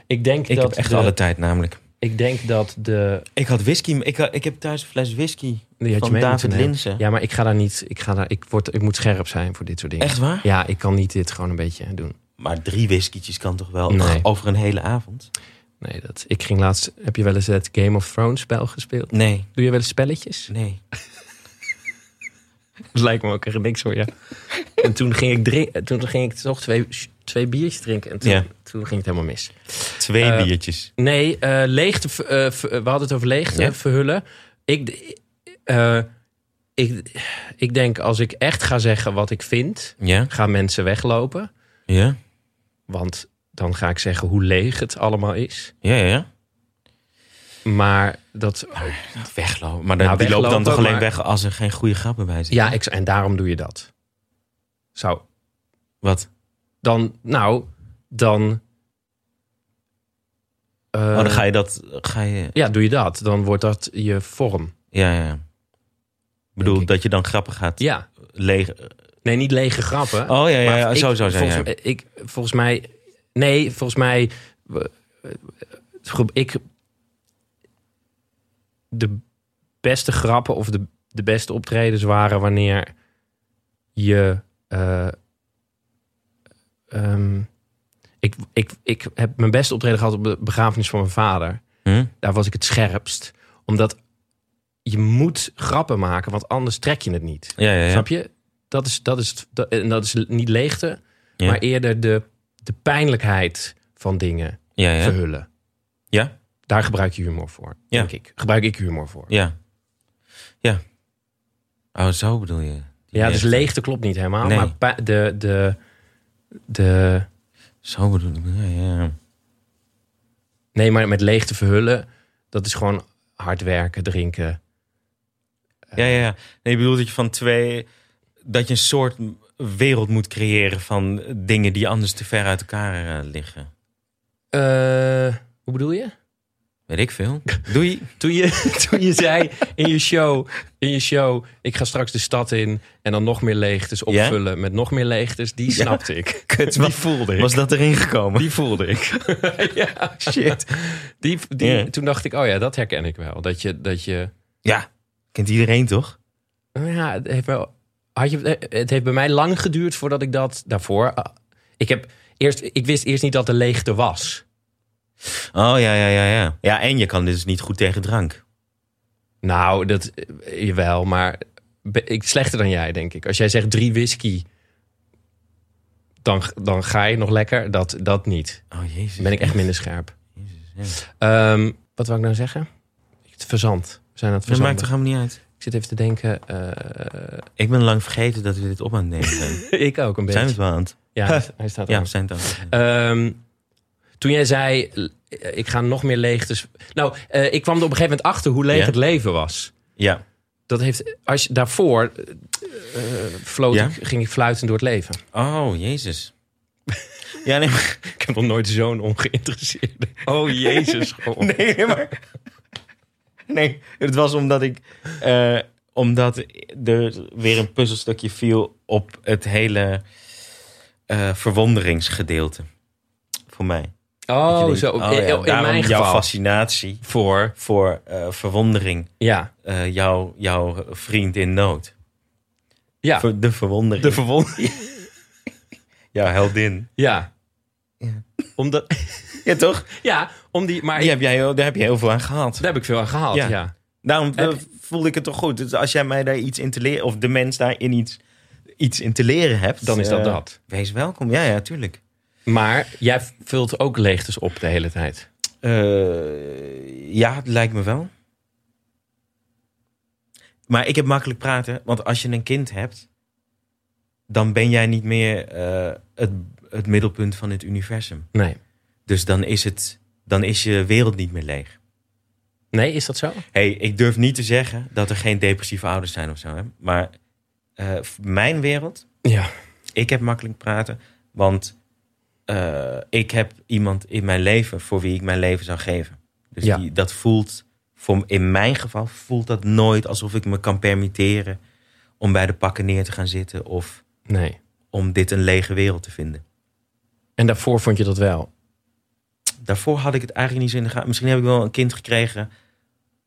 Speaker 1: Ik denk
Speaker 2: Ik
Speaker 1: dat
Speaker 2: heb echt
Speaker 1: de,
Speaker 2: alle tijd namelijk.
Speaker 1: Ik denk dat de.
Speaker 2: Ik had whisky. Ik, had- ik heb thuis een fles whisky
Speaker 1: Die had
Speaker 2: van
Speaker 1: je mee
Speaker 2: David
Speaker 1: moeten nemen.
Speaker 2: Linsen.
Speaker 1: Ja, maar ik ga daar niet. Ik, ga daar, ik, word, ik moet scherp zijn voor dit soort dingen.
Speaker 2: Echt waar?
Speaker 1: Ja, ik kan niet dit gewoon een beetje doen.
Speaker 2: Maar drie whiskietjes kan toch wel
Speaker 1: Nee.
Speaker 2: over een hele avond?
Speaker 1: Nee, dat, ik ging laatst. Heb je wel eens het Game of Thrones spel gespeeld?
Speaker 2: Nee,
Speaker 1: Doe je wel eens spelletjes?
Speaker 2: nee.
Speaker 1: Dat lijkt me ook echt niks hoor, ja. En toen ging ik, drinken, toen ging ik toch twee, twee biertjes drinken. En toen,
Speaker 2: Ja.
Speaker 1: toen ging het helemaal mis.
Speaker 2: Twee
Speaker 1: Eh,
Speaker 2: biertjes.
Speaker 1: Nee, eh, leegte. ver- eh, ver- we hadden het over leegte
Speaker 2: Ja.
Speaker 1: verhullen. Ik, eh, ik, ik denk als ik echt ga zeggen wat ik vind,
Speaker 2: Ja,
Speaker 1: gaan mensen weglopen.
Speaker 2: ja,
Speaker 1: Want dan ga ik zeggen hoe leeg het allemaal is.
Speaker 2: ja, ja. ja.
Speaker 1: Maar dat.
Speaker 2: Weglopen. Maar dan,
Speaker 1: Nou,
Speaker 2: die loopt dan
Speaker 1: weglopen,
Speaker 2: toch alleen
Speaker 1: maar-
Speaker 2: weg als er geen goede grappen bij zitten?
Speaker 1: Ja, ik, en daarom doe je dat. Zou.
Speaker 2: Wat?
Speaker 1: Dan. Nou, dan. eh,
Speaker 2: Oh, dan ga je dat... Ga je,
Speaker 1: Ja, doe je dat. Dan wordt dat je vorm.
Speaker 2: ja, ja. Ik bedoel,
Speaker 1: Denk ik.
Speaker 2: dat je dan grappen gaat
Speaker 1: Ja.
Speaker 2: leeg...
Speaker 1: Nee, niet lege grappen.
Speaker 2: Oh, ja, ja,
Speaker 1: Maar
Speaker 2: ja.
Speaker 1: ik-
Speaker 2: zo zou zijn,
Speaker 1: Volgens,
Speaker 2: ja.
Speaker 1: ik, volgens mij. Nee, volgens mij. we- eh, groep- Ik. De beste grappen of de, de beste optredens waren wanneer je. eh, ehm, ik, ik, ik heb mijn beste optreden gehad op de begrafenis van mijn vader.
Speaker 2: Hm?
Speaker 1: Daar was ik het scherpst. Omdat je moet grappen maken, want anders trek je het niet.
Speaker 2: Ja, ja, ja.
Speaker 1: Snap je? Dat is, dat is, het- dat, en dat is niet leegte,
Speaker 2: Ja.
Speaker 1: maar eerder de, de pijnlijkheid van dingen
Speaker 2: Ja, ja.
Speaker 1: verhullen.
Speaker 2: Ja?
Speaker 1: Daar gebruik je humor voor,
Speaker 2: Ja.
Speaker 1: denk ik. Gebruik ik humor voor. Ja,
Speaker 2: Ja. Ja. Oh, zo bedoel je. Die
Speaker 1: dus leegte klopt niet helemaal,
Speaker 2: Nee.
Speaker 1: maar pa- de, de, de...
Speaker 2: Zo bedoel ik. Ja, ja, ja.
Speaker 1: Nee, maar met leegte verhullen, dat is gewoon hard werken, drinken.
Speaker 2: Ja, ja, ja. Nee, ik bedoel dat je van twee... Dat je een soort wereld moet creëren van dingen die anders te ver uit elkaar eh, liggen.
Speaker 1: Eh, hoe bedoel je?
Speaker 2: Weet ik veel. Doei.
Speaker 1: Toen je, toen je zei in je, show, in je show, ik ga straks de stad in en dan nog meer leegtes
Speaker 2: Ja?
Speaker 1: opvullen met nog meer leegtes, die snapte ik.
Speaker 2: Kut,
Speaker 1: Die
Speaker 2: wat
Speaker 1: voelde ik.
Speaker 2: was dat erin gekomen?
Speaker 1: Die voelde ik. ja, shit. Die, die,
Speaker 2: Ja.
Speaker 1: Toen dacht ik, oh ja, dat herken ik wel. Dat je, dat je
Speaker 2: Ja, kent iedereen toch?
Speaker 1: nou ja, het heeft wel. Had je, het heeft bij mij lang geduurd voordat ik dat daarvoor. ah, Ik, heb eerst, ik wist eerst niet dat de leegte was.
Speaker 2: Oh ja, ja, ja, ja. Ja, en je kan dus niet goed tegen drank.
Speaker 1: Nou, dat eh, jawel, maar be- ik slechter dan jij, denk ik. Als jij zegt drie whisky, dan, dan ga je nog lekker. Dat, dat niet.
Speaker 2: Oh jezus.
Speaker 1: Dan ben ik echt minder scherp.
Speaker 2: Jezus,
Speaker 1: Ehm, wat wil ik nou zeggen? Het verzand. We zijn aan het
Speaker 2: Dat maakt
Speaker 1: verzand.
Speaker 2: toch helemaal niet uit.
Speaker 1: Ik zit even te denken. eh,
Speaker 2: Ik ben lang vergeten dat we dit op aan het nemen zijn.
Speaker 1: ik ook een beetje.
Speaker 2: zijn we het wel aan het?
Speaker 1: Ja, hij- hij staat
Speaker 2: Ja,
Speaker 1: aan.
Speaker 2: we zijn het aan het.
Speaker 1: Ehm, toen jij zei, l- eh, ik ga nog meer leegtes... Nou, eh, ik kwam er op een gegeven moment achter hoe leeg
Speaker 2: Ja.
Speaker 1: het leven was.
Speaker 2: Ja.
Speaker 1: Dat heeft, als je daarvoor eh, eh, floot
Speaker 2: Ja?
Speaker 1: ik, ging ik fluiten door het leven.
Speaker 2: Oh, jezus. Ja, nee, maar...
Speaker 1: Ik heb nog nooit zo'n ongeïnteresseerde.
Speaker 2: Oh, jezus.
Speaker 1: gewoon.
Speaker 2: Nee, maar... Nee, het was omdat ik... eh, omdat er weer een puzzelstukje viel op het hele eh, verwonderingsgedeelte. Voor mij. Dat
Speaker 1: Oh,
Speaker 2: je denkt,
Speaker 1: zo.
Speaker 2: ja,
Speaker 1: in- in
Speaker 2: daarom
Speaker 1: mijn
Speaker 2: jouw
Speaker 1: geval.
Speaker 2: fascinatie
Speaker 1: Voor,
Speaker 2: voor eh, verwondering.
Speaker 1: ja.
Speaker 2: eh, jouw, jouw vriend in nood.
Speaker 1: Ja,
Speaker 2: Ver- de verwondering.
Speaker 1: de verwondering.
Speaker 2: jouw heldin.
Speaker 1: Ja.
Speaker 2: Ja.
Speaker 1: Omdat,
Speaker 2: Ja, toch?
Speaker 1: ja, om die... Maar
Speaker 2: Die heb jij, heel- daar heb je heel veel aan gehad.
Speaker 1: daar heb ik veel aan gehaald,
Speaker 2: Ja.
Speaker 1: ja.
Speaker 2: Daarom eh,
Speaker 1: Heb-
Speaker 2: voelde ik het toch goed. Dus als jij mij daar iets in te leren... of de mens daarin iets, iets in te leren hebt...
Speaker 1: Dan is dat
Speaker 2: eh,
Speaker 1: dat.
Speaker 2: Wees welkom. Ja, ja, tuurlijk.
Speaker 1: Maar jij vult ook leegtes op de hele tijd.
Speaker 2: Eh, ja, het lijkt me wel. Maar ik heb makkelijk praten, want als je een kind hebt, dan ben jij niet meer eh, het, het middelpunt van het universum.
Speaker 1: Nee.
Speaker 2: Dus dan is, het, dan is je wereld niet meer leeg.
Speaker 1: Nee, is dat zo?
Speaker 2: hey, ik durf niet te zeggen dat er geen depressieve ouders zijn of zo. Hè? Maar eh, f- mijn wereld,
Speaker 1: Ja.
Speaker 2: ik heb makkelijk praten, want eh, ik heb iemand in mijn leven voor wie ik mijn leven zou geven. Dus
Speaker 1: Ja.
Speaker 2: die, dat voelt, voor, in mijn geval voelt dat nooit alsof ik me kan permitteren om bij de pakken neer te gaan zitten of,
Speaker 1: Nee.
Speaker 2: om dit een lege wereld te vinden.
Speaker 1: En daarvoor vond je dat wel.
Speaker 2: Daarvoor had ik het eigenlijk niet zo in de gaten. Misschien heb ik wel een kind gekregen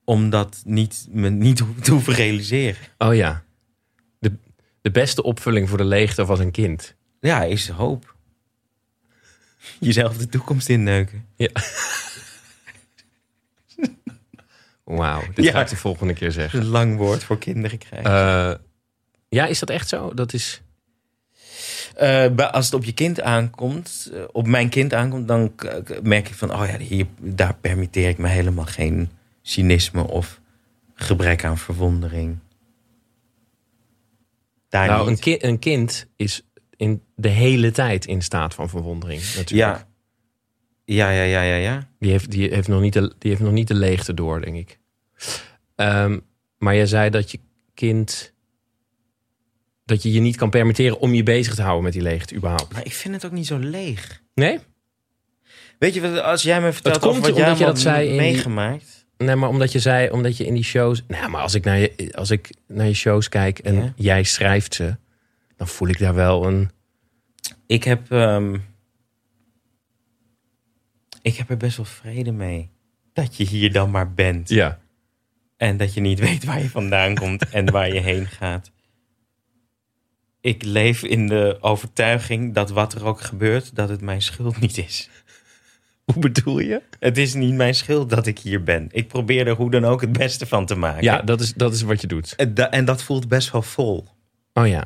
Speaker 2: om dat niet, me niet ho- te hoeven realiseren.
Speaker 1: Oh ja. De, de beste opvulling voor de leegte was een kind.
Speaker 2: Ja, is de hoop. Jezelf de toekomst inneuken.
Speaker 1: Wauw, dit
Speaker 2: Ja.
Speaker 1: ga ik de volgende keer
Speaker 2: Dat
Speaker 1: zeggen.
Speaker 2: is een lang woord voor kinderen krijgen.
Speaker 1: Eh, ja, is dat echt zo? Dat is...
Speaker 2: Eh, bij- als het op je kind aankomt, eh, op mijn kind aankomt, dan k- k- merk ik van, oh ja, hier, daar permitteer ik me helemaal geen cynisme of gebrek aan verwondering. Daar
Speaker 1: nou, een,
Speaker 2: niet.
Speaker 1: ki- een kind is in de hele tijd in staat van verwondering. Natuurlijk.
Speaker 2: Ja. Ja, ja, ja, ja, ja.
Speaker 1: Die heeft, die, heeft nog niet de, die heeft nog niet de leegte door, denk ik. Ehm, maar jij zei dat je kind... dat je je niet kan permitteren om je bezig te houden met die leegte überhaupt.
Speaker 2: Maar ik vind het ook niet zo leeg.
Speaker 1: Nee?
Speaker 2: Weet je, wat, als jij me vertelt
Speaker 1: komt
Speaker 2: over wat
Speaker 1: omdat
Speaker 2: jij
Speaker 1: je dat
Speaker 2: allemaal
Speaker 1: zei in die-
Speaker 2: meegemaakt.
Speaker 1: Nee, maar omdat je zei, omdat je in die shows... Nou, maar als ik naar je, als ik naar je shows kijk en
Speaker 2: Ja.
Speaker 1: jij schrijft ze... dan voel ik daar wel een...
Speaker 2: Ik heb, ehm, ik heb er best wel vrede mee. Dat je hier dan maar bent.
Speaker 1: Ja.
Speaker 2: En dat je niet weet waar je vandaan komt en waar je heen gaat. Ik leef in de overtuiging dat wat er ook gebeurt, dat het mijn schuld niet is.
Speaker 1: Hoe bedoel je?
Speaker 2: Het is niet mijn schuld dat ik hier ben. Ik probeer er hoe dan ook het beste van te maken.
Speaker 1: Ja, dat is, dat is wat je doet.
Speaker 2: En da- En dat voelt best wel vol.
Speaker 1: Oh ja.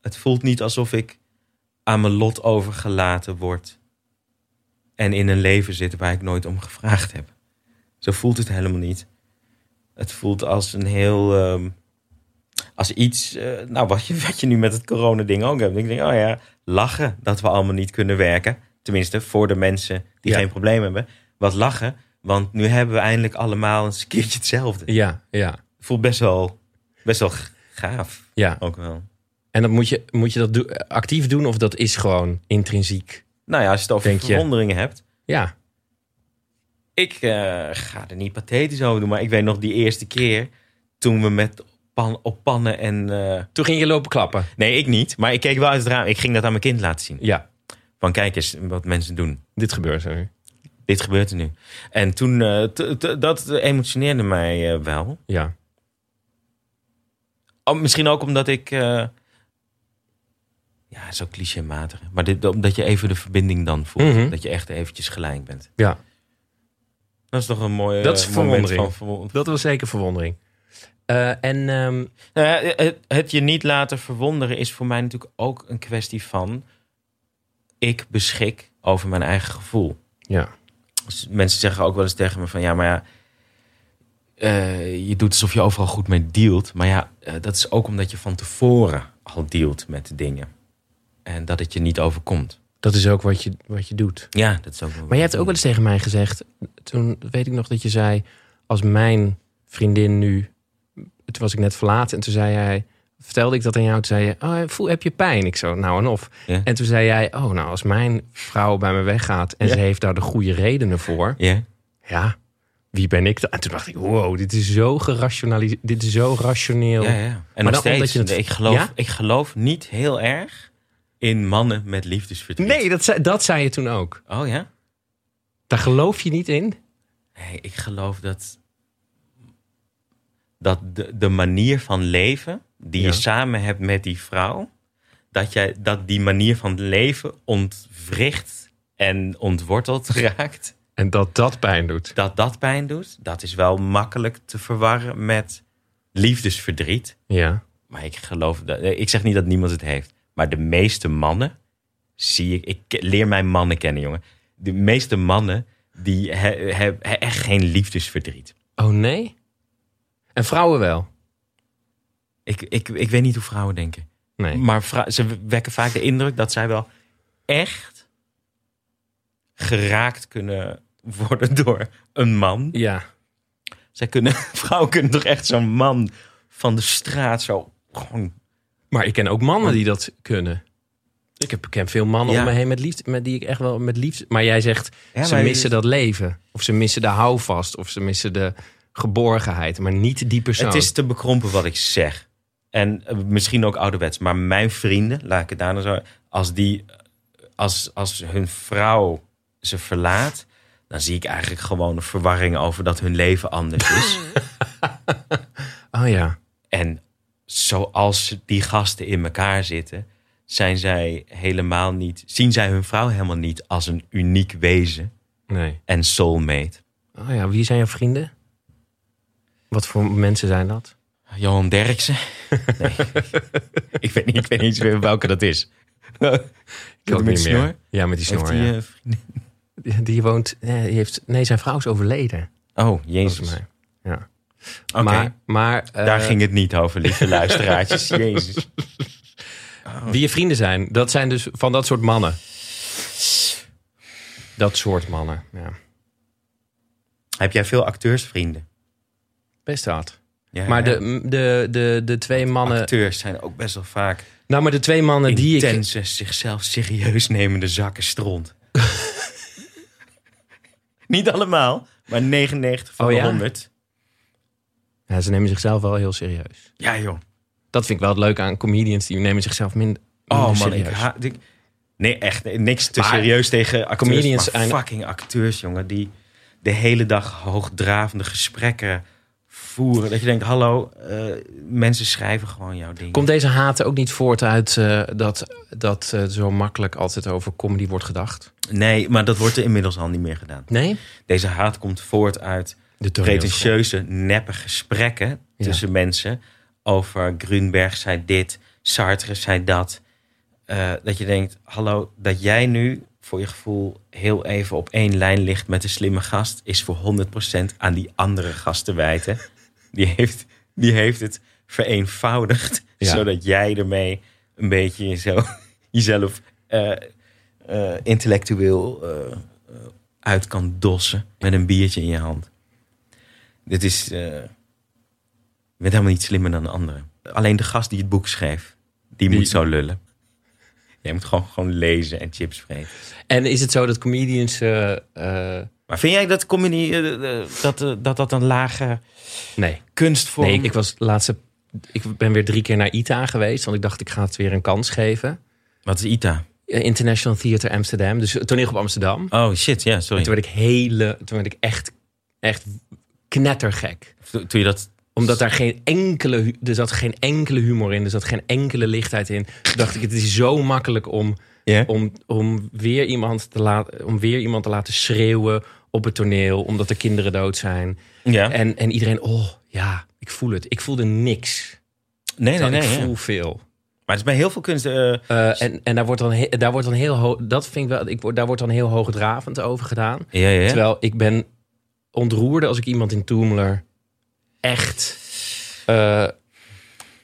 Speaker 2: Het voelt niet alsof ik aan mijn lot overgelaten word. En in een leven zit waar ik nooit om gevraagd heb. Zo voelt het helemaal niet. Het voelt als een heel. ehm, als iets. eh, nou, wat je, wat je nu met het coronading ook hebt. Ik denk, oh ja, lachen dat we allemaal niet kunnen werken. Tenminste, voor de mensen die
Speaker 1: Ja.
Speaker 2: geen probleem hebben. Wat lachen, want nu hebben we eindelijk allemaal eens een keertje hetzelfde.
Speaker 1: Ja, ja,
Speaker 2: voelt best wel, best wel g- gaaf.
Speaker 1: ja.
Speaker 2: Ook wel.
Speaker 1: En dat moet, je, moet je dat do- actief doen of dat is gewoon intrinsiek?
Speaker 2: Nou ja, als je het over
Speaker 1: Denk je?
Speaker 2: verwonderingen hebt.
Speaker 1: Ja.
Speaker 2: Ik eh, ga er niet pathetisch over doen, maar ik weet nog die eerste keer toen we met pan, op pannen en. eh,
Speaker 1: Toen ging je lopen klappen.
Speaker 2: nee, ik niet, maar ik keek wel uit het raam. Ik ging dat aan mijn kind laten zien.
Speaker 1: Ja,
Speaker 2: Van kijk eens wat mensen doen.
Speaker 1: dit gebeurt er nu.
Speaker 2: Dit gebeurt er nu. En toen, eh, t- t- dat emotioneerde mij eh, wel.
Speaker 1: Ja.
Speaker 2: Oh, misschien ook omdat ik. eh ja, zo clichématig. Maar dit, omdat je even de verbinding dan voelt.
Speaker 1: Mhm.
Speaker 2: Dat je echt eventjes gelijk bent.
Speaker 1: Ja.
Speaker 2: Dat is toch een mooie.
Speaker 1: Dat is
Speaker 2: eh, moment
Speaker 1: verwondering.
Speaker 2: van verwon-
Speaker 1: Dat was zeker verwondering. Eh, en ehm,
Speaker 2: Nou ja, het, het je niet laten verwonderen is voor mij natuurlijk ook een kwestie van. Ik beschik over mijn eigen gevoel.
Speaker 1: ja.
Speaker 2: Dus mensen zeggen ook wel eens tegen me van ja, maar ja. eh, je doet alsof je overal goed mee dealt. Maar ja, eh, dat is ook omdat je van tevoren al dealt met de dingen. En dat het je niet overkomt.
Speaker 1: dat is ook wat je, wat je doet.
Speaker 2: Ja, dat is ook wel.
Speaker 1: Maar jij hebt ook wel eens tegen mij gezegd, toen weet ik nog dat je zei, als mijn vriendin nu, toen was ik net verlaten en toen zei hij, vertelde ik dat aan jou, toen zei je, oh, voel, heb je pijn? Ik zo, nou en of.
Speaker 2: Ja.
Speaker 1: En toen zei jij, oh nou, als mijn vrouw bij me weggaat en
Speaker 2: Ja.
Speaker 1: ze heeft daar de goede redenen voor,
Speaker 2: Ja?
Speaker 1: ja, wie ben ik dan? En toen dacht ik, wow, dit is zo gerationaliseerd, dit is zo rationeel.
Speaker 2: Ja, ja. En
Speaker 1: dan
Speaker 2: nog
Speaker 1: omdat
Speaker 2: steeds,
Speaker 1: je het-
Speaker 2: ik, geloof,
Speaker 1: Ja?
Speaker 2: ik geloof niet heel erg in mannen met liefdesverdriet.
Speaker 1: Nee, dat zei, dat zei je toen ook.
Speaker 2: Oh ja?
Speaker 1: Daar geloof je niet in?
Speaker 2: Nee, ik geloof dat, dat de, de manier van leven die
Speaker 1: Ja.
Speaker 2: je samen hebt met die vrouw, dat, jij, dat die manier van leven ontwricht en ontworteld raakt,
Speaker 1: En dat dat pijn doet.
Speaker 2: dat dat pijn doet, dat is wel makkelijk te verwarren met liefdesverdriet.
Speaker 1: Ja.
Speaker 2: Maar ik geloof dat, eh, ik zeg niet dat niemand het heeft, maar de meeste mannen, zie ik, ik ke- leer mijn mannen kennen, jongen. De meeste mannen, die he- hebben echt geen liefdesverdriet.
Speaker 1: Oh nee? En vrouwen wel?
Speaker 2: Ik, ik, ik weet niet hoe vrouwen denken.
Speaker 1: Nee.
Speaker 2: Maar vrou- ze wekken vaak de indruk dat zij wel echt geraakt kunnen worden door een man.
Speaker 1: Ja.
Speaker 2: Zij kunnen, vrouwen kunnen toch echt zo'n man van de straat zo gewoon...
Speaker 1: Maar ik ken ook mannen die dat kunnen. Ik heb, ken veel mannen
Speaker 2: Ja.
Speaker 1: om me heen met liefde, met die ik echt wel met liefde. Maar jij zegt, ze
Speaker 2: maar-
Speaker 1: missen dat leven. Of ze missen de houvast. Of ze missen de geborgenheid. Maar niet die persoon.
Speaker 2: Het is te bekrompen wat ik zeg. En eh, misschien ook ouderwets. Maar mijn vrienden, laat ik het daarna zo. Als, die, eh, als, als hun vrouw ze verlaat. dan zie ik eigenlijk gewoon een verwarring over dat hun leven anders is.
Speaker 1: Oh ja.
Speaker 2: en zoals die gasten in elkaar zitten. zijn zij helemaal niet. zien zij hun vrouw helemaal niet als een uniek wezen.
Speaker 1: Nee.
Speaker 2: en soulmate.
Speaker 1: Oh ja, wie zijn jouw vrienden? Wat voor mensen zijn dat?
Speaker 2: Johan Derksen? Nee. ik, weet niet, ik weet niet eens welke dat is. ik
Speaker 1: ook niet meer. Ja, met die snor.
Speaker 2: Heeft die,
Speaker 1: ja.
Speaker 2: eh, vriendin?
Speaker 1: Die, woont. eh, die heeft, nee, zijn vrouw is overleden.
Speaker 2: Oh,
Speaker 1: Volgens
Speaker 2: jezus.
Speaker 1: mij. Ja.
Speaker 2: Oké,
Speaker 1: Maar, maar eh,
Speaker 2: daar ging het niet over, lieve luisteraartjes. jezus.
Speaker 1: wie je vrienden zijn, dat zijn dus van dat soort mannen. Dat soort mannen. Ja.
Speaker 2: Heb jij veel acteursvrienden?
Speaker 1: Best hard.
Speaker 2: Ja,
Speaker 1: Maar
Speaker 2: hè?
Speaker 1: de, de, de, de twee mannen.
Speaker 2: acteurs zijn ook best wel vaak
Speaker 1: Nou, maar de twee mannen die ik.
Speaker 2: intense, zichzelf serieus nemende zakken stront. niet allemaal, maar 99 van
Speaker 1: Oh,
Speaker 2: de
Speaker 1: ja?
Speaker 2: 100.
Speaker 1: Ja, ze nemen zichzelf wel heel serieus.
Speaker 2: Ja, joh.
Speaker 1: Dat vind ik wel het leuke aan comedians. Die nemen zichzelf minder, minder
Speaker 2: Oh man, ik
Speaker 1: serieus.
Speaker 2: haat... ik- Nee, echt. nee, Niks te
Speaker 1: Maar
Speaker 2: serieus tegen acteurs.
Speaker 1: comedians
Speaker 2: maar
Speaker 1: zijn-
Speaker 2: fucking acteurs, jongen. Die de hele dag hoogdravende gesprekken voeren. Dat je denkt, hallo, eh, mensen schrijven gewoon jouw ding.
Speaker 1: Komt deze haat ook niet voort uit eh, dat, dat eh, zo makkelijk altijd over comedy wordt gedacht?
Speaker 2: Nee, maar dat wordt er inmiddels al niet meer gedaan.
Speaker 1: Nee?
Speaker 2: Deze haat komt voort uit
Speaker 1: De
Speaker 2: pretentieuze, neppe gesprekken
Speaker 1: Ja.
Speaker 2: tussen mensen. Over Grunberg zei dit, Sartre zei dat. Eh, dat je denkt, hallo, dat jij nu voor je gevoel heel even op één lijn ligt met de slimme gast, is voor 100% aan die andere gast te wijten. Die heeft, die heeft het vereenvoudigd,
Speaker 1: Ja.
Speaker 2: zodat jij ermee een beetje zo, jezelf eh, eh, intellectueel eh, eh, uit kan dossen met een biertje in je hand. Dit is. eh, je bent helemaal niet slimmer dan de anderen. Alleen de gast die het boek schreef, die, moet zo lullen. Jij moet gewoon, gewoon lezen en chips vreten.
Speaker 1: En is het zo dat comedians... eh, eh,
Speaker 2: Maar vind jij dat comedy, eh, eh, dat, eh, dat dat een lage
Speaker 1: nee.
Speaker 2: kunstvorm...
Speaker 1: nee, ik was laatste... Ik ben weer drie keer naar ITA geweest, want ik dacht ik ga het weer een kans geven.
Speaker 2: Wat is ITA?
Speaker 1: Eh, International Theater Amsterdam, dus toneel op Amsterdam.
Speaker 2: Oh shit, ja,
Speaker 1: En
Speaker 2: sorry.
Speaker 1: toen
Speaker 2: Toen,
Speaker 1: werd ik hele, toen werd ik echt, echt knettergek.
Speaker 2: je dat...
Speaker 1: Omdat daar geen enkele, hu- er zat geen enkele humor in, er zat geen enkele lichtheid in. Toen dacht ik, het is zo makkelijk om
Speaker 2: Ja?
Speaker 1: om, om, weer iemand te laten, om weer iemand te laten schreeuwen op het toneel. Omdat er kinderen dood zijn.
Speaker 2: Ja.
Speaker 1: En, en iedereen, oh ja, ik voel het. Ik voelde niks.
Speaker 2: nee, nee,
Speaker 1: Terwijl
Speaker 2: nee.
Speaker 1: ik
Speaker 2: ja.
Speaker 1: voel veel.
Speaker 2: Maar het is bij heel veel kunst... eh,
Speaker 1: Eh, en en daar, wordt dan he- daar wordt dan heel hoog... Dat vind ik wel... Ik word, daar wordt dan heel hoogdravend over gedaan.
Speaker 2: ja, ja, ja.
Speaker 1: Terwijl ik ben ontroerde als ik iemand in Toemler echt eh,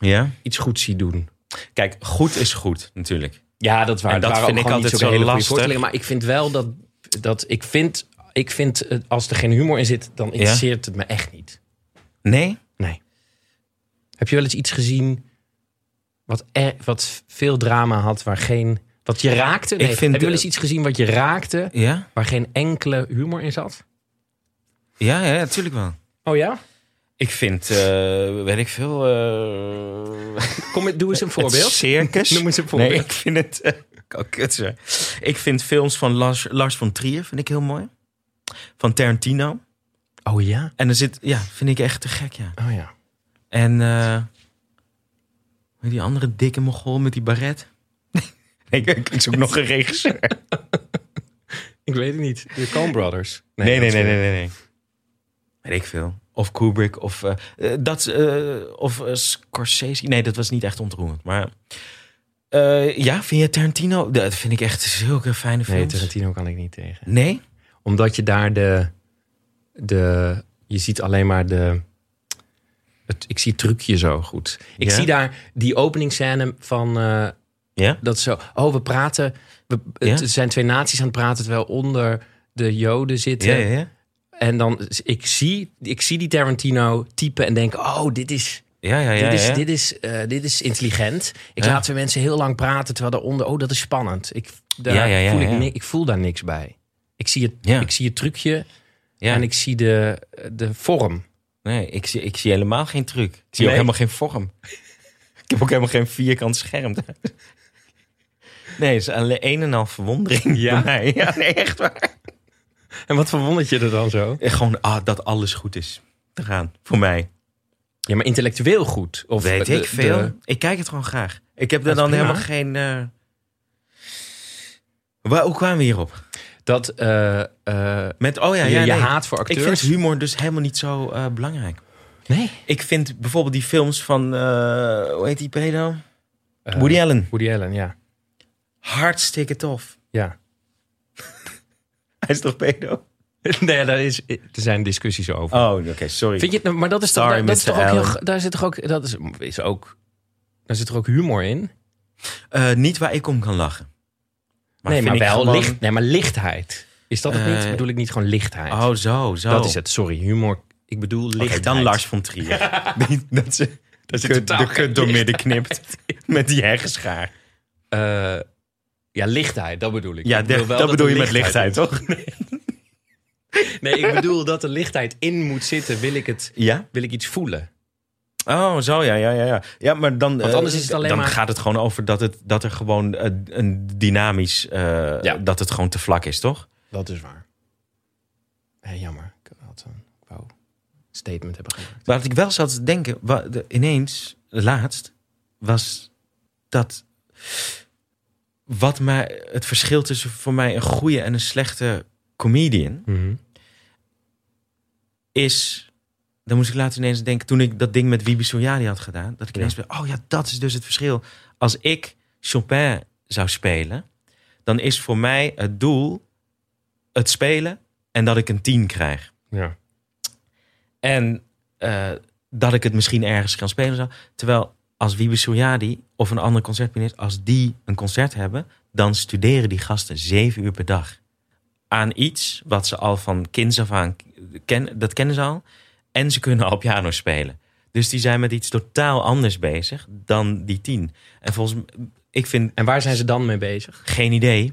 Speaker 2: ja.
Speaker 1: iets goeds zie doen.
Speaker 2: Kijk, goed is goed, natuurlijk.
Speaker 1: Ja, dat is waar.
Speaker 2: En
Speaker 1: Het
Speaker 2: dat
Speaker 1: waren
Speaker 2: vind
Speaker 1: ook
Speaker 2: ik
Speaker 1: gewoon
Speaker 2: altijd
Speaker 1: niet
Speaker 2: zo
Speaker 1: hele goede
Speaker 2: lastig.
Speaker 1: voorstellingen, Maar ik vind wel dat... dat ik vind, ik vind eh, als er geen humor in zit, dan interesseert het me echt niet.
Speaker 2: Nee?
Speaker 1: Heb je wel eens iets gezien wat, er, wat veel drama had, waar geen... Wat je raakte? Nee,
Speaker 2: vind,
Speaker 1: heb je wel
Speaker 2: eh,
Speaker 1: eens iets gezien wat je raakte,
Speaker 2: Ja?
Speaker 1: waar geen enkele humor in zat?
Speaker 2: Ja, ja, natuurlijk wel.
Speaker 1: Oh ja?
Speaker 2: Ik vind, eh, weet ik veel... eh,
Speaker 1: Kom, doe eens een voorbeeld.
Speaker 2: Het circus.
Speaker 1: Noem eens een voorbeeld.
Speaker 2: Nee, ik vind het... eh, kan kut zijn. ik vind films van Lars, Lars van Trier vind ik heel mooi. Van Tarantino.
Speaker 1: Oh ja?
Speaker 2: En er zit... Ja, vind ik echt te gek, ja.
Speaker 1: Oh ja.
Speaker 2: En... eh, hoe heet die andere dikke mogol met die baret. Nee, ik, ik zoek nog een regisseur.
Speaker 1: Ik weet het niet. De Coen Brothers.
Speaker 2: Nee, nee,
Speaker 1: dat
Speaker 2: nee,
Speaker 1: is-
Speaker 2: nee, nee, nee. Weet ik veel. Of Kubrick of, eh, eh, dat, eh, of eh, Scorsese. Nee, dat was niet echt ontroerend. Maar eh, ja, vind je Tarantino? Dat vind ik echt zulke fijne
Speaker 1: Nee,
Speaker 2: films.
Speaker 1: Tarantino kan ik niet tegen.
Speaker 2: Nee?
Speaker 1: Omdat je daar de... de je ziet alleen maar de... Het, ik zie het trucje zo goed. Ik
Speaker 2: Ja?
Speaker 1: zie daar die openingsscène van... eh,
Speaker 2: Ja?
Speaker 1: dat zo... Oh, we praten... We, het
Speaker 2: Ja?
Speaker 1: zijn twee naties aan het praten terwijl onder de joden zitten.
Speaker 2: Ja, ja, ja.
Speaker 1: En dan... Ik zie, ik zie die Tarantino typen en denk... Oh, dit is...
Speaker 2: Ja, ja, ja.
Speaker 1: dit, is,
Speaker 2: ja.
Speaker 1: dit, is, eh, dit is intelligent. Ik
Speaker 2: Ja.
Speaker 1: laat twee mensen heel lang praten terwijl daaronder. Oh, dat is spannend. Ik, daar
Speaker 2: Ja, ja, ja,
Speaker 1: voel
Speaker 2: ja.
Speaker 1: Ik, ni- ik voel daar niks bij. Ik zie het,
Speaker 2: Ja.
Speaker 1: ik zie het trucje
Speaker 2: Ja.
Speaker 1: en ik zie de, de vorm.
Speaker 2: Nee, ik zie, ik zie helemaal geen truc. Ik zie
Speaker 1: Nee?
Speaker 2: ook helemaal geen vorm. Ik heb ook helemaal geen vierkant scherm. daar. Nee, het is alleen een en al verwondering
Speaker 1: Ja?
Speaker 2: ja? bij mij. Ja, nee, echt waar.
Speaker 1: En wat verwondert je er dan zo?
Speaker 2: Eh, Gewoon ah, dat alles goed is te gaan, voor mij.
Speaker 1: Ja, maar intellectueel goed. Of
Speaker 2: Weet
Speaker 1: de-
Speaker 2: ik veel.
Speaker 1: de-
Speaker 2: Ik kijk het gewoon graag. Ik heb er
Speaker 1: Dat is
Speaker 2: dan
Speaker 1: prima.
Speaker 2: helemaal geen... eh, Waar, hoe kwamen we hierop?
Speaker 1: dat eh, eh,
Speaker 2: Met, oh ja,
Speaker 1: je,
Speaker 2: ja
Speaker 1: je
Speaker 2: nee.
Speaker 1: haat voor
Speaker 2: Ik vind
Speaker 1: acteurs.
Speaker 2: humor dus helemaal niet zo eh, belangrijk.
Speaker 1: Nee.
Speaker 2: Ik vind bijvoorbeeld die films van... eh, hoe heet die pedo?
Speaker 1: Eh.
Speaker 2: Woody Allen.
Speaker 1: Woody Allen, ja.
Speaker 2: Hartstikke tof.
Speaker 1: ja.
Speaker 2: Hij is toch pedo?
Speaker 1: nee, daar is, er zijn discussies over.
Speaker 2: Oh, oké, sorry.
Speaker 1: Vind je, het nou- maar dat is toch,
Speaker 2: Sorry,
Speaker 1: dat, dat is
Speaker 2: Mr.
Speaker 1: toch ook heel,
Speaker 2: Allen.
Speaker 1: ge- daar zit toch ook, dat is, is ook, daar zit toch ook humor in?
Speaker 2: Eh, niet waar ik om kan lachen.
Speaker 1: nee, maar
Speaker 2: vind ik
Speaker 1: wel
Speaker 2: gewoon-
Speaker 1: licht, nee, maar lichtheid. Is dat het niet?
Speaker 2: Eh,
Speaker 1: Bedoel ik niet gewoon lichtheid?
Speaker 2: Oh, zo, zo.
Speaker 1: Dat is het, sorry. Humor, ik bedoel
Speaker 2: Oké,
Speaker 1: lichtheid.
Speaker 2: dan Lars van Trier. dat ze dat ze
Speaker 1: totaal
Speaker 2: de
Speaker 1: geen
Speaker 2: kut door midden knipt. Met die heggenschaar.
Speaker 1: Eh, ja, lichtheid, dat bedoel ik.
Speaker 2: Ja,
Speaker 1: Ik bedoel
Speaker 2: dat,
Speaker 1: wel
Speaker 2: dat
Speaker 1: er
Speaker 2: bedoel je met lichtheid,
Speaker 1: in-
Speaker 2: toch?
Speaker 1: Nee, ik bedoel dat er lichtheid in moet zitten. Wil ik, het,
Speaker 2: Ja?
Speaker 1: wil ik iets voelen?
Speaker 2: Oh, zo, ja, ja, ja. ja. ja maar dan,
Speaker 1: Want
Speaker 2: eh,
Speaker 1: anders is het alleen
Speaker 2: dan
Speaker 1: maar-
Speaker 2: gaat het gewoon over dat, het, dat er gewoon eh, een dynamisch... eh,
Speaker 1: Ja.
Speaker 2: Dat het gewoon te vlak is, toch?
Speaker 1: Dat is waar. Hé, jammer. Ik had een wou, statement hebben gemaakt.
Speaker 2: Wat ik wel zat te denken, wa- de- ineens, laatst, was dat wat mij, het verschil tussen voor mij een goede en een slechte comedian is. Dan moest ik later ineens denken, toen ik dat ding met Wiebe Soljari had gedaan, dat ik ineens ben, oh ja, dat is dus het verschil. Als ik Chopin zou spelen, dan is voor mij het doel het spelen en dat ik een 10 krijg.
Speaker 1: Ja.
Speaker 2: En eh, dat ik het misschien ergens kan spelen. Zo. Terwijl als Wiebe Suryadi of een ander concertpianist... als die een concert hebben... dan studeren die gasten zeven uur per dag. Aan iets wat ze al van kinds af aan kennen. Dat kennen ze al. En ze kunnen al piano spelen. Dus die zijn met iets totaal anders bezig dan die tien. En volgens mij, ik vind
Speaker 1: En waar zijn ze dan mee bezig?
Speaker 2: geen idee.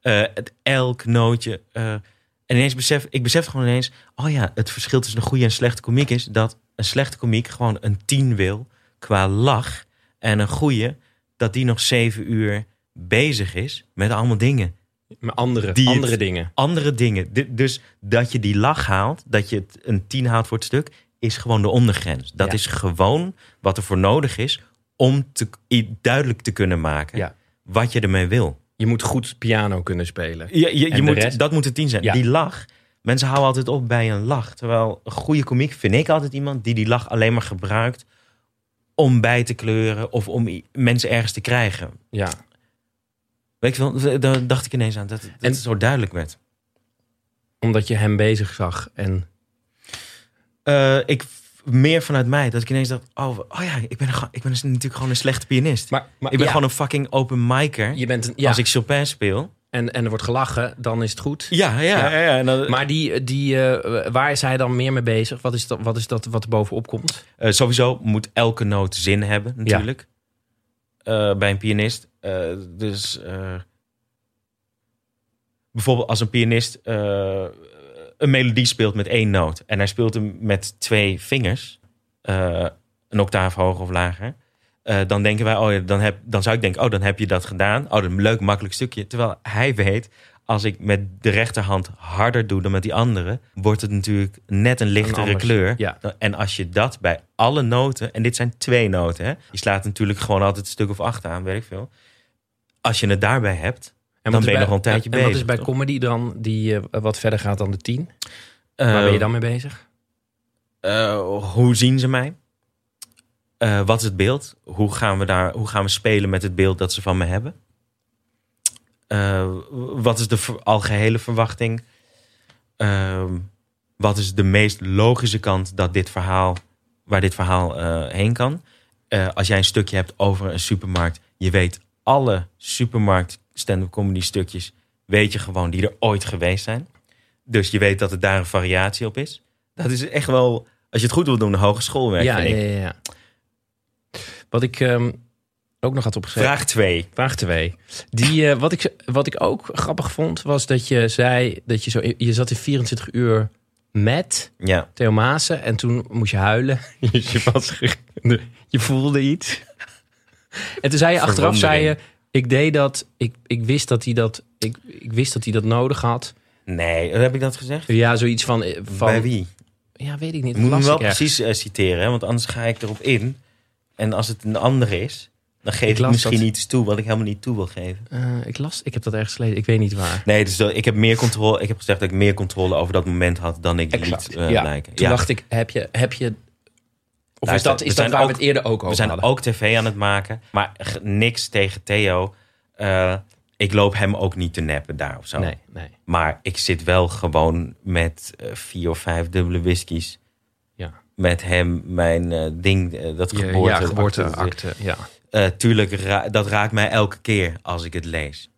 Speaker 2: Eh, het elk nootje. eh, en ineens besef ik besef gewoon ineens: oh ja, het verschil tussen een goede en slechte komiek is dat een slechte komiek gewoon een 10 wil qua lach. En een goede, dat die nog zeven uur bezig is met allemaal dingen.
Speaker 1: Met andere,
Speaker 2: Die het-
Speaker 1: andere dingen.
Speaker 2: Andere dingen. Di- dus dat je die lach haalt, dat je het een 10 haalt voor het stuk, is gewoon de ondergrens. Dat
Speaker 1: Ja.
Speaker 2: is gewoon wat er voor nodig is om te, i- duidelijk te kunnen maken
Speaker 1: Ja.
Speaker 2: wat je ermee wil.
Speaker 1: Je moet goed piano kunnen spelen.
Speaker 2: Ja, je,
Speaker 1: En
Speaker 2: je
Speaker 1: de
Speaker 2: moet,
Speaker 1: rest?
Speaker 2: dat moet een tien zijn.
Speaker 1: Ja.
Speaker 2: Die lach. Mensen houden altijd op bij een lach. Terwijl een goede komiek vind ik altijd iemand die die lach alleen maar gebruikt om bij te kleuren of om i- mensen ergens te krijgen.
Speaker 1: Ja.
Speaker 2: Weet je wel, daar dacht ik ineens aan dat, dat
Speaker 1: En-
Speaker 2: het zo duidelijk werd.
Speaker 1: Omdat je hem bezig zag. En
Speaker 2: Eh, ik, meer vanuit mij, dat ik ineens dacht, oh, oh ja, ik ben, een ge- ik ben natuurlijk gewoon een slechte pianist.
Speaker 1: maar, maar,
Speaker 2: ik ben
Speaker 1: ja,
Speaker 2: gewoon een fucking open micer.
Speaker 1: Je bent een, ja.
Speaker 2: Als ik Chopin speel.
Speaker 1: en, en er wordt gelachen, dan is het goed.
Speaker 2: Ja, ja, ja. en dan-
Speaker 1: Maar die, die, eh, waar is hij dan meer mee bezig? Wat is dat wat, is dat wat er bovenop komt?
Speaker 2: Eh, sowieso moet elke noot zin hebben, natuurlijk. Eh, bij een pianist. Eh, dus eh, bijvoorbeeld als een pianist eh, een melodie speelt met één noot en hij speelt hem met twee vingers, eh, een octaaf hoger of lager, eh, dan denken wij, oh ja, dan, heb, dan zou ik denken, oh dan heb je dat gedaan. Oh, dat is een leuk, makkelijk stukje. Terwijl hij weet, als ik met de rechterhand harder doe dan met die andere, wordt het natuurlijk net een lichtere
Speaker 1: anders,
Speaker 2: kleur.
Speaker 1: ja.
Speaker 2: En als je dat bij alle noten, en dit zijn twee noten, hè, je slaat natuurlijk gewoon altijd een stuk of acht aan, weet ik veel. Als je het daarbij hebt,
Speaker 1: En
Speaker 2: Dan
Speaker 1: wat is
Speaker 2: ben je
Speaker 1: bij-
Speaker 2: nog wel een tijdje
Speaker 1: en, En wat is
Speaker 2: bezig,
Speaker 1: bij
Speaker 2: toch?
Speaker 1: comedy dan die eh, wat verder gaat dan de tien?
Speaker 2: eh,
Speaker 1: Waar ben je dan mee bezig?
Speaker 2: Eh, hoe zien ze mij? Eh, wat is het beeld? Hoe gaan, we daar, hoe gaan we spelen met het beeld dat ze van me hebben? Eh, wat is de ver- algehele verwachting? Ehm, wat is de meest logische kant dat dit verhaal, waar dit verhaal eh, heen kan? Eh, als jij een stukje hebt over een supermarkt, je weet alle supermarkt stand-up comedy stukjes, weet je gewoon die er ooit geweest zijn. Dus je weet dat er daar een variatie op is. Dat is echt wel, als je het goed wil doen, een hogeschoolwerk.
Speaker 1: ja,
Speaker 2: vind ik.
Speaker 1: ja, ja, ja. Wat ik ehm, ook nog had opgeschreven.
Speaker 2: Vraag 2.
Speaker 1: Vraag 2. Die, eh, wat, ik, wat ik ook grappig vond, was dat je zei dat je zo. Je zat in 24 uur met
Speaker 2: Ja.
Speaker 1: Theo Maassen en toen moest je huilen. Dus je, was, ge- je voelde iets. En toen zei je achteraf, zei je, ik deed dat, ik, ik wist dat hij dat, ik, ik wist dat hij dat nodig had.
Speaker 2: Nee, heb ik dat gezegd?
Speaker 1: Ja, zoiets van, eh, van
Speaker 2: Bij wie?
Speaker 1: ja, weet ik niet.
Speaker 2: Ik moet hem
Speaker 1: las
Speaker 2: wel
Speaker 1: ik ergens.
Speaker 2: precies eh, citeren, hè, want anders ga ik erop in. En als het een ander is, dan
Speaker 1: Ik
Speaker 2: geef ik,
Speaker 1: las
Speaker 2: misschien
Speaker 1: dat-
Speaker 2: iets toe wat ik helemaal niet toe wil geven.
Speaker 1: Eh, ik las, ik heb dat ergens gelezen, ik weet niet waar.
Speaker 2: Nee, dus dat- ik, heb meer controle, ik heb gezegd dat ik meer controle over dat moment had dan ik liet eh,
Speaker 1: ja,
Speaker 2: lijken.
Speaker 1: toen
Speaker 2: Ja.
Speaker 1: dacht ik, heb je, heb je, of is
Speaker 2: Luister,
Speaker 1: dat,
Speaker 2: we
Speaker 1: is dat
Speaker 2: zijn
Speaker 1: waar we
Speaker 2: ook-
Speaker 1: het eerder ook
Speaker 2: We
Speaker 1: over
Speaker 2: zijn
Speaker 1: hadden?
Speaker 2: ook tv aan het maken, maar g- niks tegen Theo. Eh, ik loop hem ook niet te neppen daar of zo.
Speaker 1: Nee, nee.
Speaker 2: Maar ik zit wel gewoon met eh, vier of vijf dubbele whiskies.
Speaker 1: Ja.
Speaker 2: Met hem, mijn eh, ding, eh, dat
Speaker 1: Je-
Speaker 2: geboorte.
Speaker 1: ja, geboorteakte, ja.
Speaker 2: Eh, tuurlijk, ra- dat raakt mij elke keer als ik het lees.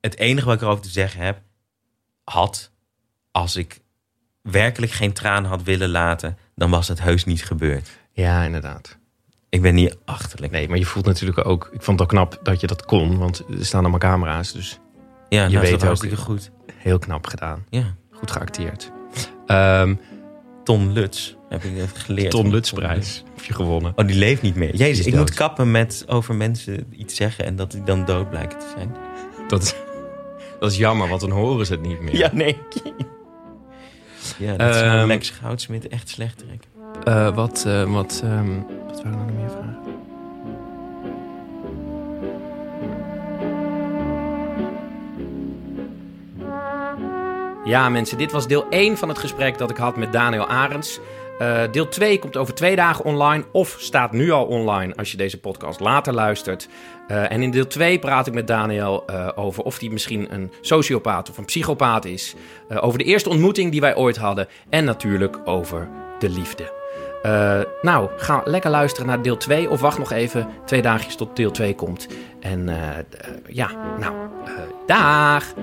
Speaker 2: Het enige wat ik erover te zeggen heb, had, als ik werkelijk geen traan had willen laten, dan was het heus niet gebeurd.
Speaker 1: Ja, inderdaad.
Speaker 2: Ik ben niet achterlijk.
Speaker 1: Nee, maar je voelt natuurlijk ook... Ik vond het ook knap dat je dat kon, want er staan allemaal camera's. Dus
Speaker 2: ja,
Speaker 1: je
Speaker 2: nou, is
Speaker 1: weet
Speaker 2: dat
Speaker 1: ook-
Speaker 2: hartstikke goed.
Speaker 1: heel knap gedaan.
Speaker 2: Ja.
Speaker 1: Goed geacteerd. Ehm
Speaker 2: Ton Lutz, heb ik even geleerd.
Speaker 1: Ton Lutzprijs heb je gewonnen.
Speaker 2: Oh, die leeft niet meer. Jezus,
Speaker 1: Die is
Speaker 2: ik
Speaker 1: dood.
Speaker 2: moet kappen met over mensen iets zeggen en dat die dan dood blijken te zijn.
Speaker 1: Dat is, dat is jammer, want dan horen ze het niet meer.
Speaker 2: nee. ja, dat is
Speaker 1: Ehm,
Speaker 2: Lex Goudsmit echt slecht trekken.
Speaker 1: Eh, wat, eh, wat, ehm, wat waren er nog meer vragen?
Speaker 5: Ja, mensen, dit was deel 1 van het gesprek dat ik had met Daniel Arends. Eh, deel 2 komt over twee dagen online of staat nu al online als je deze podcast later luistert. Eh, en in deel 2 praat ik met Daniel eh, over of hij misschien een sociopaat of een psychopaat is. Eh, over de eerste ontmoeting die wij ooit hadden en natuurlijk over de liefde. Eh, nou, ga lekker luisteren naar deel 2 of wacht nog even twee dagjes tot deel 2 komt. En eh, d- eh, ja, nou, eh, daag!